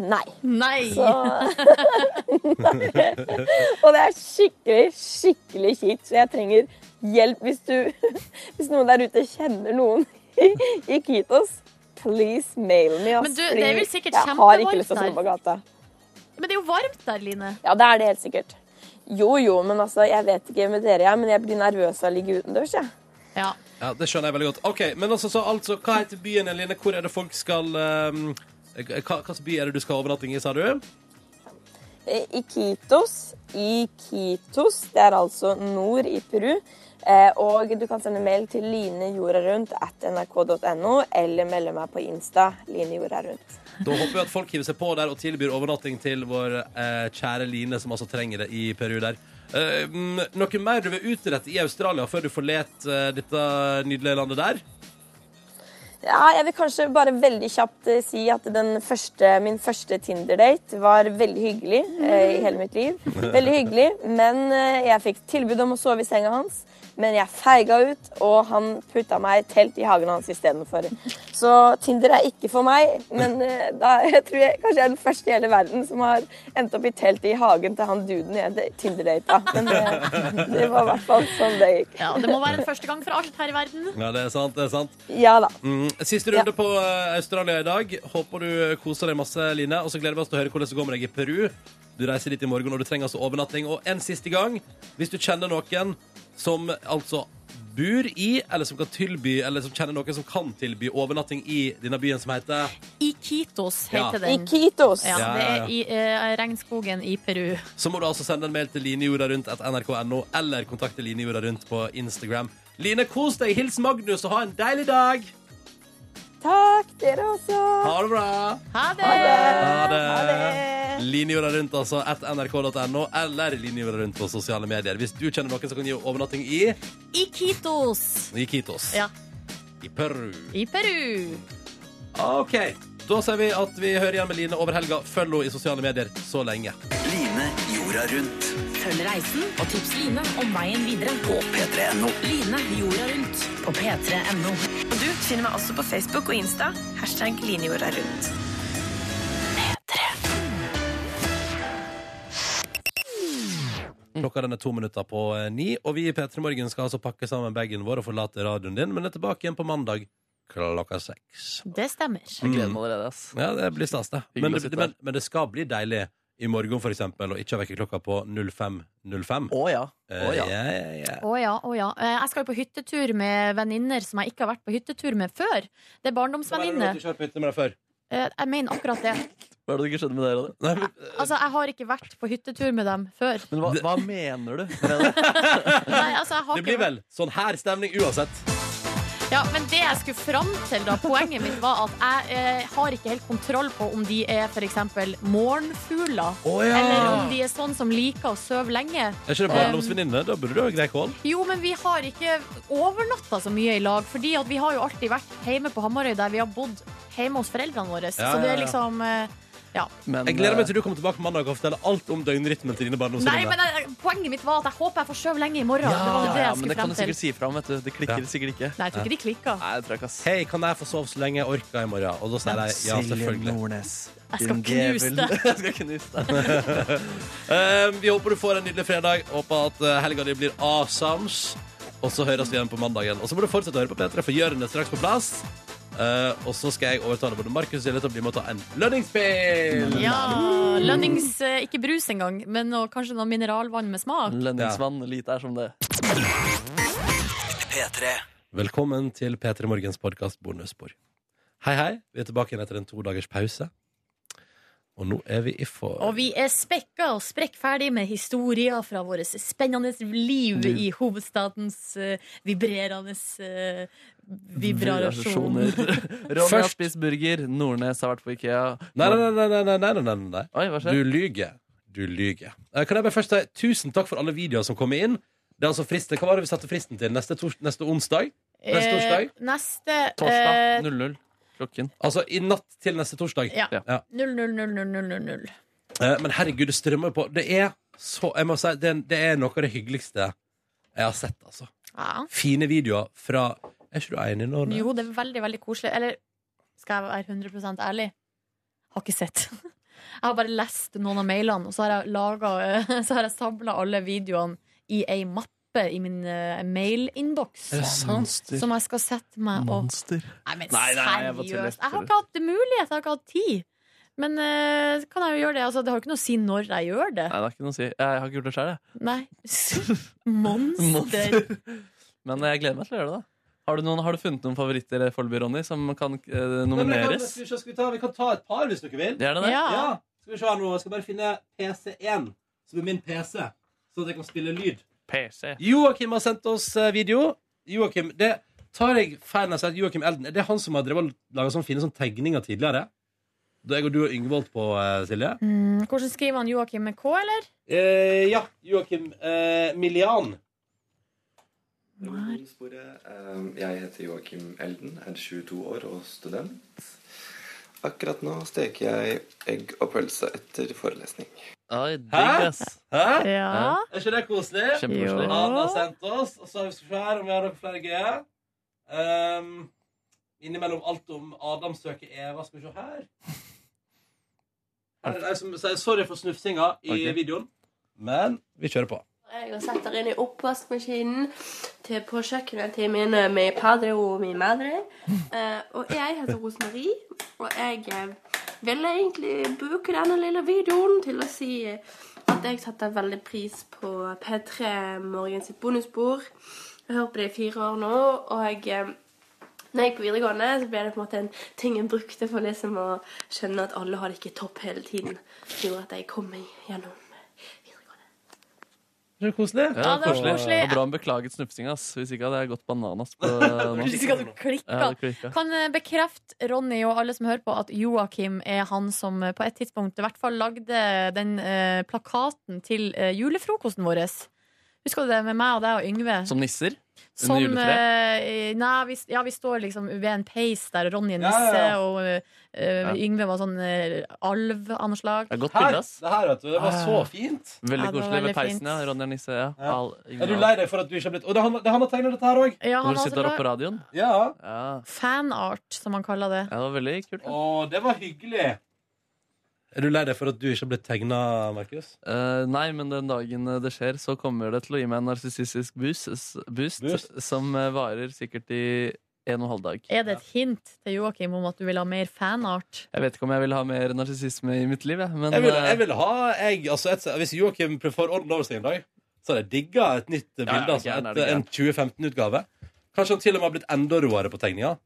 Speaker 15: Nei.
Speaker 4: Nei.
Speaker 15: Så Og det er skikkelig, skikkelig kjipt, så jeg trenger hjelp hvis du Hvis noen der ute kjenner noen i, i Kitos. Please mail me. ass,
Speaker 4: Men du, det
Speaker 15: fordi
Speaker 4: er vel sikkert
Speaker 15: Jeg har
Speaker 4: kjempevarmt
Speaker 15: ikke lyst til å
Speaker 4: der.
Speaker 15: sove på gata.
Speaker 4: Men det er jo varmt der, Line.
Speaker 15: Ja, det er det helt sikkert. Jo, jo, men altså, jeg vet ikke med dere, jeg, men jeg blir nervøs av å ligge utendørs, jeg.
Speaker 1: Ja, Det skjønner jeg veldig godt. Ok, Men altså, så, altså hva heter byen, Eline? Hvor er det folk skal um, hva, hva slags by er det du skal ha overnatting i, sa du?
Speaker 15: Eh, Iquitos. Iquitos. Det er altså nord i Peru. Eh, og du kan sende mail til linejordarundt at nrk.no, eller melde meg på Insta linejordarundt.
Speaker 1: Da håper vi at folk hiver seg på der og tilbyr overnatting til vår eh, kjære Line, som altså trenger det i Peru der. Eh, mm, noe mer du vil utrette i Australia før du forlater eh, dette nydelige landet der?
Speaker 15: Ja, jeg vil kanskje bare veldig kjapt eh, si at den første, min første Tinder-date var veldig hyggelig eh, i hele mitt liv. Veldig hyggelig, men eh, jeg fikk tilbud om å sove i senga hans. Men jeg feiga ut, og han putta meg i telt i hagen hans istedenfor. Så Tinder er ikke for meg, men eh, da, jeg tror jeg kanskje jeg er den første i hele verden som har endt opp i telt i hagen til han duden jeg Tinder-data. Men eh, det, det var i hvert fall sånn det gikk.
Speaker 4: Ja, det må være en første gang for alt her i verden.
Speaker 1: Ja, det er sant. det er sant
Speaker 15: Ja da.
Speaker 1: Mm, Siste runde på eh, Australia i dag. Håper du eh, koser deg masse, Line. Og så gleder vi oss til å høre hvordan det går med deg i Peru. Du reiser dit i morgen, og du trenger altså overnatting. Og en siste gang, hvis du kjenner noen som altså bor i, eller som kan tilby, eller som kjenner noen som kan tilby overnatting i denne byen som heter
Speaker 4: Iquitos
Speaker 1: Ja.
Speaker 4: heter den.
Speaker 15: Iquitos.
Speaker 4: Ja,
Speaker 1: Ja,
Speaker 4: det
Speaker 1: ja, ja.
Speaker 4: er i eh, regnskogen i Peru.
Speaker 1: Så må du altså sende en mail til linejorda rundt at nrk.no, eller kontakte linejorda rundt på Instagram. Line, kos deg. Hils Magnus, og ha en deilig dag.
Speaker 15: Takk, dere også.
Speaker 1: Ha det bra.
Speaker 4: Ha det!
Speaker 1: Ha det. Linjorda rundt, altså. At nrk.no, eller linjorda rundt på sosiale medier. Hvis du kjenner noen som kan gi overnatting i
Speaker 4: Iquitos.
Speaker 1: Iquitos.
Speaker 4: Ja,
Speaker 1: I Peru.
Speaker 4: i Peru.
Speaker 1: OK. Da sier vi at vi hører igjen med Line over helga. Følg henne i sosiale medier så lenge.
Speaker 14: Line jorda rundt.
Speaker 16: Følg reisen og tips Line om veien videre på
Speaker 14: P3.no.
Speaker 16: Line jorda rundt på p3.no.
Speaker 15: Og du finner meg også på Facebook og Insta. Hashtag linjorda rundt.
Speaker 1: Klokka den er to minutter på eh, ni, og vi i P3 Morgen skal altså pakke sammen bagen vår og forlate radioen din, men er tilbake igjen på mandag klokka seks.
Speaker 4: Det stemmer.
Speaker 2: Jeg gleder meg allerede. ass
Speaker 1: Mm. Ja, det blir stas, det.
Speaker 2: Hyggelig
Speaker 1: Men
Speaker 2: å
Speaker 1: det,
Speaker 2: sitte
Speaker 1: men, men det skal bli deilig i morgen, for eksempel, og ikke ha vekkerklokka på 05.05.
Speaker 2: Å ja.
Speaker 1: Eh,
Speaker 2: Å ja.
Speaker 1: ja, ja, ja.
Speaker 4: Å ja, å ja. Eh, Jeg skal jo på hyttetur med venninner som jeg ikke har vært på hyttetur med før. Det er barndomsvenninner.
Speaker 1: Hva er det du ikke har vært på hytte med deg før?
Speaker 4: Eh, Jeg mener akkurat det.
Speaker 2: Hva er det du ikke skjønner med det? Ronny?
Speaker 4: Altså, jeg har ikke vært på hyttetur med dem før.
Speaker 2: Men hva, hva mener du?
Speaker 4: Nei, altså, jeg har
Speaker 1: Det blir vel sånn her stemning uansett.
Speaker 4: Ja, men det jeg skulle fram til da, poenget mitt var at jeg eh, har ikke helt kontroll på om de er for eksempel morgenfugler,
Speaker 1: Å ja.
Speaker 4: eller om de er sånn som liker å søve lenge.
Speaker 1: Er ikke det
Speaker 4: Ehm.
Speaker 1: barndomsvenninne? Da burde du ha grei kål.
Speaker 4: Jo, men vi har ikke overnatta så mye i lag, fordi at vi har jo alltid vært hjemme på Hamarøy, der vi har bodd hjemme hos foreldrene våre.
Speaker 1: Ja,
Speaker 4: Så
Speaker 1: ja,
Speaker 4: det er
Speaker 1: ja.
Speaker 4: liksom eh, Ja.
Speaker 1: Jeg gleder
Speaker 2: eh,
Speaker 1: meg til du kommer tilbake på mandag og forteller alt om døgnrytmen til dine
Speaker 4: Nei, men
Speaker 1: barndomsvenninner.
Speaker 4: eh, poenget mitt var at jeg håper jeg får sove lenge i morgen.
Speaker 1: Ja,
Speaker 4: det var jo det
Speaker 2: ja,
Speaker 4: jeg
Speaker 2: men det
Speaker 4: skulle
Speaker 2: kan du
Speaker 4: frem til.
Speaker 2: sikkert si fra om, vet du. Det klikker
Speaker 1: Ja.
Speaker 2: sikkert ikke.
Speaker 4: Nei, jeg tror ikke de klikker.
Speaker 2: Nei, jeg tror ikke, ass.
Speaker 1: Hei, kan jeg få sove så lenge jeg orker i morgen? Og da sier jeg ja,
Speaker 2: Silje
Speaker 1: selvfølgelig.
Speaker 4: Jeg skal
Speaker 2: Din
Speaker 4: knuse
Speaker 2: djevel.
Speaker 4: det.
Speaker 2: jeg skal knuse det.
Speaker 1: um, vi håper du får en nydelig fredag. Håper at eh, helga di blir asams. Og så høres vi igjen på mandagen. Og så må du fortsette å høre på P3, for Jørn er straks på plass. Eh, og så skal jeg overtale både Markus og Silje til å bli med og ta en lønningsspill.
Speaker 4: Ja, Lønnings eh, Ikke brus engang, men noe, kanskje noe mineralvann med smak.
Speaker 2: Lønningsmann. Lite er som det.
Speaker 14: P3.
Speaker 1: Velkommen til P3 Morgens podkast Bonusspor. Hei, hei. Vi er tilbake igjen etter en to dagers pause. Og nå er vi i for...
Speaker 4: Og vi er spekka og sprekkferdig med historier fra vårt spennende liv
Speaker 1: Liv.
Speaker 4: i hovedstadens eh, vibrerende eh, vibrasjoner.
Speaker 2: Ronny har spist burger. Nordnes har vært på Ikea.
Speaker 1: Nei, nei, nei, nei, nei, nei, nei, nei, nei.
Speaker 2: Oi, hva skjer?
Speaker 1: Du lyger. Du lyger. Eh, Kan jeg bare først si tusen takk for alle videoer som kommer inn? Det er altså fristen. Hva var det vi satte fristen til? Neste, tors neste onsdag? Neste torsdag?
Speaker 4: Eh, neste eh,
Speaker 2: Torsdag 00. Klokken.
Speaker 1: Altså i natt til neste torsdag.
Speaker 4: Ja. 00000.
Speaker 1: Eh, Men herregud, det strømmer på. Det er så Jeg må si, det er, det er noe av det hyggeligste jeg har sett, altså.
Speaker 4: Ja.
Speaker 1: Fine videoer fra Er ikke du enig
Speaker 2: Sånn,
Speaker 1: nå? Nordnes?
Speaker 4: Jo, det er veldig, veldig koselig. Eller skal jeg være 100 ærlig? Har ikke sett. Jeg har bare lest noen av mailene, og så har jeg, laget, eh, så har jeg samla alle videoene i ei mappe i min eh, mailinnboks.
Speaker 2: Er det sant?
Speaker 4: Som jeg skal sette meg og
Speaker 2: Monster.
Speaker 4: Nei, men
Speaker 2: Nei, nei, jeg bare tuller,
Speaker 4: seriøst. Jeg har
Speaker 2: tuller.
Speaker 4: ikke hatt mulighet, jeg har ikke hatt tid. Men eh, så kan jeg jo gjøre det? Altså, det har jo ikke noe å si når jeg gjør det.
Speaker 2: Nei, det er ikke noe å si. Jeg har ikke gjort det sjøl, jeg.
Speaker 4: Nei. Monster.
Speaker 2: Men eh, jeg gleder meg til å gjøre det, da. Har du, noen, har du funnet noen favoritter eh, foreløpig, Ronny, som kan
Speaker 17: Nei,
Speaker 2: eh,
Speaker 17: men jeg kan-
Speaker 2: nomineres?
Speaker 17: skal vi se, skal vi, ta, vi kan ta et par, hvis dere vil.
Speaker 2: Gjerne det. Ja.
Speaker 17: Skal vi se her nå. Jeg skal bare finne PC1, som er min PC, så at jeg kan spille lyd.
Speaker 2: PC.
Speaker 1: Joakim har sendt oss eh, video. Joakim, det tar jeg feil når jeg sier at Joakim Elden Er det han som har drevet og laga sånne fine sånne tegninger tidligere? Da jeg og du og Yngvold på, eh, Silje?
Speaker 4: Mm, hvordan skriver han Joakim med K, eller?
Speaker 17: Eh, ja, Joakim eh, Milian.
Speaker 12: eh,
Speaker 18: Ehm, Jeg heter Joakim Elden, er 22 år og student. Akkurat nå steker jeg egg og pølse etter forelesning.
Speaker 2: Oi,
Speaker 17: Hæ? Hæ?
Speaker 18: Ja.
Speaker 17: Er ikke det koselig?
Speaker 18: Kjempekoselig. Jo.
Speaker 17: Han har sendt oss. Og så har vi skal vi se her om vi har noen flere gøye. Ehm, innimellom alt om Adam søker Eva. Skal vi se her. Her er det en som sier sorry for snufsinga i
Speaker 1: Ok.
Speaker 17: videoen. Men vi kjører på.
Speaker 8: Jeg har satt det inn i oppvaskmaskinen til, på kjøkkenet til min, eh, min padre og min madre. Eh, og jeg heter Rosemarie, og jeg eh, ville egentlig bruke denne lille videoen til å si eh, at jeg setter veldig pris på P3 Morgen sitt bonusbord. Jeg har hørt på det i fire år nå, og eh, når jeg gikk på videregående, så ble det på en måte en ting jeg brukte for liksom å skjønne at alle har det ikke topp hele tiden. Som gjorde at jeg kom meg gjennom.
Speaker 1: Det er koselig.
Speaker 2: Ja,
Speaker 8: Ja, det var
Speaker 2: koselig.
Speaker 8: koselig.
Speaker 2: Og bra han beklaget snufsinga. ass. Hvis ikke hadde jeg gått bananas på nå.
Speaker 4: Hvis ikke hadde du klikket.
Speaker 2: Ja, det klikket.
Speaker 4: Kan eh, bekrefte Ronny og alle som hører på, at Joakim er han som eh, på et tidspunkt i hvert fall lagde den eh, plakaten til eh, julefrokosten vår. Husker du det med meg og deg og Yngve?
Speaker 2: Som nisser?
Speaker 4: Som,
Speaker 2: under juletreet?
Speaker 4: eh, nei, vi, ja, vi står liksom ved en peis der Ronny er
Speaker 2: Ja,
Speaker 4: nisse,
Speaker 2: ja, ja.
Speaker 4: og eh,
Speaker 2: Ja.
Speaker 4: Yngve var sånn eh, alv av noe slag.
Speaker 2: Det er godt bilde, ass.
Speaker 17: Det her, vet du, det var
Speaker 2: Ah.
Speaker 17: så fint.
Speaker 2: Veldig
Speaker 4: Ja, det var
Speaker 2: koselig
Speaker 4: veldig
Speaker 2: ved peisen,
Speaker 4: fint.
Speaker 2: ja. Ronny er nisse, ja. Al-
Speaker 17: Er du lei deg for at du ikke har blitt Og det er han- det er han har tegna dette her òg.
Speaker 4: Ja,
Speaker 2: Hvor
Speaker 4: han har
Speaker 2: sitter
Speaker 4: altså
Speaker 2: oppe på
Speaker 4: la-
Speaker 2: radioen?
Speaker 17: Ja.
Speaker 2: ja.
Speaker 4: Fanart, som han kaller det.
Speaker 2: Det var veldig kult.
Speaker 17: Å, det var hyggelig.
Speaker 1: Er du lei deg for at du ikke har blitt tegna, Markus?
Speaker 2: Eh, nei, men den dagen eh, det skjer, så kommer det til å gi meg en narsissistisk boost, s- boost, som eh, varer sikkert i en og en halv dag.
Speaker 4: Er det et hint til Joakim om at du vil ha mer fanart?
Speaker 2: Jeg vet ikke om jeg vil ha mer narsissisme i mitt liv, jeg. Men,
Speaker 1: Jeg vil,
Speaker 2: eh,
Speaker 1: jeg vil ha jeg, altså et, Hvis Joakim får orden over seg en dag, så hadde jeg digga et nytt eh,
Speaker 2: Ja,
Speaker 1: bilde.
Speaker 2: ja,
Speaker 1: altså,
Speaker 2: gjerne er
Speaker 1: et,
Speaker 2: det
Speaker 1: en 2015-utgave. Kanskje han til og med har blitt enda råere på tegninga.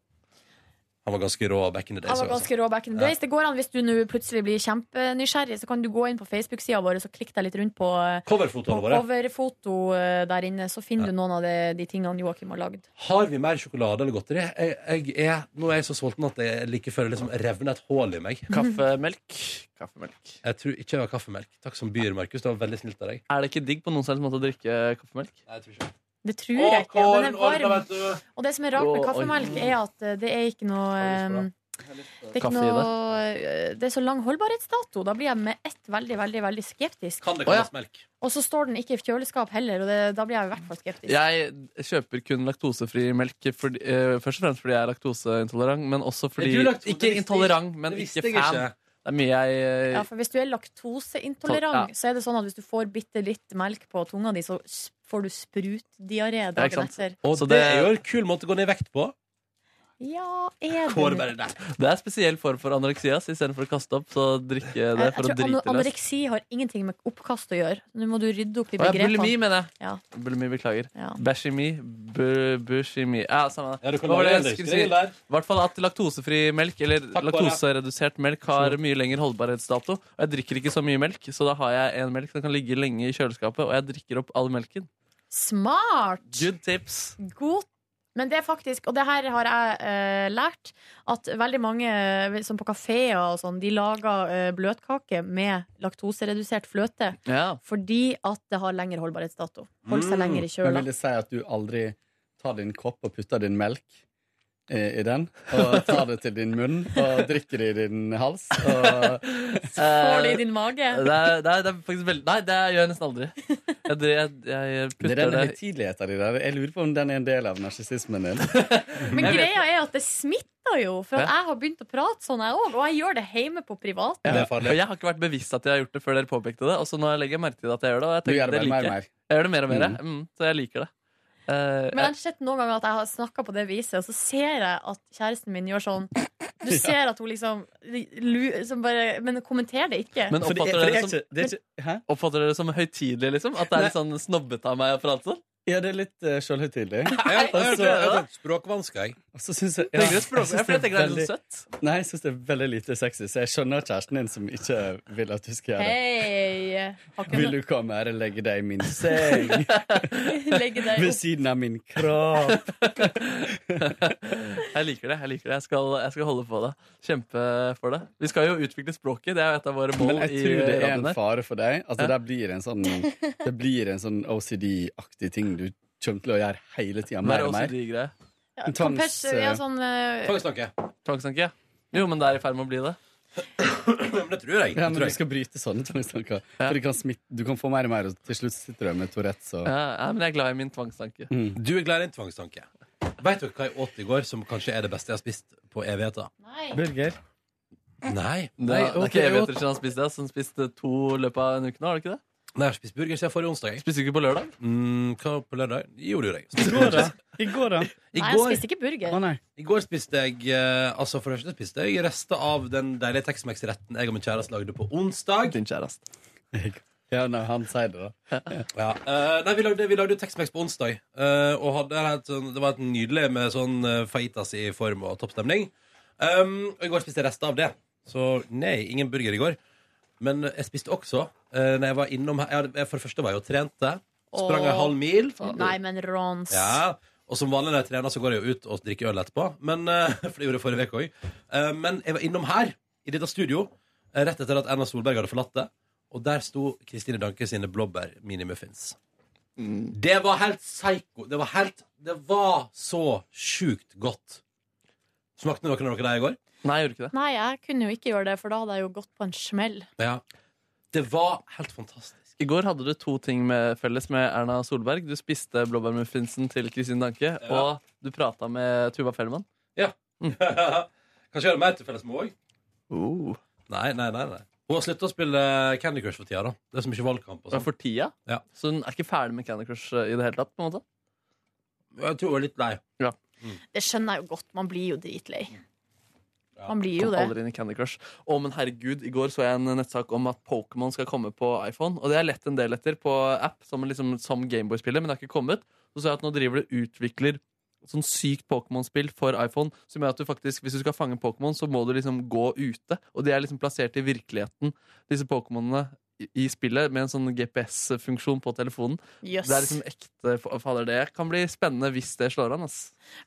Speaker 1: Han var ganske rå back in the days.
Speaker 4: Han var
Speaker 1: altså.
Speaker 4: ganske rå back in the
Speaker 1: Ja.
Speaker 4: days. Det går an hvis du nå plutselig blir kjempenysgjerrig, så kan du gå inn på Facebook-sida vår og klikke deg litt rundt på eh,
Speaker 1: Coverfotoene
Speaker 4: på
Speaker 1: våre.
Speaker 4: coverfoto eh, der inne, så finner du noen av de, de tingene Joakim har lagd.
Speaker 1: Har vi mer sjokolade eller godteri? Jeg, jeg er, nå er jeg så sulten at jeg like før det liksom revner et hull i meg.
Speaker 2: Kaffemelk.
Speaker 1: Jeg tror ikke jeg har kaffemelk. Takk som byr, Markus. Det var veldig snilt av deg.
Speaker 2: Er det ikke digg på noen som helst måte å drikke kaffemelk?
Speaker 1: Nei, jeg tror ikke.
Speaker 4: Det tror jeg ikke.
Speaker 1: Å,
Speaker 4: og Den er
Speaker 1: kålen,
Speaker 4: varm.
Speaker 1: Olga, vet du.
Speaker 4: Og det som er rart
Speaker 2: Å,
Speaker 4: med
Speaker 2: oi.
Speaker 4: kaffemelk, er at eh, det er ikke noe eh, det er, ikke
Speaker 2: Kaffe i
Speaker 4: noe, eh, det er så lang holdbarhetsdato. Da blir jeg med ett veldig veldig, veldig skeptisk.
Speaker 1: Kan det
Speaker 2: Å, ja.
Speaker 1: kalles melk?
Speaker 4: Og så står den ikke i kjøleskap heller, og det, da blir jeg i hvert fall skeptisk.
Speaker 2: Jeg kjøper kun laktosefri melk, fordi, eh, først og fremst fordi jeg er laktoseintolerant, men også fordi
Speaker 1: Er du laktose-
Speaker 2: Ikke
Speaker 1: det visste jeg-
Speaker 2: intolerant, men
Speaker 1: det visste
Speaker 2: ikke
Speaker 1: jeg
Speaker 2: fan.
Speaker 1: ikke.
Speaker 2: Det er mye jeg eh,
Speaker 4: Ja, for Hvis du er
Speaker 2: Ja.
Speaker 4: laktoseintolerant, så er det sånn at hvis du får bitte litt melk på tunga di, så s- får du sprutdiaré
Speaker 1: Ja, ikke
Speaker 4: dagen
Speaker 1: sant?
Speaker 4: etter.
Speaker 1: Og
Speaker 2: Så
Speaker 1: det,
Speaker 2: det-
Speaker 1: er jo en kul måte å gå ned i vekt på.
Speaker 4: Ja, er
Speaker 1: Kåre
Speaker 4: det
Speaker 1: bare der.
Speaker 2: Det er spesiell form for anoreksias. Istedenfor å kaste opp, så drikke det
Speaker 4: Eh, Jeg
Speaker 2: for å
Speaker 4: tror
Speaker 2: drite
Speaker 4: ano-
Speaker 2: løs.
Speaker 4: anoreksi har ingenting med oppkast å gjøre. Nå må du rydde opp i
Speaker 2: Å, ja,
Speaker 4: begrepene.
Speaker 2: bulimi, mener jeg.
Speaker 4: Ja.
Speaker 2: Bulimi, beklager.
Speaker 4: Ja.
Speaker 2: Bashimi, bu- bushimi Ja, samme det.
Speaker 1: Ja, du kan
Speaker 2: Hva var det
Speaker 1: lage
Speaker 2: jeg
Speaker 1: en
Speaker 2: skulle si?
Speaker 1: røykring der.
Speaker 2: I hvert fall at laktosefri melk, eller
Speaker 1: Kåre.
Speaker 2: laktoseredusert melk, har mye lengre holdbarhetsdato. Og jeg drikker ikke så mye melk, så da har jeg en melk som kan ligge lenge i kjøleskapet, og jeg drikker opp all melken.
Speaker 4: Smart!
Speaker 2: Good tips.
Speaker 4: God men det er faktisk, og det her har jeg eh, lært, at veldig mange eh, som på kafeer og sånn, de lager eh, bløtkake med laktoseredusert fløte.
Speaker 2: Ja. Mm.
Speaker 4: Fordi at det har lengre holdbarhetsdato. Holder seg lenger i
Speaker 9: Men
Speaker 4: kjøla.
Speaker 9: vil det si at du aldri tar din kopp og putter din melk
Speaker 7: i, eh, i den, og tar det til din munn og drikker det i din hals. Og
Speaker 4: Får det i din mage?
Speaker 2: Eh, Det er, det er, det er faktisk veldig Nei, det gjør jeg nesten aldri. Jeg, jeg, jeg
Speaker 7: det
Speaker 2: putter
Speaker 7: er den
Speaker 2: det
Speaker 7: høytideligheten din der. Jeg lurer på om den er en del av narsissismen din.
Speaker 4: Men greia er at det smitter jo, for
Speaker 2: Ja.
Speaker 4: jeg har begynt å prate sånn, jeg òg. Og jeg gjør det hjemme på privat.
Speaker 2: Ja. Og jeg har ikke vært bevisst at jeg har gjort det før dere påpekte det. Og så nå legger jeg merke til at jeg gjør det. Og jeg
Speaker 7: Du
Speaker 2: tenker,
Speaker 7: gjør det
Speaker 2: det
Speaker 7: mer og
Speaker 2: liker
Speaker 7: mer.
Speaker 2: jeg. Jeg gjør det mer og mer,
Speaker 7: Mm.
Speaker 2: jeg. mm. så jeg liker det. Eh,
Speaker 4: Men jeg har sett noen ganger at jeg har snakka på det viset, og så ser jeg at kjæresten min gjør sånn. Du ser at hun liksom lu- som bare, Men kommenterer det ikke.
Speaker 2: Men
Speaker 7: For det er-
Speaker 2: oppfatter
Speaker 7: for det
Speaker 2: dere
Speaker 7: er
Speaker 2: det som,
Speaker 7: ikke- det er
Speaker 2: oppfatter dere det som høytidelig, liksom? At det er litt sånn snobbete av meg å prate sånn?
Speaker 7: Ja, det er litt uh, sjølhøytidelig.
Speaker 1: Jeg har
Speaker 7: altså,
Speaker 1: hørt språkvansker, jeg.
Speaker 7: Og så syns jeg,
Speaker 1: Tenker du språk-
Speaker 7: synes
Speaker 1: Ja, for jeg tenker det er litt
Speaker 7: veldig- Nei, jeg syns det er veldig lite sexy, så jeg skjønner kjæresten din som ikke vil at du skal gjøre det.
Speaker 4: Hei! Har ikke
Speaker 7: Vil du komme her og legge deg i min seng?
Speaker 4: noe- Legge deg
Speaker 7: Ved
Speaker 4: opp.
Speaker 7: siden av min kropp.
Speaker 2: Jeg liker det. Jeg liker det. Jeg skal, jeg skal holde på det. Kjempe for det. Vi skal jo utvikle språket. Det er jo et av våre mål
Speaker 7: Men jeg
Speaker 2: i
Speaker 7: tror det er
Speaker 2: radioen
Speaker 7: en
Speaker 2: her.
Speaker 7: fare for deg. Altså,
Speaker 2: Ja.
Speaker 7: det, blir en sånn, det blir en sånn OCD-aktig ting du kommer til å gjøre hele tida.
Speaker 2: Hva er
Speaker 7: Mer og mer.
Speaker 2: OCD-greie?
Speaker 4: Ja,
Speaker 7: En tvangs-
Speaker 4: Kompers, vi har sånn eh,
Speaker 1: Tvangstanke.
Speaker 2: Tvangstanke, ja. Jo, men det er i ferd med å bli det.
Speaker 1: det tror jeg.
Speaker 7: Ja, men du skal bryte sånne tvangstanker. For du kan, smitte, du kan få mer og mer, og til slutt sitter du med Tourettes og
Speaker 2: Ja, ja, men jeg er glad i min tvangstanke.
Speaker 1: Mm. Du er glad i en tvangstanke. Veit dere hva jeg åt i går som kanskje er det beste jeg har spist på evigheter?
Speaker 7: Burger.
Speaker 1: Nei.
Speaker 2: Det er, det er
Speaker 1: ok,
Speaker 2: ikke evigheter
Speaker 1: jeg åt-
Speaker 2: siden han spiste det. Så han spiste to i løpet av en uke nå, har du ikke det?
Speaker 1: Nei, jeg har spist burger siden forrige onsdag.
Speaker 2: Spiste du ikke på lørdag?
Speaker 1: Mm, hva på lørdag? Jo, det gjorde jeg.
Speaker 7: I går, da? I går, da?
Speaker 1: I
Speaker 4: Nei, jeg
Speaker 1: går-
Speaker 4: spiste ikke burger.
Speaker 1: I går spiste jeg eh, Altså for det første spiste jeg rester av den deilige Tex-Mex-retten jeg og min kjæreste lagde på onsdag.
Speaker 2: Din kjæreste.
Speaker 7: Ja, når han sier det, da.
Speaker 1: Ja. eh, nei, vi lagde, vi lagde jo Tex-Mex på onsdag. eh, og hadde et, sånn- det var et nydelig med sånn eh, fajitas i form og toppstemning. Um, og i går spiste jeg rester av det. Så nei, ingen burger i går. Men jeg spiste også uh, når jeg var innom her. Jeg hadde, jeg- for det første var jeg jo trente. Sprang en
Speaker 4: Åh.
Speaker 1: halv mil.
Speaker 4: Nei, men Rons.
Speaker 1: Ja, og som vanlig når jeg trener, så går jeg jo ut og drikker øl etterpå. Men, eh, for det gjorde jeg forrige uke òg. men jeg var innom her, i dette studio, eh, rett etter at Erna Solberg hadde forlatt det. Og der sto Kristine Danke sine blåbær minimuffins. Det var helt psycho. Det var helt Det var så sjukt godt. Smakte noen av dere det i går?
Speaker 2: Nei, jeg gjorde ikke det.
Speaker 4: Nei, jeg kunne jo ikke gjøre det, for da hadde jeg jo gått på en smell.
Speaker 1: Ja. Det var helt fantastisk.
Speaker 2: I går hadde du to ting med, felles med Erna Solberg. Du spiste blåbærmuffinsen til Kristin Danke, og du prata med Tuva Fellmann.
Speaker 1: Ja. Kanskje jeg har mer til felles med henne òg? Uh.
Speaker 2: Oh.
Speaker 1: Nei, nei, nei, nei. Hun har sluttet å spille eh, Candy Crush for tida. da Det er så mye valgkamp. og
Speaker 2: Men
Speaker 1: sånn.
Speaker 2: For tida?
Speaker 1: Ja.
Speaker 2: Så hun er ikke ferdig med Candy Crush eh, i det hele tatt? på en måte?
Speaker 1: Jeg tror hun er litt lei.
Speaker 2: Ja.
Speaker 4: Det skjønner jeg jo godt. Man blir jo dritlei. Man blir jo
Speaker 2: Kom
Speaker 4: det.
Speaker 2: aldri inn i Candy Crush. Å, men herregud, I går så jeg en nettsak om at Pokémon skal komme på iPhone. Og det har jeg lett en del etter på app, som, liksom, som Gameboy-spiller, men det har ikke kommet. Så sa jeg at nå driver du utvikler sånn sykt Pokémon-spill for iPhone, som gjør at du faktisk, hvis du skal fange Pokémon, så må du liksom gå ute. Og de er liksom plassert i virkeligheten, disse Pokémonene, i- i spillet, med en sånn GPS-funksjon på telefonen.
Speaker 4: Jøss.
Speaker 2: Det er liksom ekte Fader, det kan bli spennende hvis det slår an, ass.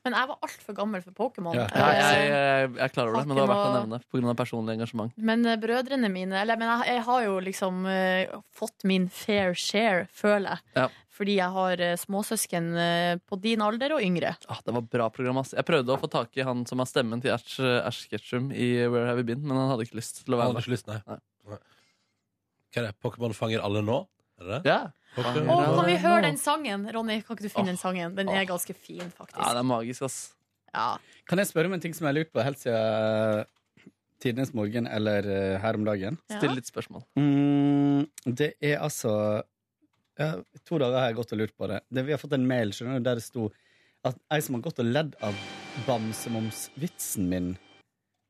Speaker 4: Men jeg var altfor gammel for Pokémon.
Speaker 2: Ja.
Speaker 4: Eh,
Speaker 2: Jeg, jeg, jeg klarer det, men det var verdt å
Speaker 4: Haken
Speaker 2: nevne pga. personlig engasjement.
Speaker 4: Men eh, brødrene mine Eller men jeg, jeg har jo liksom eh, fått min fair share, føler jeg.
Speaker 2: Ja.
Speaker 4: Fordi jeg har eh, småsøsken eh, på din alder og yngre.
Speaker 2: Ah, det var bra program, ass. Jeg prøvde å få tak i han som har stemmen til Ash, Ash Ketchum i Where Have You Been, men han hadde ikke lyst til å være
Speaker 1: Han hadde ikke lyst, nei.
Speaker 2: Nei.
Speaker 1: Hva er det? Pokémon fanger alle nå? Er det det?
Speaker 2: Ja.
Speaker 1: Pokémon-
Speaker 4: Å, kan vi høre den sangen? Ronny, kan ikke du finne den sangen? Den er ganske fin, faktisk.
Speaker 2: det er magisk, ass.
Speaker 4: Ja.
Speaker 7: Kan jeg spørre om en ting som jeg har lurt på helt siden eh, tidenes morgen eller eh, her om dagen?
Speaker 2: Ja. Still litt spørsmål.
Speaker 7: Mm, det er altså ja, To dager har jeg gått og lurt på det. det vi har fått en mail skjønner du, der det sto at ei som har gått og ledd av bamsemomsvitsen min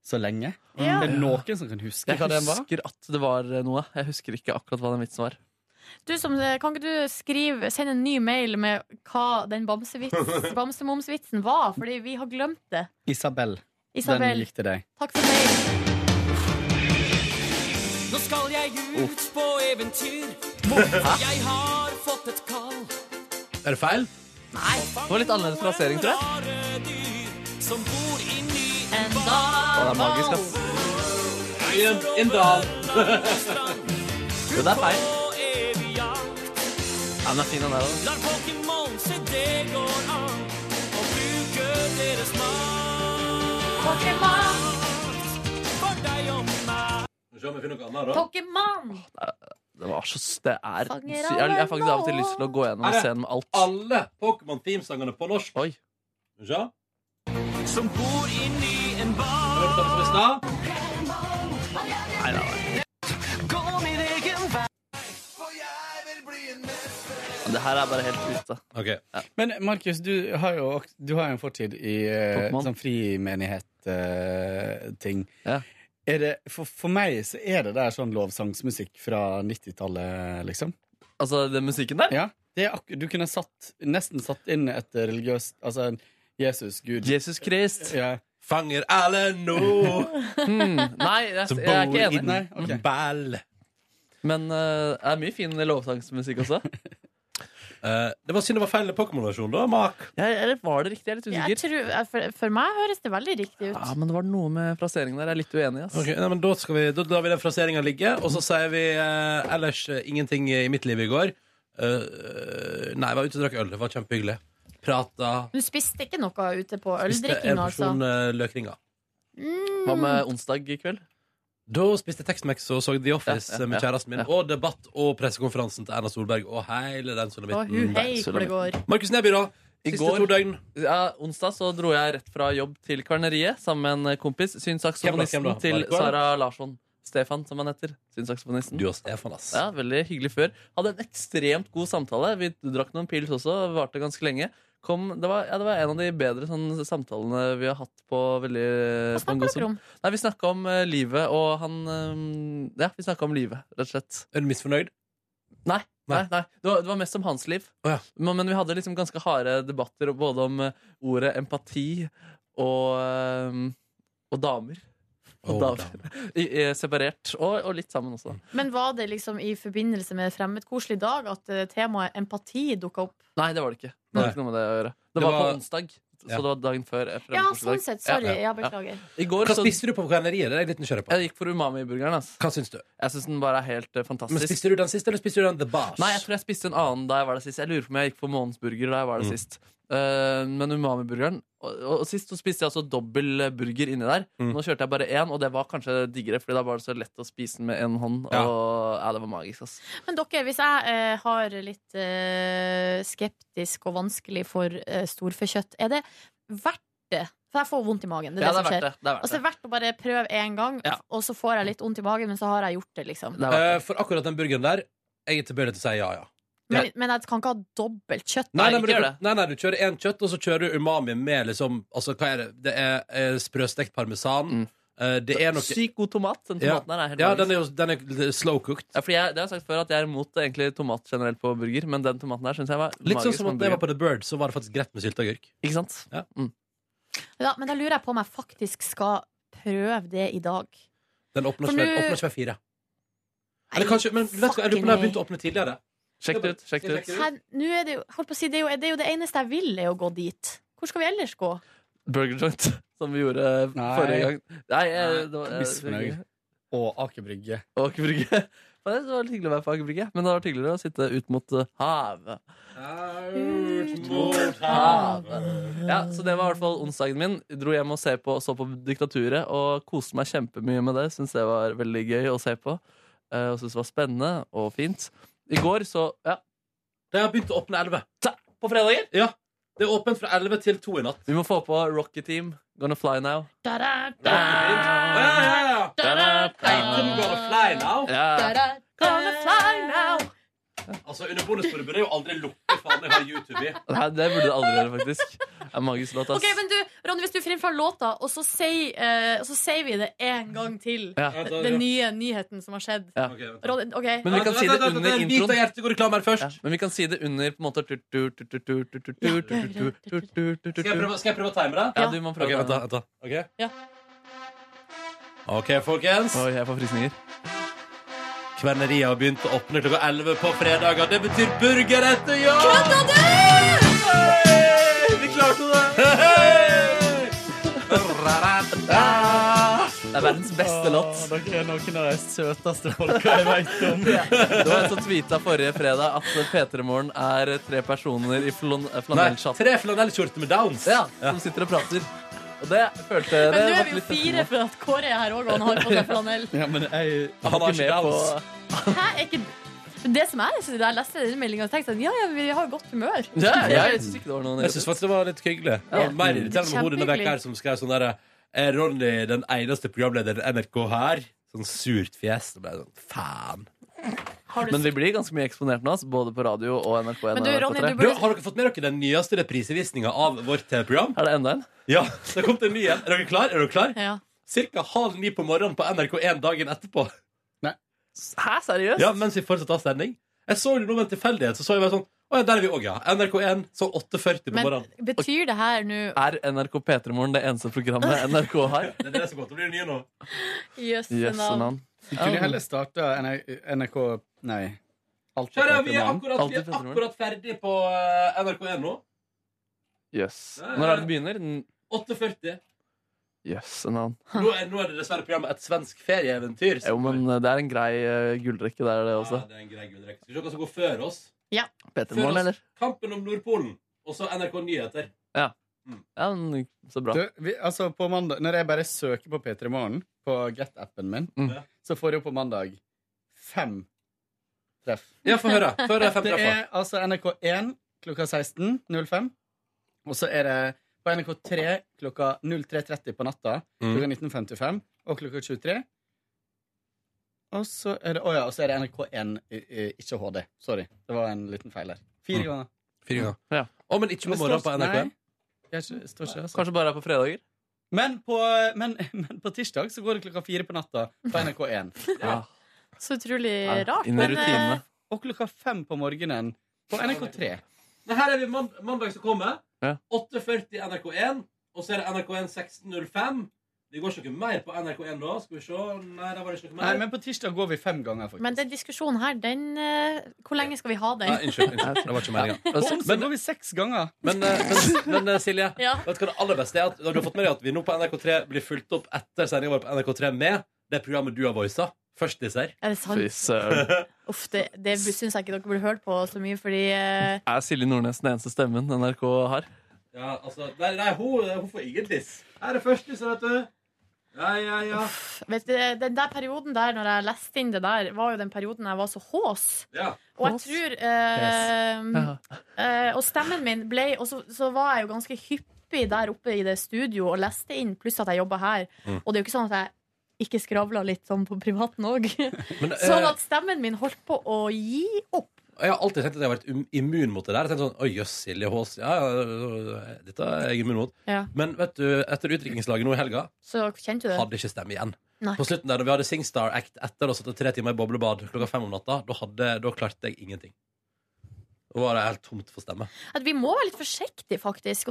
Speaker 7: så lenge.
Speaker 4: Ja.
Speaker 7: Er det noen som kan huske
Speaker 2: Jeg husker at det var eh, noe. Jeg husker ikke akkurat hva den vitsen var.
Speaker 4: Du som, eh, kan ikke du skrive, sende en ny mail med hva den bamsevits- bamsemomsvitsen var? Fordi vi har glemt det.
Speaker 7: Isabel.
Speaker 4: Isabel.
Speaker 7: Den gikk til deg.
Speaker 4: Takk for mail.
Speaker 13: Nå skal jeg ut på eventyr.
Speaker 2: Hæ?
Speaker 13: Jeg har fått et kall.
Speaker 1: Er det feil?
Speaker 13: Nei.
Speaker 2: Det var litt annerledes plassering, tror jeg.
Speaker 13: Som bor inni
Speaker 4: en
Speaker 2: Å, det er
Speaker 13: dal.
Speaker 2: magisk, ass.
Speaker 1: I en, i en dal.
Speaker 2: Jo, det er feil.
Speaker 13: På evig jakt.
Speaker 2: Ja, den er fin, den der også.
Speaker 13: Lar Pokémon se det går an. Og bruker deres makt.
Speaker 4: Pokémon,
Speaker 19: for deg og meg.
Speaker 1: Se om jeg finner noe annet, da.
Speaker 4: Pokémon.
Speaker 2: Det var så Det er
Speaker 4: Fanger
Speaker 2: Jeg jeg har faktisk av og til lyst til å gå gjennom og
Speaker 1: Her
Speaker 2: se
Speaker 1: er
Speaker 2: gjennom alt.
Speaker 1: Alle Pokémon-themesangene på norsk.
Speaker 2: Oi.
Speaker 1: Ja.
Speaker 19: Som bor inni en
Speaker 1: bar.
Speaker 2: Nei, nei, nei.
Speaker 19: Gå min egen vei.
Speaker 2: Det her er bare helt ute.
Speaker 9: Men Markus, du har jo ok- du har jo en fortid i eh,
Speaker 2: Pokémon.
Speaker 9: sånn frimenighet-ting. Er det, for, for meg så er det der sånn lovsangsmusikk fra 90-tallet, liksom.
Speaker 2: Altså den musikken der?
Speaker 9: Ja. Det er akkur- du kunne satt, nesten satt inn et religiøst Altså en Jesus Gud.
Speaker 2: Jesus Krist.
Speaker 9: Ja.
Speaker 1: Fanger alle nå!
Speaker 2: Mm. Nei, jeg, jeg er ikke enig.
Speaker 9: Nei, ok.
Speaker 1: Ball.
Speaker 2: Men eh, det er mye fin lovsangsmusikk også.
Speaker 1: Eh, det var synd det var feil Pokémon-versjon, da, Mark.
Speaker 2: eller var det riktig? Jeg er litt
Speaker 4: Jeg
Speaker 2: usikker.
Speaker 4: tror, jeg- Eh, for, for meg høres det veldig riktig
Speaker 1: Ah.
Speaker 4: ut.
Speaker 2: Ja, men det var noe med fraseringen der jeg er litt uenig altså. i. ass.
Speaker 1: Ok, nei, men da, skal vi, da lar vi den fraseringa ligge, og så sier vi eh, ellers eh, ingenting i mitt liv i går. Eh, nei, jeg var ute og drakk øl. Det var kjempehyggelig. Prata.
Speaker 4: Du spiste ikke noe ute på
Speaker 1: Spiste
Speaker 4: øldrikking,
Speaker 1: en
Speaker 4: altså?
Speaker 1: porsjon eh, løkringer.
Speaker 2: Hva med onsdag i kveld?
Speaker 1: Da spiste Tex-Mex og så The Office
Speaker 2: Ja, ja,
Speaker 1: med
Speaker 2: ja,
Speaker 1: kjæresten min.
Speaker 2: ja.
Speaker 1: Og debatt og pressekonferansen til Erna Solberg og hele den
Speaker 4: Å, hu
Speaker 1: sulamitten.
Speaker 4: hei, hvor det går.
Speaker 1: Markus Neby, da?
Speaker 2: I
Speaker 1: Siste
Speaker 2: går,
Speaker 1: to døgn.
Speaker 2: Ja, onsdag så dro jeg rett fra jobb til Kvarneriet sammen med en kompis.
Speaker 1: Hvem da,
Speaker 2: Synsaksofonisten
Speaker 1: hvem da?
Speaker 2: til
Speaker 1: Marco, eller?
Speaker 2: Sara Larsson. Stefan, som han heter. Synsaksofonisten.
Speaker 1: Du og Stefan, ass.
Speaker 2: Ja, veldig hyggelig før. Hadde en ekstremt god samtale. Vi drakk noen pils også, varte ganske lenge. Kom, det, var, ja, det var en av de bedre sånn, samtalene vi har hatt på veldig Hva
Speaker 4: snakker dere om?
Speaker 2: Nei, Vi snakka om eh, livet, og han eh, Ja, vi snakka om livet, rett og slett.
Speaker 1: Er du misfornøyd?
Speaker 2: Nei. Nei, nei. Det, var, det var mest om hans liv. Men, men vi hadde liksom ganske harde debatter både om eh, ordet empati og, eh, og damer. Og damer. I, eh, separert. Og, og litt sammen også. da.
Speaker 4: Men var det liksom i forbindelse med Fremmedkoselig dag at eh, temaet empati dukka opp?
Speaker 2: Nei, det var det ikke. Det
Speaker 1: Nei.
Speaker 2: var ikke noe med det å gjøre. Det,
Speaker 1: Det
Speaker 2: var,
Speaker 1: var-
Speaker 2: på onsdag,
Speaker 1: Ja.
Speaker 2: så det var dagen før. eh,
Speaker 4: Ja,
Speaker 2: Fremmedkorsdag.
Speaker 4: sånn sett. Sorry,
Speaker 2: Ja, ja,
Speaker 4: jeg
Speaker 2: ja.
Speaker 4: beklager.
Speaker 2: I går
Speaker 1: Hva
Speaker 2: så-
Speaker 1: spiste du på kverneriet? Det er jeg litt nysgjerrig på.
Speaker 2: Jeg gikk for umami-burgeren. ass.
Speaker 1: Hva syns du?
Speaker 2: Jeg syns den bare er helt eh, fantastisk.
Speaker 1: Men Spiste du den siste, eller spiste du den The Bars?
Speaker 2: Nei, jeg tror jeg spiste en annen da jeg var der sist. Jeg lurer på om jeg gikk for månedsburger da jeg var der
Speaker 1: Mm.
Speaker 2: sist. Eh, men umami-burgeren og, og, og sist så spiste jeg altså dobbel eh, burger inni der.
Speaker 1: Mm.
Speaker 2: Nå kjørte jeg bare én, og det var kanskje diggere, Fordi da var det så lett å spise den med én hånd. Og ja, det var magisk, ass.
Speaker 4: Men dere, hvis jeg eh, har litt eh, skeptisk og vanskelig for eh, storfekjøtt, er det verdt det? For jeg får vondt i magen. Det er
Speaker 2: Ja,
Speaker 4: det,
Speaker 2: det er verdt
Speaker 4: som skjer.
Speaker 2: det, det er verdt
Speaker 4: altså, det er verdt å bare prøve én gang,
Speaker 1: Ja.
Speaker 4: og så får jeg litt vondt i magen, men så har jeg gjort det, liksom.
Speaker 1: Eh, for akkurat den burgeren der, jeg er tilbøyelig til å si ja, ja.
Speaker 4: Men, men jeg kan ikke ha dobbelt kjøtt.
Speaker 1: Nei, nei, men du, nei, nei, du kjører én kjøtt, og så kjører du umami med liksom altså, hva er Det Det er, eh, sprøstekt parmesan. Eh, det er noe
Speaker 2: Sykt Mm. god tomat. Den
Speaker 1: Ja.
Speaker 2: tomaten her er helt
Speaker 1: Ja,
Speaker 2: magisk.
Speaker 1: den er jo den er slow cooked.
Speaker 2: Ja, fordi jeg, det har jeg sagt før at jeg er imot egentlig tomat generelt på burger, men den tomaten der syns jeg var
Speaker 1: Litt sånn
Speaker 2: magisk.
Speaker 1: som at
Speaker 2: med
Speaker 1: da jeg var
Speaker 2: burger.
Speaker 1: på The Bird, så var det faktisk greit med sylteagurk.
Speaker 2: Ikke sant?
Speaker 1: Ja.
Speaker 2: Mm.
Speaker 4: Ja, men da lurer jeg på om jeg faktisk skal prøve det i dag.
Speaker 1: Den åpner
Speaker 4: For
Speaker 1: ikke
Speaker 4: nå-
Speaker 1: åpner ikke med fire. Eller kanskje, men vet du hva, jeg lurer på om jeg har begynt å åpne tidligere.
Speaker 2: Sjekk det ut. Sjekk det ut.
Speaker 4: Her, nå er det, jo, holdt på å si, det, er jo, det er jo det eneste jeg vil, er å gå dit. Hvor skal vi ellers gå?
Speaker 2: Burger joint, som vi gjorde eh, forrige gang. Nei, jeg, det var, eh,
Speaker 9: Misfornøyd. Og Aker Brygge.
Speaker 2: Og Aker Brygge. Men Det var litt hyggelig å være på Aker Brygge, men det var hyggeligere å sitte ut mot eh, havet.
Speaker 1: Ut mot
Speaker 2: Ja, Så det var i hvert fall onsdagen min. Dro hjem og se på, så på Diktaturet og koste meg kjempemye med det. Syns det var veldig gøy å se på. eh, Og syns det var spennende og fint. I går så Ja.
Speaker 1: Det har begynt å åpne elleve.
Speaker 2: På fredager?
Speaker 1: Ja. Det er åpent fra elleve til to i natt.
Speaker 2: Vi må få på Rocket Team. Gonna fly now. Ja.
Speaker 1: Altså, Under bonusbordet burde jeg jo aldri lukke faen jeg har YouTube i.
Speaker 2: Nei, det burde du aldri gjøre, faktisk. Det er magisk låt, ass.
Speaker 4: Ok, men du, Ronny, Hvis du finner fra låta, og så sier eh, så sier vi det en gang til,
Speaker 2: Ja.
Speaker 4: den nye nyheten som har skjedd
Speaker 2: Ja.
Speaker 4: Ronny, ok
Speaker 2: Men vi kan si det under introen.
Speaker 1: først.
Speaker 2: Ja, men vi kan si det under på en måte Skal jeg
Speaker 1: prøve- skal jeg prøve å time det?
Speaker 2: Ja, du må prøve
Speaker 1: Ok, vent da, vent da. Ok? OK, folkens.
Speaker 2: Oi, jeg får frysninger.
Speaker 1: Kverneriet har begynt å åpne klokka 11 på fredager. Det betyr burger etter jobb!
Speaker 19: Kødda
Speaker 1: du?! Vi klarte det!
Speaker 2: Det er verdens beste låt.
Speaker 9: Dere er noen av de søteste folka jeg veit om.
Speaker 2: Det var en som tweeta forrige fredag at P3 Morgen er tre personer i flon- eh,
Speaker 1: Nei,
Speaker 2: flanellskjorte
Speaker 1: tre flanellskjorter med downs.
Speaker 2: ja, som sitter og prater. Og det følte jeg
Speaker 4: Men nå
Speaker 2: ble
Speaker 4: er vi jo
Speaker 2: litt
Speaker 4: fire for at Kåre er her òg, og han har på seg flanell.
Speaker 9: Ja, men jeg
Speaker 2: Han var ikke med på
Speaker 4: Hæ, er ikke det som er, så da jeg leste den meldinga, tenkte jeg ja, ja, vi har godt humør.
Speaker 2: synes ikke det var noen
Speaker 1: Jeg synes faktisk det var litt hyggelig. Det var mer irriterende med hodet denne veka her som skrev sånn derre Er Ronny den eneste programlederen i NRK her? Sånn surt fjes. Da ble jeg sånn faen.
Speaker 4: Har du
Speaker 2: Men vi blir ganske mye eksponert nå, altså, både på radio og NRK1
Speaker 4: Men
Speaker 2: og
Speaker 4: du,
Speaker 2: NRK3.
Speaker 4: Ronny, du burde-
Speaker 1: Har dere fått med dere den nyeste reprisevisninga av vårt TV-program?
Speaker 2: Er det enda en?
Speaker 1: Ja, det kom til en ny en. Er dere klar? Er dere klar?
Speaker 4: Ja.
Speaker 1: Cirka halv ni på morgenen på NRK1 dagen etterpå.
Speaker 9: Nei.
Speaker 2: Hæ, seriøst?
Speaker 1: Ja, mens vi fortsatt har sending. Jeg så det nå med en tilfeldighet, så så jeg bare sånn Å ja, der er vi òg, ja. NRK1 sånn 8.40 på
Speaker 4: Men
Speaker 1: morgenen.
Speaker 4: betyr det her nå
Speaker 2: Er NRK P3morgen det eneste programmet NRK har?
Speaker 1: Det er det som kommer til å bli det nye nå.
Speaker 4: Jøsse navn.
Speaker 9: Vi kunne heller starta NRK Nei. Alt
Speaker 1: Kjære, vi er
Speaker 9: Petermann.
Speaker 1: akkurat, vi er akkurat ferdig på eh, NRK1 nå.
Speaker 2: Jøss. Når er det det begynner? N-
Speaker 1: 8.40.
Speaker 2: Jøss, en annen.
Speaker 1: Nå er, nå er det dessverre programmet Et svensk ferieeventyr.
Speaker 2: Jo, men eh, det er en grei eh, gullrekke der, det også.
Speaker 1: Ja, det er en grei gullrekke. Skal vi se hva som går før oss?
Speaker 4: Ja.
Speaker 1: Før
Speaker 2: P3morgen,
Speaker 1: oss,
Speaker 2: eller?
Speaker 1: Kampen om Nordpolen, og så NRK Nyheter.
Speaker 2: Ja. ja men, så bra.
Speaker 9: Mm. Du, vi, altså på mandag, når jeg bare søker på P3 Morgen på Get-appen min,
Speaker 2: Mm.
Speaker 9: så får jeg opp på mandag fem treff.
Speaker 1: Ja, få høre. Få høre de fem
Speaker 9: det
Speaker 1: treffa.
Speaker 9: er altså NRK1 klokka 16.05, og så er det på NRK3 klokka 03.30 på natta,
Speaker 1: Mm.
Speaker 9: klokka 19.55 og klokka 23. Og så er det, å ja, og så er det NRK1, i- i- ikke HD. Sorry. Det var en liten feil her. Fire ganger.
Speaker 1: Fire ganger.
Speaker 2: Ja.
Speaker 1: Mm. Å, men ikke på
Speaker 9: Men det
Speaker 1: morgenen på
Speaker 9: står-
Speaker 1: NRK1?
Speaker 9: Nei. Jeg er ikke- står ikke, altså.
Speaker 2: Kanskje bare er på fredager?
Speaker 9: Men på, men, men på tirsdag så går det klokka fire på natta på NRK1.
Speaker 4: Så utrolig
Speaker 9: Ja,
Speaker 4: rart.
Speaker 9: inn i
Speaker 4: Men eh,
Speaker 9: rutinene. Og klokka fem på morgenen på NRK3.
Speaker 1: Men her er vi mand mandag som kommer.
Speaker 2: Ja.
Speaker 1: 8.40 NRK1, og så er det NRK1 16.05. Det går ikke noe mer på NRK1 da. Skal vi se. Nei, der var det ikke noe mer.
Speaker 9: Nei, men på tirsdag går vi fem ganger, faktisk.
Speaker 4: men den diskusjonen her, den eh, Hvor lenge skal vi ha den?
Speaker 1: Det var ikke meninga.
Speaker 9: På onsdag går vi seks ganger.
Speaker 1: Men, eh, men, men eh, Silje,
Speaker 4: Ja.
Speaker 1: vet du hva det aller beste er? At du har fått med deg at vi nå på NRK3 blir fulgt opp etter sendinga vår på NRK3 med det programmet du har voisa. Først dessert.
Speaker 4: Er det sant?
Speaker 2: Fy søren.
Speaker 4: Uff, det, det syns jeg ikke dere burde hørt på så mye, fordi eh,
Speaker 2: Er Silje Nordnes den eneste stemmen NRK har?
Speaker 1: ja, altså, nei, nei hun, hun får ingen tiss. Her er første, så vet du. Ja, ja, ja.
Speaker 4: Vet du, den der perioden der, når jeg leste inn det der, var jo den perioden jeg var så hås.
Speaker 1: Ja.
Speaker 4: Og jeg tror eh, eh, Og stemmen min ble Og så, så var jeg jo ganske hyppig der oppe i det studio og leste inn, pluss at jeg jobba her.
Speaker 1: Mm.
Speaker 4: Og det er jo ikke sånn at jeg ikke skravla litt sånn på privaten òg.
Speaker 1: Men, eh,
Speaker 4: sånn at stemmen min holdt på å gi opp.
Speaker 1: Jeg har alltid tenkt at jeg har vært um- immun mot det der. Jeg tenkte sånn, Oi, jøss, Silje Hås. Ja, ja, ja, dette er jeg immun mot.
Speaker 4: Ja.
Speaker 1: Men vet du, etter utdrikningslaget nå i helga
Speaker 4: Så kjente du det?
Speaker 1: hadde ikke stemme igjen.
Speaker 4: Nei.
Speaker 1: På slutten der, da vi hadde Singstar Act etter og satt i tre timer i boblebad klokka fem om natta, da, hadde, da klarte jeg ingenting. Da var det helt tomt for stemme.
Speaker 4: At vi må være litt forsiktige, faktisk.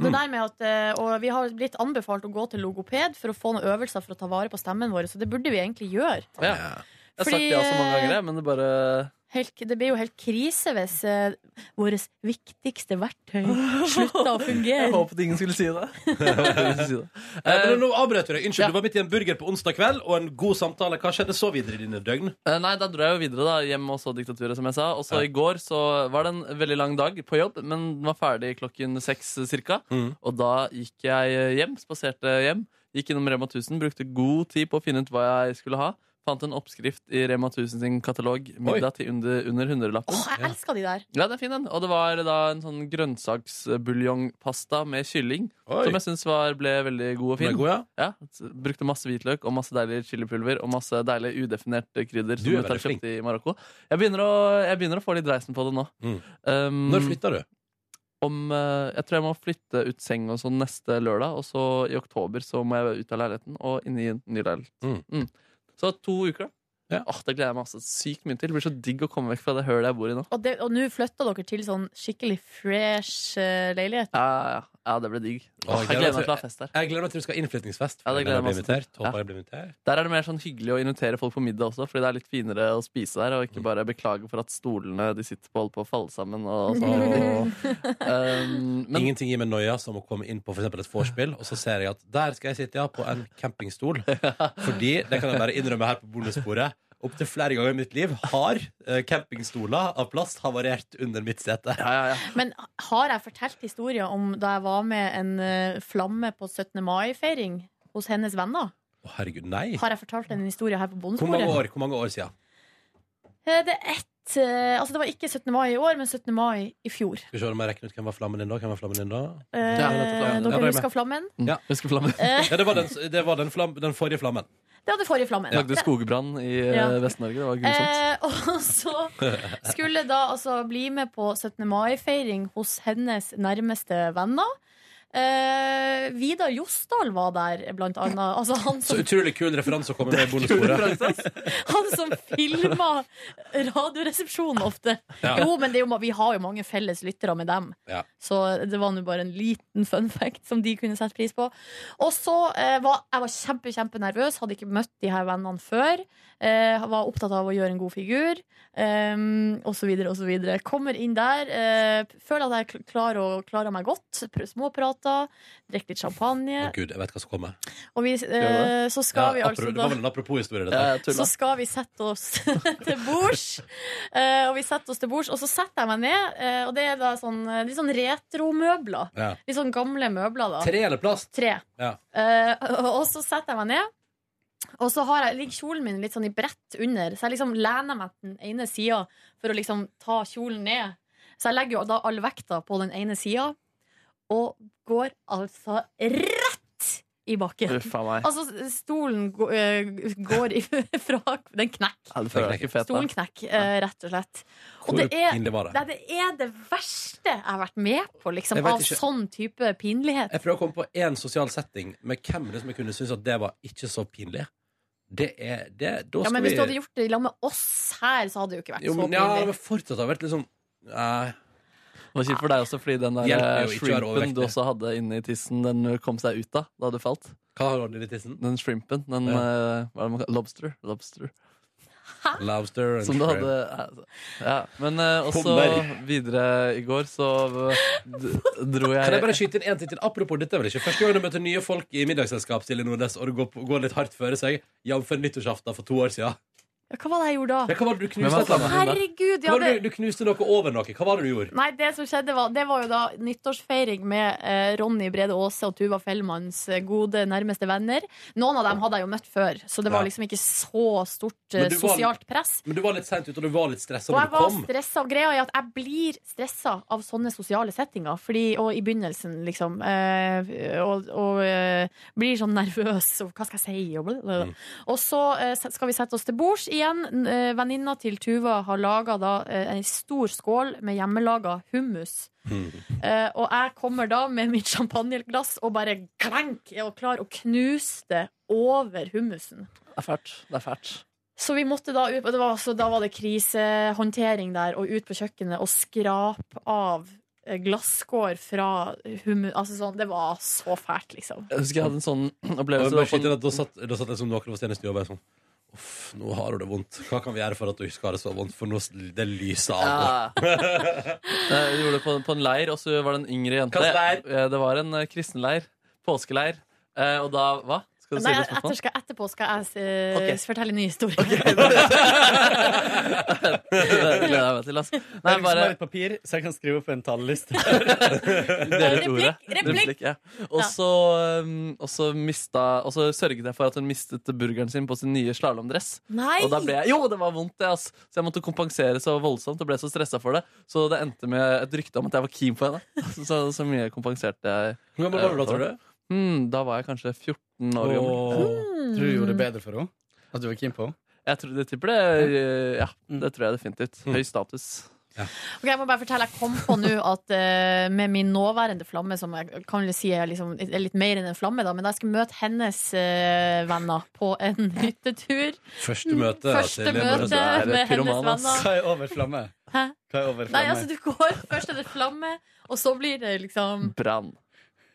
Speaker 1: Mm.
Speaker 4: Og, det der med at, eh, og vi har blitt anbefalt å gå til logoped for å få noen øvelser for å ta vare på stemmen vår, så det burde vi egentlig gjøre.
Speaker 2: Ja. Jeg har sagt
Speaker 4: Fordi,
Speaker 2: ja så mange ganger, jeg, men det bare
Speaker 4: Helt, det blir jo helt krise hvis uh, vårt viktigste verktøy slutter å
Speaker 2: Jeg
Speaker 4: fungere.
Speaker 2: håpet ingen skulle si det.
Speaker 1: Eh, men nå avbrøt jeg deg. Unnskyld, du var midt i en burger på onsdag kveld og en god samtale. Hva skjedde så videre i dine døgn?
Speaker 2: Eh, Nei, da dro jeg jo videre da, hjem og så diktaturet, som jeg sa. Og så i går så var det en veldig lang dag på jobb, men den var ferdig klokken seks eh, cirka.
Speaker 1: Mm.
Speaker 2: Og da gikk jeg eh, hjem, spaserte hjem, gikk innom Rema 1000, brukte god tid på å finne ut hva jeg skulle ha. Fant en oppskrift i Rema 1000 sin katalog, middag til under, under 100-lappen.
Speaker 4: Jeg elsker de der.
Speaker 2: Ja, den er fin den. Og det var da en sånn grønnsaksbuljongpasta med kylling.
Speaker 1: Oi.
Speaker 2: Som jeg syns ble veldig god og
Speaker 1: Den
Speaker 2: fin.
Speaker 1: er god, ja.
Speaker 2: s- Brukte masse hvitløk og masse deilig chilipulver og masse deilig udefinerte krydder.
Speaker 1: Du
Speaker 2: som
Speaker 1: er
Speaker 2: jeg tar
Speaker 1: veldig
Speaker 2: kjøpt i Marokko. Jeg begynner, å, jeg begynner å få litt dreisen på det nå. Um,
Speaker 1: Mm. Når flytta du?
Speaker 2: Om, eh, jeg tror jeg må flytte ut seng og sånn neste lørdag, og så i oktober så må jeg ut av leiligheten og inn i en ny leilighet.
Speaker 1: Mm.
Speaker 2: Mm. Så to uker, da. Åh, det gleder jeg meg altså sykt mye til. Det blir så digg å komme vekk fra det hølet jeg bor i nå.
Speaker 4: Og det- og nå flytter dere til sånn skikkelig fresh eh, leilighet.
Speaker 2: Ja, ja, ja. ja det blir digg.
Speaker 1: Å,
Speaker 2: Åh, jeg gleder meg til å ha fest der.
Speaker 1: Jeg gleder meg til du skal ha innflytningsfest.
Speaker 2: Ja, det gleder jeg meg
Speaker 1: blir
Speaker 2: også til.
Speaker 1: invitert. Håper
Speaker 2: Ja.
Speaker 1: jeg blir invitert.
Speaker 2: Der er det mer sånn hyggelig å invitere folk på middag også, fordi det er litt finere å spise der, og
Speaker 1: Mm.
Speaker 2: ikke bare beklage for at stolene de sitter på, holder på å falle sammen. Og sånn.
Speaker 1: Ingenting gir meg noia som å komme inn på for eksempel et vorspiel, og så ser jeg at der skal jeg sitte ja, på en campingstol. Fordi det kan jeg bare innrømme her på bonussporet. opptil flere ganger i mitt liv har eh, campingstoler av plast havarert under mitt sete.
Speaker 4: Men har jeg fortalt historien om da jeg var med en eh, flamme på 17. mai-feiring hos hennes venner?
Speaker 1: Å, herregud, nei.
Speaker 4: Har jeg fortalt en historie her på
Speaker 1: Hvor mange,
Speaker 4: bondesporet?
Speaker 1: år, hvor mange år siden?
Speaker 4: Eh, Det er ett eh, Altså, det var ikke 17. mai i år, men 17. mai i fjor.
Speaker 1: Skal vi se om jeg rekker ut hvem var flammen din da? Hvem var flammen din da?
Speaker 4: Eh,
Speaker 1: Ja, nettopp, ja. Ja, da er
Speaker 4: dere
Speaker 1: jeg
Speaker 4: husker
Speaker 1: med.
Speaker 4: flammen?
Speaker 1: Ja.
Speaker 4: Eh.
Speaker 1: Ja, det var, den, det var den, flam, den forrige flammen.
Speaker 4: Det var den forrige flammen.
Speaker 2: Lagde skogbrann i
Speaker 4: Ja.
Speaker 2: eh, Vest-Norge. Det var grusomt.
Speaker 4: Eh, og så skulle da altså bli med på 17. mai-feiring hos hennes nærmeste venner. Eh, Vidar Josdal var der, blant annet. Altså han
Speaker 1: Så
Speaker 4: som,
Speaker 1: utrolig kul referanse å komme med i bondesporet.
Speaker 4: han som filma Radioresepsjonen ofte.
Speaker 1: Ja.
Speaker 4: Jo, men det er jo, ma- vi har jo mange felles lyttere med dem.
Speaker 1: Ja.
Speaker 4: Så det var nå bare en liten fun fact som de kunne sette pris på. Og så eh, var jeg var kjempe, kjempenervøs, hadde ikke møtt de her vennene før. Eh, var opptatt av å gjøre en god figur, eh, og så videre og så videre. Kommer inn der, eh, føler at jeg kl- klarer, å, klarer meg godt. pr- Småprater, drikker litt champagne.
Speaker 1: Gud, jeg vet hva som kommer.
Speaker 4: Og vi, eh, så skal vi
Speaker 1: Ja,
Speaker 4: altså
Speaker 1: apro- Det
Speaker 4: da
Speaker 1: var vel en apropos-historie,
Speaker 2: Ja, jeg
Speaker 1: dette.
Speaker 4: så skal vi sette oss til bords. Eh, og vi setter oss til bords, og så setter jeg meg ned. eh, og det er da sånn, eh, litt sånn retromøbler.
Speaker 1: Ja.
Speaker 4: Litt sånn gamle møbler. da
Speaker 1: Tre eller plast?
Speaker 4: Tre.
Speaker 1: Ja.
Speaker 4: Eh, og så setter jeg meg ned. Og så har jeg, ligger kjolen min litt sånn i brett under, så jeg liksom lener meg til den ene sida for å liksom ta kjolen ned. Så jeg legger jo da all vekta på den ene sida, og går altså rett i bakken.
Speaker 2: Uff a meg.
Speaker 4: Altså, stolen gå- eh, går ifra Den knekker.
Speaker 2: Ja, det føler jeg ikke fet, da.
Speaker 4: Stolen knekker, eh, rett og slett. Og
Speaker 2: Hvor
Speaker 4: det er,
Speaker 2: pinlig var det?
Speaker 4: Nei, det er det verste jeg har vært med på, liksom,
Speaker 1: Jeg vet
Speaker 4: av
Speaker 1: ikke.
Speaker 4: sånn type pinlighet.
Speaker 1: Jeg prøver å komme på én sosial setting med hvem det er som jeg kunne synes at det var ikke så pinlig. Det er det, da
Speaker 4: Ja,
Speaker 1: skal
Speaker 4: men
Speaker 1: vi
Speaker 4: hvis du hadde gjort det i lag med oss her, så hadade det jo ikke vært
Speaker 1: jo,
Speaker 4: så
Speaker 1: men, ja,
Speaker 4: pinlig.
Speaker 1: men fortsatt har det vært liksom Nei.
Speaker 2: Det var kjipt for deg også, fordi den der eh,
Speaker 1: Hjelper jo ikke å være
Speaker 2: shrimpen
Speaker 1: overvektig.
Speaker 2: du også hadde inni tissen, den kom seg ut da da du falt.
Speaker 1: Hva har du i tissen?
Speaker 2: Den shrimpen. Den,
Speaker 1: Ja.
Speaker 2: eh, hva er det man kaller Lobster. Lobster.
Speaker 1: Lobster and
Speaker 2: Som du
Speaker 1: shrimp.
Speaker 2: hadde eh, altså. Ja, men eh, også
Speaker 1: Hummer.
Speaker 2: videre i går så eh, d- dro jeg
Speaker 1: Kan jeg bare skyte inn en ting til? Apropos dette, er vel ikke første gang du møter nye folk i middagsselskap, Silje Nordnes, og det går, på- går litt hardt føre seg, jf. nyttårsaften for to år siden.
Speaker 4: Ja, Hva var det jeg gjorde
Speaker 1: Ja,
Speaker 4: da?
Speaker 1: hva var det du
Speaker 2: Men
Speaker 1: knuste?
Speaker 2: hva
Speaker 1: et eller annet?
Speaker 4: Ah. Herregud, ja,
Speaker 1: Hva var det
Speaker 4: det-
Speaker 1: du, du knuste noe over noe. Hva var det du gjorde?
Speaker 4: Nei, det som skjedde var, det var jo da nyttårsfeiring med eh, Ronny Brede Aase og Tuva Fellmanns eh, gode nærmeste venner. Noen av dem hadde jeg jo møtt før, så det var
Speaker 1: Ja.
Speaker 4: liksom ikke så stort eh,
Speaker 1: Men du var-
Speaker 4: sosialt press.
Speaker 1: Men du var litt seint ute, og du var litt stressa
Speaker 4: Og
Speaker 1: når
Speaker 4: jeg
Speaker 1: du
Speaker 4: var
Speaker 1: kom.
Speaker 4: stressa, og greia er at jeg blir stressa av sånne sosiale settinger. Fordi, og i begynnelsen, liksom. Eh, og og eh, blir sånn nervøs, og hva skal jeg si? Og, bla, bla,
Speaker 1: Mm.
Speaker 4: bla. og så eh, set- skal vi sette oss til bords igjen. N- Eh, Venninna til Tuva har laga da eh, ei stor skål med hjemmelaga hummus. Eh, og jeg kommer da med mitt champagneglass og bare klenk, er og klarer å knuse det over hummusen.
Speaker 2: Det er fælt. Det er fælt.
Speaker 4: Så vi måtte da ut, og det var, så da var det krisehåndtering der, og ut på kjøkkenet og skrape av eh, glasskår fra hummus. Altså sånn, det var så fælt, liksom.
Speaker 2: Jeg husker jeg hadde en sånn
Speaker 1: Og
Speaker 2: opplevelse.
Speaker 1: jeg bare
Speaker 2: det var på-
Speaker 1: skyter inn at Da satt, da satt jeg som noen av oss i stua og bare sånn Uff, nå har hun det vondt. Hva kan vi gjøre for at hun ikke skal ha det så vondt? For nå s- det lyser av.
Speaker 2: Ja. Jeg gjorde det på, på en leir, og så var det en yngre jente.
Speaker 1: Hva slags
Speaker 2: Eh, Det var en eh, kristenleir. Påskeleir. Eh, Og da Hva? Skal du
Speaker 4: Nei,
Speaker 2: stille et
Speaker 4: etter
Speaker 2: spørsmål?
Speaker 4: skal, etterpå skal jeg eh,
Speaker 2: Ok.
Speaker 4: fortelle en ny historie.
Speaker 2: Det gleder jeg meg til, ass. Nei,
Speaker 9: jeg
Speaker 2: bare
Speaker 9: bare... et papir, så jeg kan skrive opp en talleliste.
Speaker 2: Dele ut ordet.
Speaker 9: replikk.
Speaker 2: ja. Og så um, og så mista- og så sørget jeg for at hun mistet burgeren sin på sin nye slalåmdress.
Speaker 4: Nei!
Speaker 2: Og da ble jeg Jo, det var vondt, det, ass! Så jeg måtte kompensere så voldsomt og ble så stressa for det. Så det endte med et rykte om at jeg var keen på henne. Så, så, så mye kompenserte jeg.
Speaker 1: Hvor gammel var du da, tror du?
Speaker 2: Hmm, da var jeg kanskje 14 år gammel.
Speaker 4: Hmm.
Speaker 9: Tror du gjorde det bedre for henne? At du var keen på henne? Mm.
Speaker 2: Jeg tror det tipper det. eh, Ja, det tror jeg definitivt. Høy status.
Speaker 4: Ok, jeg må bare fortelle, jeg kom på nå at eh, med min nåværende flamme, som jeg kan vel si er, liksom, er litt mer enn en flamme, da, men da jeg skulle møte hennes eh, venner på en hyttetur
Speaker 1: Første møte. da,
Speaker 4: Første
Speaker 1: Silje Nordnes.
Speaker 4: møte med hennes venner.
Speaker 9: Hva er over flamme?
Speaker 4: Hæ?
Speaker 9: Hva er over
Speaker 4: Nei,
Speaker 9: flamme?
Speaker 4: altså du går Først er det flamme, og så blir det liksom
Speaker 2: Brann.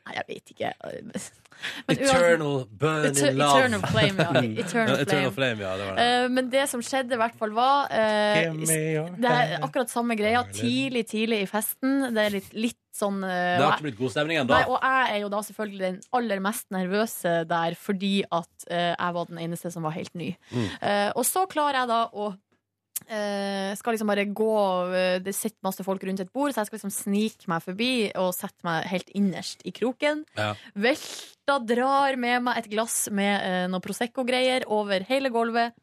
Speaker 4: Nei, jeg vet ikke. Men uansett-
Speaker 1: Eternal burning
Speaker 4: Eter-
Speaker 1: love.
Speaker 4: Eternal flame, ja.
Speaker 1: Mm.
Speaker 4: Eternal
Speaker 1: Ja, Eternal
Speaker 4: flame.
Speaker 1: flame, ja, det var det.
Speaker 4: Eh, men det som skjedde, i hvert fall var eh,
Speaker 1: Give me your
Speaker 4: Det er akkurat samme greia. Tidlig, tidlig i festen. Det er litt, litt sånn eh,
Speaker 1: Det har
Speaker 4: og jeg-
Speaker 1: ikke blitt god stemning ennå.
Speaker 4: Nei, og jeg er jo da selvfølgelig den aller mest nervøse der fordi at eh, jeg var den eneste som var helt ny.
Speaker 1: Mm.
Speaker 4: Eh, og så klarer jeg da å eh, skal liksom bare gå eh, Det sitter masse folk rundt et bord, så jeg skal liksom snike meg forbi og sette meg helt innerst i kroken.
Speaker 1: Ja.
Speaker 4: Velta drar med meg et glass med eh, noe Prosecco-greier over hele gulvet.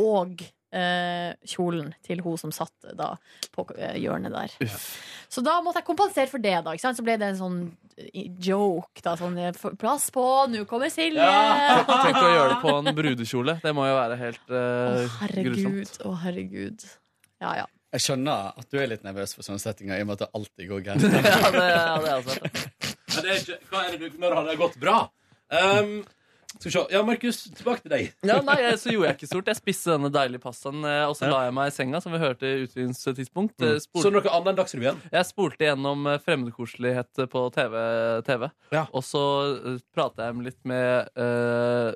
Speaker 4: Og eh, kjolen til hun som satt da på eh, hjørnet der. Så da måtte jeg kompensere for det. da ikke sant? Så ble det en sånn eh, joke. da sånn, eh, for- Plass på, nå kommer Silje!
Speaker 2: Tenk tenk å gjøre det på en brudekjole. Det må jo være helt eh, grusomt.
Speaker 4: Herregud, å herregud. Ja, ja.
Speaker 9: Jeg skjønner at du er litt nervøs for sånne settinger, i og med at det alltid går
Speaker 2: Ja, det, ja,
Speaker 9: gærent.
Speaker 2: det er altså.
Speaker 1: Men det er ikke, hva er det du, når har det gått bra? Ehm, skal vi se. Ja, Markus, tilbake til deg.
Speaker 2: Ja, nei, jeg- så gjorde jeg ikke stort. Jeg spiste denne deilige pastaen, eh, og så la jeg meg i senga, som vi hørte i utviklingstidspunkt.
Speaker 1: Mm. Så noe annet enn Dagsrevyen?
Speaker 2: Jeg spolte gjennom eh, Fremmedkoselighet på TV, TV. og så eh, prata jeg litt med eh,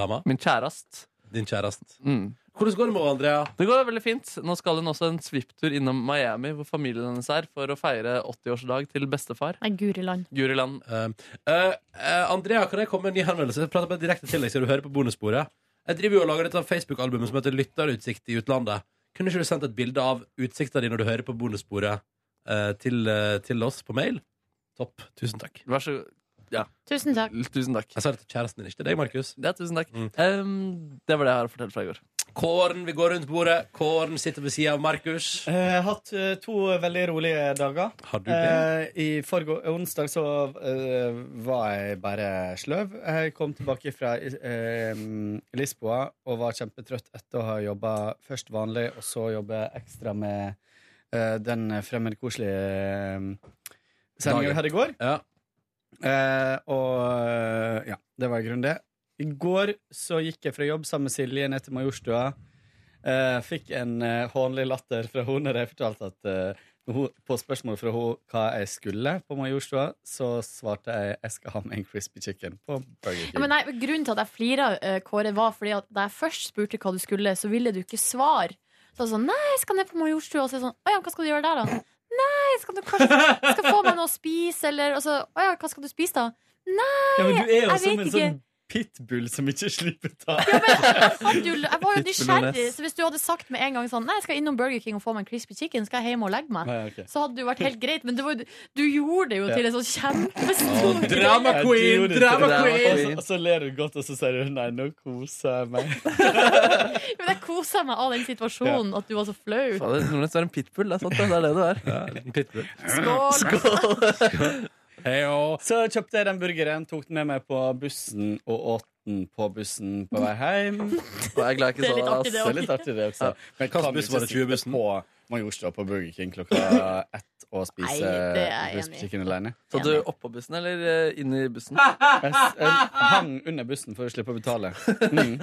Speaker 1: Dama?
Speaker 2: Min kjærest.
Speaker 1: Din kjærest.
Speaker 2: Mm.
Speaker 1: Hvordan går det med Andrea?
Speaker 2: Det går veldig fint. Nå skal hun også en svipptur innom Miami, hvor familien hennes er, for å feire 80-årsdag til bestefar.
Speaker 4: Nei, guri land.
Speaker 2: Guri land.
Speaker 1: Eh, eh, Andrea, kan jeg komme med en ny henvendelse? Jeg prater bare direkte til deg, så du hører på bonussporet. Jeg driver jo og lager dette Facebook-albumet som heter Lytterutsikt i utlandet. Kunne ikke du sendt et bilde av utsikta di når du hører på bonussporet, eh, til, eh, til oss på mail? Topp. Tusen takk.
Speaker 2: Vær så Ja.
Speaker 4: Tusen takk.
Speaker 2: Tusen takk.
Speaker 1: Jeg sa det til kjæresten din, ikke til deg, Markus. Mm.
Speaker 2: Ja, tusen takk. Ehm, det var det jeg har å fortelle fra i går.
Speaker 1: Kåren, vi går rundt bordet. Kåren sitter ved sida av Markus.
Speaker 7: Eh, Jeg har hatt eh, to veldig rolige dager.
Speaker 1: Har du
Speaker 7: det? I forgå- onsdag så eh, var jeg bare sløv. Jeg kom tilbake fra eh, Lisboa og var kjempetrøtt etter å ha jobba først vanlig, og så jobbe ekstra med eh, den fremmedkoselige uh, sendinga
Speaker 9: Dagen.
Speaker 7: vi hadde i går. Eh, og eh, ja, det var i grunnen det. I går så gikk jeg fra jobb sammen med Silje ned til Majorstua. Eh, fikk en eh, hånlig latter fra henne når jeg fortalte at eh, når hun, på spørsmål fra henne hva jeg skulle på Majorstua, så svarte jeg jeg skal ha med en crispy chicken på Burger King.
Speaker 4: Ja, men nei, grunnen til at jeg flira, eh, Kåre, var fordi at da jeg først spurte hva du skulle, så ville du ikke svare. Så jeg sånn, nei, jeg skal ned på Majorstua. Og så er jeg sånn, å ja, hva skal du gjøre der, da? Nei, skal du kanskje skal få meg noe å spise, eller Og så, å ja, hva skal du spise, da? Nei,
Speaker 7: Ja, men du er jo
Speaker 4: jeg
Speaker 7: som
Speaker 4: vet
Speaker 7: en
Speaker 4: ikke.
Speaker 7: sånn pitbull som ikke slipper ta.
Speaker 4: Hadde du, jeg var jo
Speaker 7: Pitbull og
Speaker 4: nysgjerrig,
Speaker 7: Ness.
Speaker 4: så hvis du hadde sagt med en gang sånn Nei, jeg skal innom Burger King og få meg en crispy chicken, skal jeg hjem og legge meg,
Speaker 7: Nei, ok.
Speaker 4: så hadde det jo vært helt greit. Men det var, jo- du gjorde det jo
Speaker 7: Ja.
Speaker 4: til en sånn kjempestor
Speaker 7: Å,
Speaker 4: greie.
Speaker 7: Jeg
Speaker 1: queen,
Speaker 7: gjorde det
Speaker 1: drama
Speaker 7: til det.
Speaker 1: queen.
Speaker 7: Og så- Og så ler du godt, og så sier du nei, nå koser jeg meg.
Speaker 4: Men jeg kosa meg av den situasjonen, at du var så flau.
Speaker 2: Fader, Nordnes er en pitbull. Det er sant, det. Det er det du er.
Speaker 4: Skål!
Speaker 7: Så kjøpte jeg den burgeren, tok den med meg på bussen og åt den på bussen på vei hjem.
Speaker 2: jeg er glad jeg ikke Det er så
Speaker 7: Det er
Speaker 2: litt det, artig ass. det også.
Speaker 7: litt artig, det også.
Speaker 2: Ja.
Speaker 7: Men
Speaker 2: Hvilken
Speaker 7: kan
Speaker 2: buss
Speaker 7: buss
Speaker 2: var
Speaker 7: var
Speaker 2: det,
Speaker 7: på Majorstua på Burger King klokka ett og spise
Speaker 2: Nei, det er jeg enig i.
Speaker 7: bussbutikken alene?
Speaker 2: Så du oppå bussen, eller eh, inne i bussen?
Speaker 7: Jeg, s- jeg hang under bussen for å slippe å betale. Mm.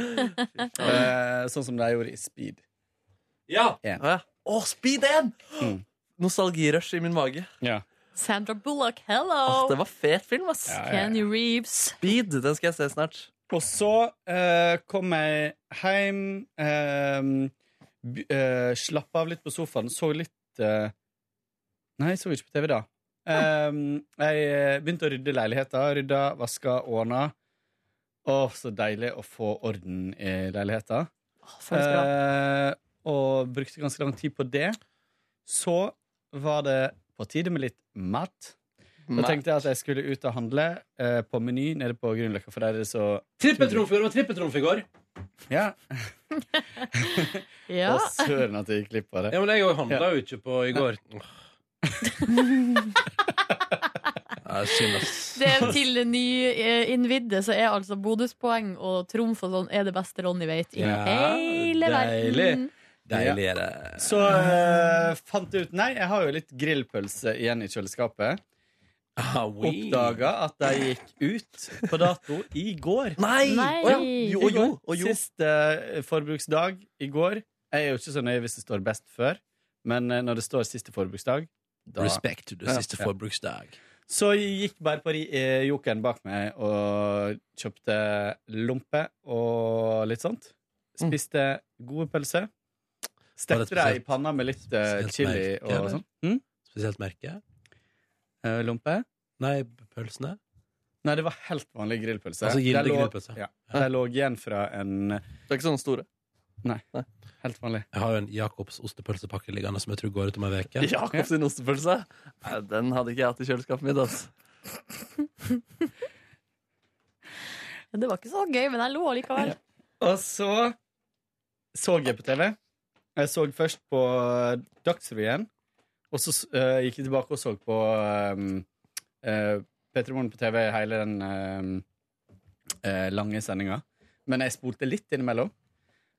Speaker 7: Eh, sånn som det jeg gjorde i Speed.
Speaker 1: Ja!
Speaker 2: Å, speed 1!
Speaker 7: Mm.
Speaker 2: Nostalgirush i min mage.
Speaker 7: Ja.
Speaker 4: Sandra Bullock, hello!
Speaker 2: det var fet film, ass.
Speaker 7: Ja, ja, ja.
Speaker 4: Kenny Reeves.
Speaker 2: Speed, den skal jeg se snart.
Speaker 7: Og så eh, kom jeg hjem, eh, by- eh, slapp av litt på sofaen, så litt eh, Nei, jeg så ikke på TV da. Eh, jeg eh, begynte å rydde leiligheten. Rydda, vaska, ordna. Å, så deilig å få orden i leiligheten.
Speaker 4: føles
Speaker 7: Eh, og brukte ganske lang tid på det. Så var det på tide med litt mat. Da
Speaker 1: Mat.
Speaker 7: tenkte jeg at jeg skulle ut og handle eh, på Meny nede på Grünerløkka. For der er det så
Speaker 1: Trippeltrumf i går, det var trippeltrumf i går.
Speaker 7: Ja.
Speaker 4: Ja.
Speaker 7: Å, søren at jeg gikk glipp av det.
Speaker 1: Ja, men jeg òg handla jo ikke på i går. Åh. Det er synd, ass.
Speaker 4: Det er til nyinnvidde så er altså bonuspoeng og trumf og sånn er det beste Ronny vet i hele verden.
Speaker 1: Deilig er det.
Speaker 7: Så eh, fant jeg ut Nei, jeg har jo litt grillpølse igjen i kjøleskapet.
Speaker 2: Ah,
Speaker 1: oui.
Speaker 7: Oppdaga at de gikk ut på dato i går.
Speaker 2: Nei! Nei. Å ja.
Speaker 7: I
Speaker 2: Jo, og jo,
Speaker 7: går.
Speaker 2: og jo.
Speaker 7: Siste eh, forbruksdag i går. Jeg er jo ikke så nøye hvis det står best før, men eh, når det står siste forbruksdag da-
Speaker 1: Respekt til det siste forbruksdag.
Speaker 7: Så jeg gikk bare på ri- eh, jokeren bak meg og kjøpte lompe og litt sånt. Mm. Spiste gode pølser.
Speaker 1: Var
Speaker 7: Stekte dem
Speaker 1: det
Speaker 7: i
Speaker 1: spesielt-
Speaker 7: panna med litt eh,
Speaker 1: spesielt
Speaker 7: chili
Speaker 1: merke,
Speaker 7: og
Speaker 1: eller?
Speaker 2: Hm?
Speaker 7: sånn. Mm?
Speaker 1: Spesielt merke?
Speaker 7: eh, lompe.
Speaker 1: Nei, pølsene?
Speaker 7: Nei, det var helt vanlig grillpølse.
Speaker 1: Altså gilde
Speaker 7: Det lå-
Speaker 1: grillpølse.
Speaker 7: Ja, det lå igjen fra en Det
Speaker 2: er ikke sånne store?
Speaker 7: Nei. Helt vanlig.
Speaker 1: Jeg har jo en Jacobs ostepølsepakke liggende som jeg tror går ut om ei uke.
Speaker 2: Jakobs ostepølse? Nei, Den hadde ikke jeg hatt i kjøleskapet mitt. Altså.
Speaker 4: Det var ikke så gøy, men jeg lo likevel.
Speaker 7: Og så så jeg på TV. Jeg så først på eh, Dagsrevyen, og så eh, gikk jeg tilbake og så på um, Petter Moren på TV hele den eh, eh, lange sendinga. Men jeg spolte litt innimellom.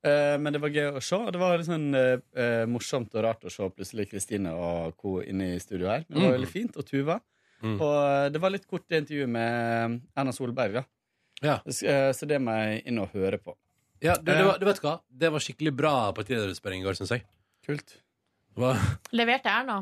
Speaker 7: Eh, men det var gøy å se. og Det var litt sånn, eh, eh, morsomt og rart å se plutselig Kristine og co. inne i studio her. Men det var
Speaker 1: Mm.
Speaker 7: veldig fint. Og Tuva.
Speaker 1: Mm.
Speaker 7: Og eh, det var litt kort intervju med eh, Erna Solberg, da. Så, eh, så det må jeg inn og høre på.
Speaker 1: Ja, du, du,
Speaker 7: Eh.
Speaker 1: du vet hva? Det var skikkelig bra partilederutspørring i går, syns jeg.
Speaker 7: Kult.
Speaker 1: Det var,
Speaker 4: Leverte Erna.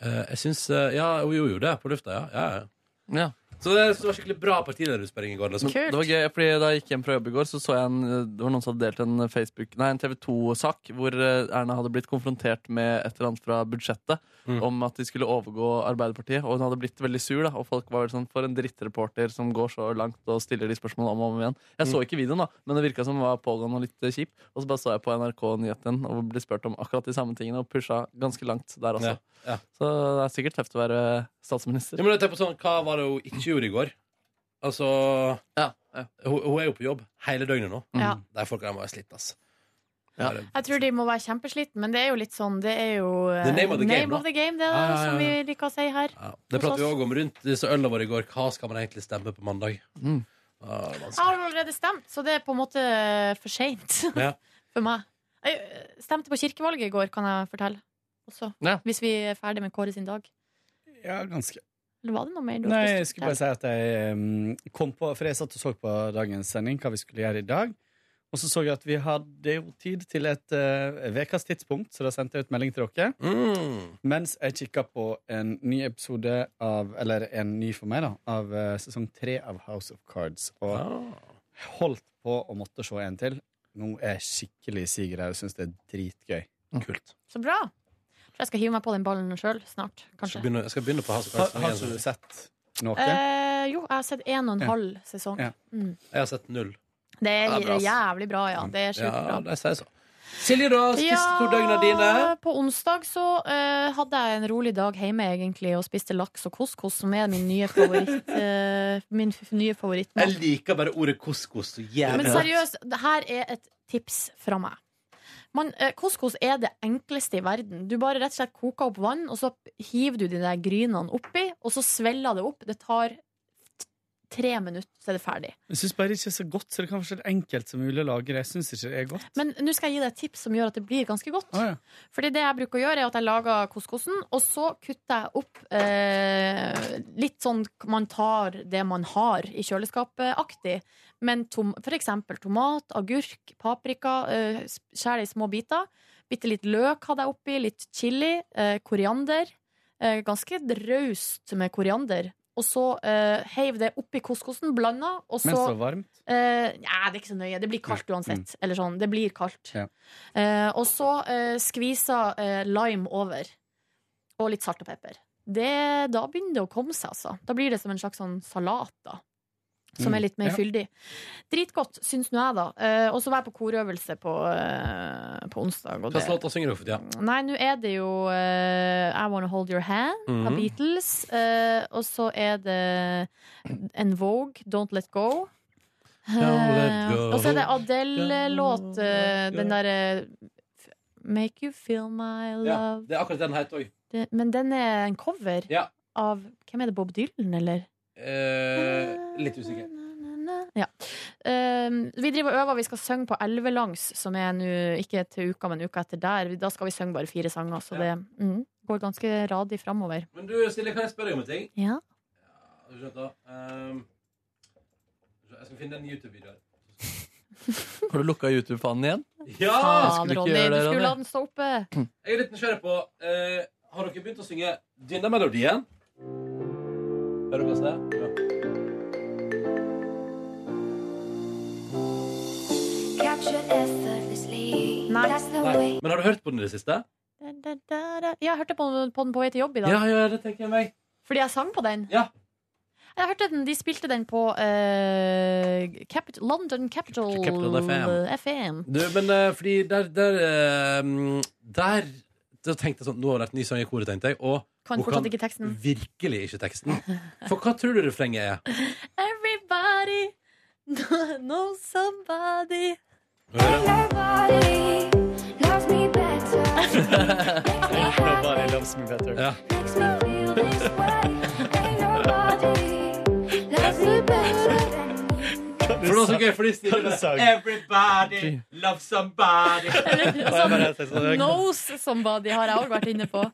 Speaker 1: eh, jeg syns eh, Ja, hun gjorde jo det på lufta, ja. ja, ja.
Speaker 2: Ja.
Speaker 1: Så det, så det var skikkelig bra partilederutspørring i går. Liksom.
Speaker 2: Men Det var gøy, fordi Da jeg gikk hjem fra jobb i går, så så jeg en, det var noen som hadde delt en, Facebook- nei, en TV 2-sak hvor eh, Erna hadde blitt konfrontert med et eller annet fra budsjettet
Speaker 1: Mm.
Speaker 2: om at de skulle overgå Arbeiderpartiet. Og hun hadde blitt veldig sur. da Og folk var veldig sånn For en drittreporter som går så langt og stiller de spørsmålene om og om igjen. Jeg så
Speaker 1: Mm.
Speaker 2: ikke videoen, da men det virka som den var pågående og litt eh, kjip. Og så bare så jeg på NRK Nyheten og ble spurt om akkurat de samme tingene og pusha ganske langt der altså. også.
Speaker 1: Ja, ja.
Speaker 2: Så det er sikkert tøft å være statsminister.
Speaker 1: Ja, men jeg tenker på sånn, Hva var det hun ikke gjorde i går? Altså Hun, hun er jo på jobb hele døgnet nå.
Speaker 2: Mm.
Speaker 4: Ja.
Speaker 1: De folka der må være slitt, ass. Bare-
Speaker 4: Jeg tror de må være kjempesliten, men det er jo litt sånn Det er jo eh,
Speaker 1: The name of the game, da.
Speaker 4: of the game, det,
Speaker 1: Ja, ja, ja,
Speaker 4: som vi
Speaker 1: ja.
Speaker 4: liker å si her.
Speaker 1: Det
Speaker 4: Hos
Speaker 1: pratet vi
Speaker 4: oss.
Speaker 1: òg om rundt disse ølene våre i går. Hva skal man egentlig stemme på mandag?
Speaker 2: Mm.
Speaker 1: Ah, vanskelig.
Speaker 4: Jeg har allerede stemt, så det er på en måte eh, for seint
Speaker 1: ja.
Speaker 4: for meg. Jeg eh, stemte på kirkevalget i går, kan jeg fortelle. Også.
Speaker 2: Ja.
Speaker 4: Hvis vi er ferdig med Kåre sin dag.
Speaker 7: Ja, ganske.
Speaker 4: Eller var det noe mer du
Speaker 7: Nei,
Speaker 4: hadde
Speaker 7: jeg
Speaker 4: lyst til
Speaker 7: skulle
Speaker 4: å
Speaker 7: bare si at jeg um, kom på For jeg satt og så på dagens sending hva vi skulle gjøre i dag. Og så så jeg at vi hadde jo tid til et uh, vekas tidspunkt, så da sendte jeg ut melding til dere.
Speaker 1: Mm.
Speaker 7: Mens jeg kikka på en ny episode av Eller en ny for meg, da. Av uh, sesong tre av House of Cards. Og
Speaker 1: Ah.
Speaker 7: holdt på å måtte se en til. Nå er jeg skikkelig siger her og syns det er dritgøy.
Speaker 1: Kult.
Speaker 4: Så bra. For jeg skal hive meg på den ballen sjøl snart, kanskje.
Speaker 1: Skal begynne, jeg skal begynne på House of
Speaker 7: Har,
Speaker 1: Cards.
Speaker 7: har ikke du sett noe?
Speaker 4: Eh, jo, jeg har sett en og en
Speaker 1: Ja.
Speaker 4: halv sesong.
Speaker 1: Ja.
Speaker 4: Mm.
Speaker 1: Jeg har sett null.
Speaker 4: Det er
Speaker 1: Ja, det er bra, ass.
Speaker 4: jævlig bra, ja. Det er sjukt
Speaker 1: Ja,
Speaker 4: bra.
Speaker 1: de sier så. Silje, da? Siste to døgna dine?
Speaker 4: Ja, På onsdag så eh, hadde jeg en rolig dag hjemme egentlig og spiste laks og couscous, som er min nye favoritt. eh, min f nye
Speaker 1: Jeg
Speaker 4: favorittmat.
Speaker 1: liker bare ordet couscous så jævlig
Speaker 4: Men
Speaker 1: godt.
Speaker 4: seriøst, det her er et tips fra meg. Man, eh, couscous er det enkleste i verden. Du bare rett og slett koker opp vann, og så hiver du de der grynene oppi, og så svelger det opp. Det tar t- tre minutter, så er det ferdig.
Speaker 7: Jeg syns bare ikke det er så godt, så det kan være så enkelt som mulig å lage det. Jeg synes ikke det er godt.
Speaker 4: Men nå skal jeg gi deg et tips som gjør at det blir ganske godt.
Speaker 7: Ah, ja.
Speaker 4: Fordi det jeg bruker å gjøre, er at jeg lager couscousen, og så kutter jeg opp eh, litt sånn man tar det man har i kjøleskapet-aktig. Men tom, for eksempel tomat, agurk, paprika. Eh, Skjær det i små biter. Bitte litt løk hadde jeg oppi, litt chili, eh, koriander. Eh, ganske raust med koriander. Og så eh, heiv det oppi couscousen, blanda, og så
Speaker 7: Men så varmt.
Speaker 4: Eh, nei, det er ikke så nøye. Det blir kaldt uansett. Eller sånn. Det blir kaldt.
Speaker 7: Ja.
Speaker 4: Eh, og så eh, skviser eh, lime over. Og litt salt og pepper. Det, da begynner det å komme seg, altså. Da blir det som en slags sånn salat, da. Som
Speaker 20: Mm,
Speaker 4: er litt mer
Speaker 20: ja.
Speaker 4: fyldig. Dritgodt, syns nå jeg, da. Eh, og så var jeg på korøvelse på, eh, på onsdag. Og
Speaker 1: Hva
Speaker 4: det,
Speaker 1: slags låter synger du for tida?
Speaker 4: nei, nå er det jo eh, I Wanna Hold Your Hand av
Speaker 1: Mhm.
Speaker 4: Beatles. eh, og så er det en Vogue, Don't Let Go.
Speaker 1: Don't let
Speaker 4: Eh,
Speaker 1: go.
Speaker 4: Og så er det Adele-låt, eh, den derre Make you feel my
Speaker 1: Ja,
Speaker 4: love.
Speaker 1: det er akkurat den het òg.
Speaker 4: Den- Men den er en cover
Speaker 1: Ja.
Speaker 4: av Hvem er det? Bob Dylan, eller?
Speaker 1: Eh, litt usikker.
Speaker 4: Ja. Um, vi driver og øver. Vi skal synge på Elvelangs, som er nå ikke til uka, men uka etter der. Vi- Da skal vi synge bare fire sanger, så
Speaker 1: Ja.
Speaker 4: det mm, går ganske radig framover.
Speaker 1: Men du, Silje, kan jeg spørre deg om en ting?
Speaker 4: Ja.
Speaker 1: Har du skjønt da? Ehm, jeg skal finne den YouTube-videoen.
Speaker 2: Har du lukka YouTube-fanen igjen?
Speaker 1: Ja!
Speaker 4: Faen,
Speaker 2: Skulle ikke
Speaker 4: Ronny,
Speaker 2: gjøre
Speaker 4: du
Speaker 2: det,
Speaker 4: skulle
Speaker 2: Ronny.
Speaker 4: la den stå oppe.
Speaker 1: Jeg er litt nysgjerrig på eh, Har dere begynt å synge denne melodien? Hører dere hvordan det? er? Ja. Nei.
Speaker 4: Nei.
Speaker 1: Men har du hørt på den i det siste?
Speaker 4: Da, da, da. Ja, jeg hørte på, på den på vei til jobb i dag.
Speaker 1: Ja, ja, det tenker jeg meg.
Speaker 4: Fordi jeg sang på den?
Speaker 17: Ja.
Speaker 4: Jeg hørte den, De spilte den på eh, Capit London Capital,
Speaker 1: Capital FM.
Speaker 4: FM.
Speaker 1: Du, men eh, fordi der Der, eh, der da tenkte jeg sånn, Nå har det vært ny sang i koret, tenkte jeg. Og
Speaker 4: Kan
Speaker 1: hun
Speaker 4: fortsatt ikke teksten.
Speaker 1: virkelig ikke teksten. For hva tror du refrenget er?
Speaker 4: Everybody knows somebody.
Speaker 7: Nobody loves me better.
Speaker 1: For det var så gøy, fordi Stine
Speaker 17: Everybody loves somebody.
Speaker 2: Sånn.
Speaker 4: Knows somebody har jeg òg vært inne på.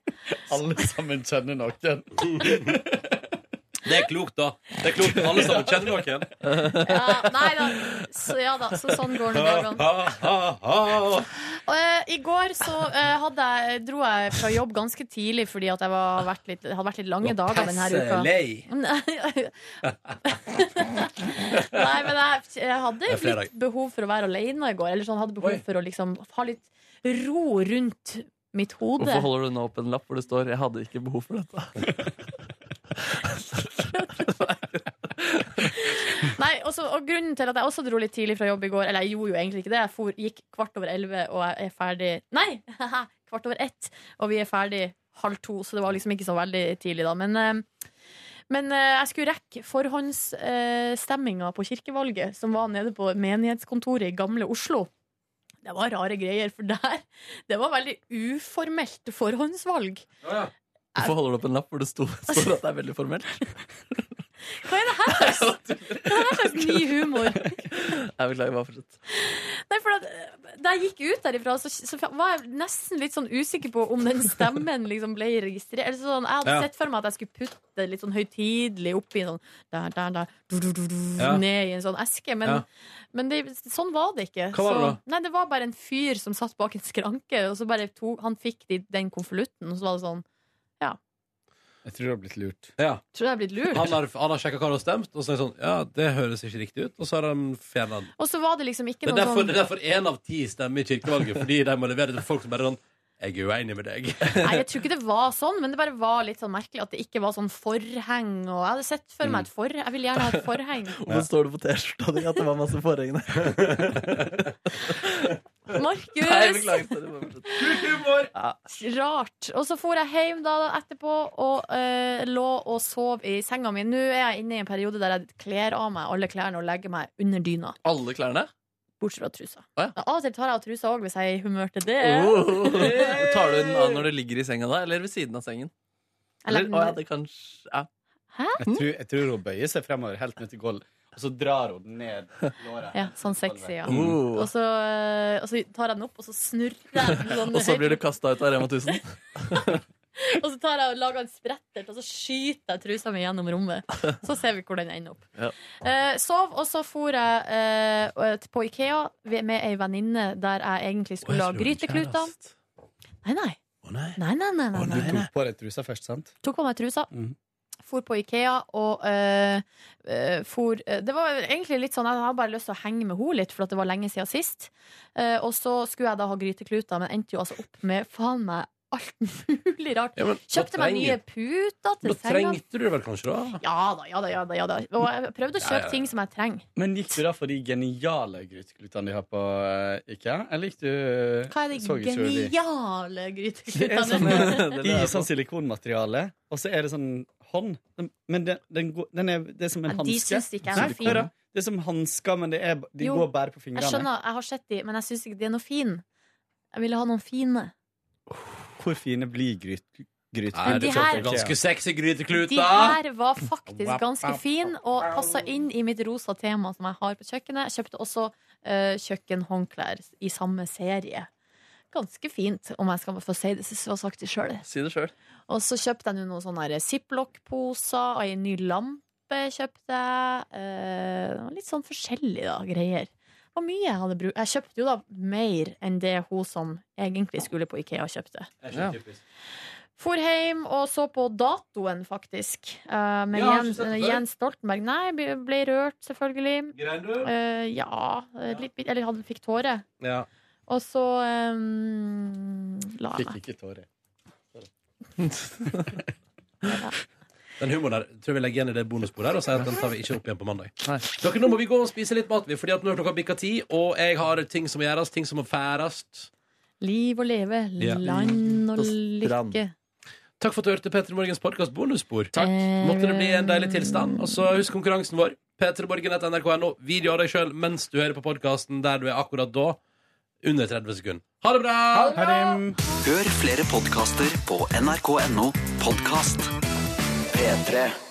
Speaker 7: Alle sammen kjenner noen.
Speaker 1: Det er klokt, da. Det er klokt, Alle sammen kjenner noen.
Speaker 4: Ja, nei da. Så, ja da. Så sånn går nå dagene. Og, eh, I går så eh, hadde jeg, dro jeg fra jobb ganske tidlig fordi at jeg var, vært litt, hadde vært litt lange
Speaker 1: Var
Speaker 4: dager denne
Speaker 1: passe
Speaker 4: uka.
Speaker 1: lei.
Speaker 4: Nei, Nei, men jeg, jeg hadde
Speaker 1: Det er fredag.
Speaker 4: litt behov for å være alene i går. Eller sånn, hadde behov for å liksom ha litt ro rundt mitt hode.
Speaker 2: Hvorfor holder du nå opp en lapp hvor det står 'Jeg hadde ikke behov for dette'?
Speaker 4: Nei, også, og grunnen til at jeg også dro litt tidlig fra jobb i går Eller jeg gjorde jo egentlig ikke det. Jeg for, gikk kvart over elleve og jeg er ferdig Nei! kvart over ett, og vi er ferdig halv to, så det var liksom ikke så veldig tidlig, da. Men, eh, men eh, jeg skulle rekke forhåndsstemminga eh, på kirkevalget, som var nede på menighetskontoret i Gamle Oslo. Det var rare greier, for der Det var veldig uformelt forhåndsvalg.
Speaker 2: Hvorfor holder du opp en lapp hvor det sto- står at det er veldig formelt?
Speaker 4: Hva er det her slags, hva er det slags ny humor?
Speaker 2: Jeg beklager, bare fortsett.
Speaker 4: Nei, for at, eh, Da jeg gikk ut derifra, så, så var jeg nesten litt sånn usikker på om den stemmen liksom ble registrert. Eller sånn, jeg hadde
Speaker 1: Ja.
Speaker 4: sett for meg at jeg skulle putte det litt sånn høytidelig oppi sånn, der, der, der, du, du, du, du,
Speaker 1: Ja.
Speaker 4: ned i en sånn eske. Men,
Speaker 1: Ja.
Speaker 4: men det, sånn var det ikke.
Speaker 1: Hva var det
Speaker 4: så,
Speaker 1: da?
Speaker 4: nei, det var bare en fyr som satt bak en skranke, og så bare tok, han fikk de, den konvolutten, og så var det sånn Ja.
Speaker 7: Jeg tror du har blitt lurt.
Speaker 1: Ja.
Speaker 4: Tror du jeg har blitt lurt?
Speaker 1: Han har, han har sjekka hva det har stemt, og så er det sånn Ja, det høres ikke riktig ut. Og så har han fjerna den.
Speaker 4: Og så var det liksom ikke
Speaker 1: Det er
Speaker 4: noe
Speaker 1: derfor,
Speaker 4: sånn
Speaker 1: det er derfor én av ti stemmer i kirkevalget, fordi de må levere til folk som bare er sånn Jeg er uenig med deg.
Speaker 4: Nei, jeg tror ikke det var sånn, men det bare var litt sånn merkelig at det ikke var sånn forheng. Og jeg hadde sett for meg et forheng. Jeg ville gjerne ha et forheng.
Speaker 2: Mm. Hvorfor står det på T-skjorta di at det var masse forheng der?
Speaker 4: Markus!
Speaker 2: Nei, beklager, sorry, bare fortsett. Ja.
Speaker 4: Rart. Og så for jeg hjem da etterpå og eh, lå og sov i senga mi. Nå er jeg inne i en periode der jeg kler av meg alle klærne og legger meg under dyna.
Speaker 2: Alle klærne?
Speaker 4: Bortsett fra trusa. Men Av og til tar jeg av trusa òg, hvis jeg er i humør til det.
Speaker 2: Oh. Tar du den av når du ligger i senga da, eller ved siden av sengen?
Speaker 4: Jeg legger
Speaker 2: Eller,
Speaker 4: den
Speaker 2: å, ja,
Speaker 4: der.
Speaker 2: det kanskje, ja.
Speaker 7: Jeg tror, jeg tror hun bøyer seg fremover helt ned til gulv, og så drar hun den ned låret.
Speaker 4: Ja, sånn sexy, ja.
Speaker 2: Oh.
Speaker 4: Og, så, eh, og så tar jeg den opp, og så snurrer jeg den. Sånn,
Speaker 2: Og så blir du kasta ut av Rema 1000?
Speaker 4: Og så tar jeg og lager en sprettert, og så skyter jeg trusa mi gjennom rommet. Så ser vi hvor den ender opp.
Speaker 2: Ja.
Speaker 4: Eh, sov, og så for jeg eh, på Ikea ved- med ei venninne der jeg egentlig skulle ha
Speaker 7: Å, jeg tror det var
Speaker 4: grytekluter. Nei, nei.
Speaker 1: nei.
Speaker 4: Nei, nei, nei, nei,
Speaker 7: Du
Speaker 4: nei, nei.
Speaker 7: tok på deg trusa først, sant?
Speaker 4: Tok på meg trusa.
Speaker 7: Mhm.
Speaker 4: For på Ikea og eh, eh, for eh, Det var egentlig litt sånn Jeg hadde bare lyst til å henge med henne litt, for at det var lenge siden sist. Eh, og så skulle jeg da ha grytekluter, men endte jo altså opp med faen meg alt mulig rart.
Speaker 1: Ja, men da
Speaker 4: Kjøpte meg nye
Speaker 1: trenger-
Speaker 4: puter til
Speaker 1: Da trengte du det vel kanskje, da?
Speaker 4: ja da, ja da, ja da, ja da. Og jeg prøvde å
Speaker 7: Ja,
Speaker 4: kjøpe
Speaker 7: ja, ja.
Speaker 4: ting som jeg trenger.
Speaker 7: Men gikk du da for de geniale gryteklutene de har på eh, IKEA? Eller gikk du
Speaker 4: Hva
Speaker 7: så
Speaker 4: er de
Speaker 7: ikke hvor de-
Speaker 4: geniale
Speaker 7: Det er sånn,
Speaker 4: gryteklutene?
Speaker 7: I sånn silikonmateriale, og så er det sånn hånd. Den- Men den, den, går- den er, det er som en
Speaker 4: Ja, de
Speaker 7: hanske.
Speaker 4: synes ikke jeg er
Speaker 7: Nei,
Speaker 4: fin.
Speaker 7: hør da. Det er som hansker, men det er, b- de
Speaker 4: Jo,
Speaker 7: går bare på
Speaker 4: Jeg
Speaker 7: fingrene.
Speaker 4: skjønner, jeg har sett de, men jeg syns ikke de er noe fin. Jeg ville ha noen fine.
Speaker 7: Hvor fine blir gryt, grytekluter?
Speaker 4: Men de
Speaker 7: fra
Speaker 4: her-
Speaker 7: IKEA?
Speaker 1: Ganske sexy gryteklut,
Speaker 4: De
Speaker 1: da!
Speaker 4: her var faktisk ganske fine og passa inn i mitt rosa tema som jeg har på kjøkkenet. Jeg kjøpte også eh, kjøkkenhåndklær i samme serie. Ganske fint, om jeg skal få si det, så sagt det sjøl.
Speaker 2: Si det sjøl.
Speaker 4: Og så kjøpte jeg nå noen sånne her ziplock-poser og en ny lampe kjøpte jeg. Eh, det var litt sånn forskjellig da, greier. Det var mye jeg hadde brukt. Jeg kjøpte jo da mer enn det hun som egentlig skulle på Ikea kjøpte.
Speaker 1: Ja.
Speaker 4: For hjem og så på datoen, faktisk. Eh, med
Speaker 1: Ja, har du
Speaker 4: Jens,
Speaker 1: sett det før?
Speaker 4: Jens Stoltenberg. Nei, jeg ble, ble rørt, selvfølgelig.
Speaker 1: Grein du?
Speaker 4: Eh, ja. eh, Litt, bit- eller han fikk tårer.
Speaker 1: Ja.
Speaker 4: Og så eh, la jeg meg.
Speaker 7: Fikk ikke tårer.
Speaker 4: Ja.
Speaker 1: Den humoren der tror jeg vi legger igjen i det bonussporet her og sier at den tar vi ikke opp igjen på mandag. Dere, nå må vi gå og spise litt mat, vi, fordi at nå er klokka bikka ti, og jeg har ting som må gjøres, ting som må færes.
Speaker 4: Liv og leve,
Speaker 1: Ja.
Speaker 4: land og
Speaker 1: Og strand.
Speaker 4: lykke.
Speaker 1: Takk for at du hørte Petter Morgens podkast Bonusspor.
Speaker 4: Takk.
Speaker 1: Måtte det bli en deilig tilstand. Og så husk konkurransen vår. P3morgen.nrk.no. Video av deg sjøl mens du hører på podkasten der du er akkurat da. Under 30 sekunder. Ha det bra!
Speaker 13: Hør flere podkaster på nrk.no podkast. P3.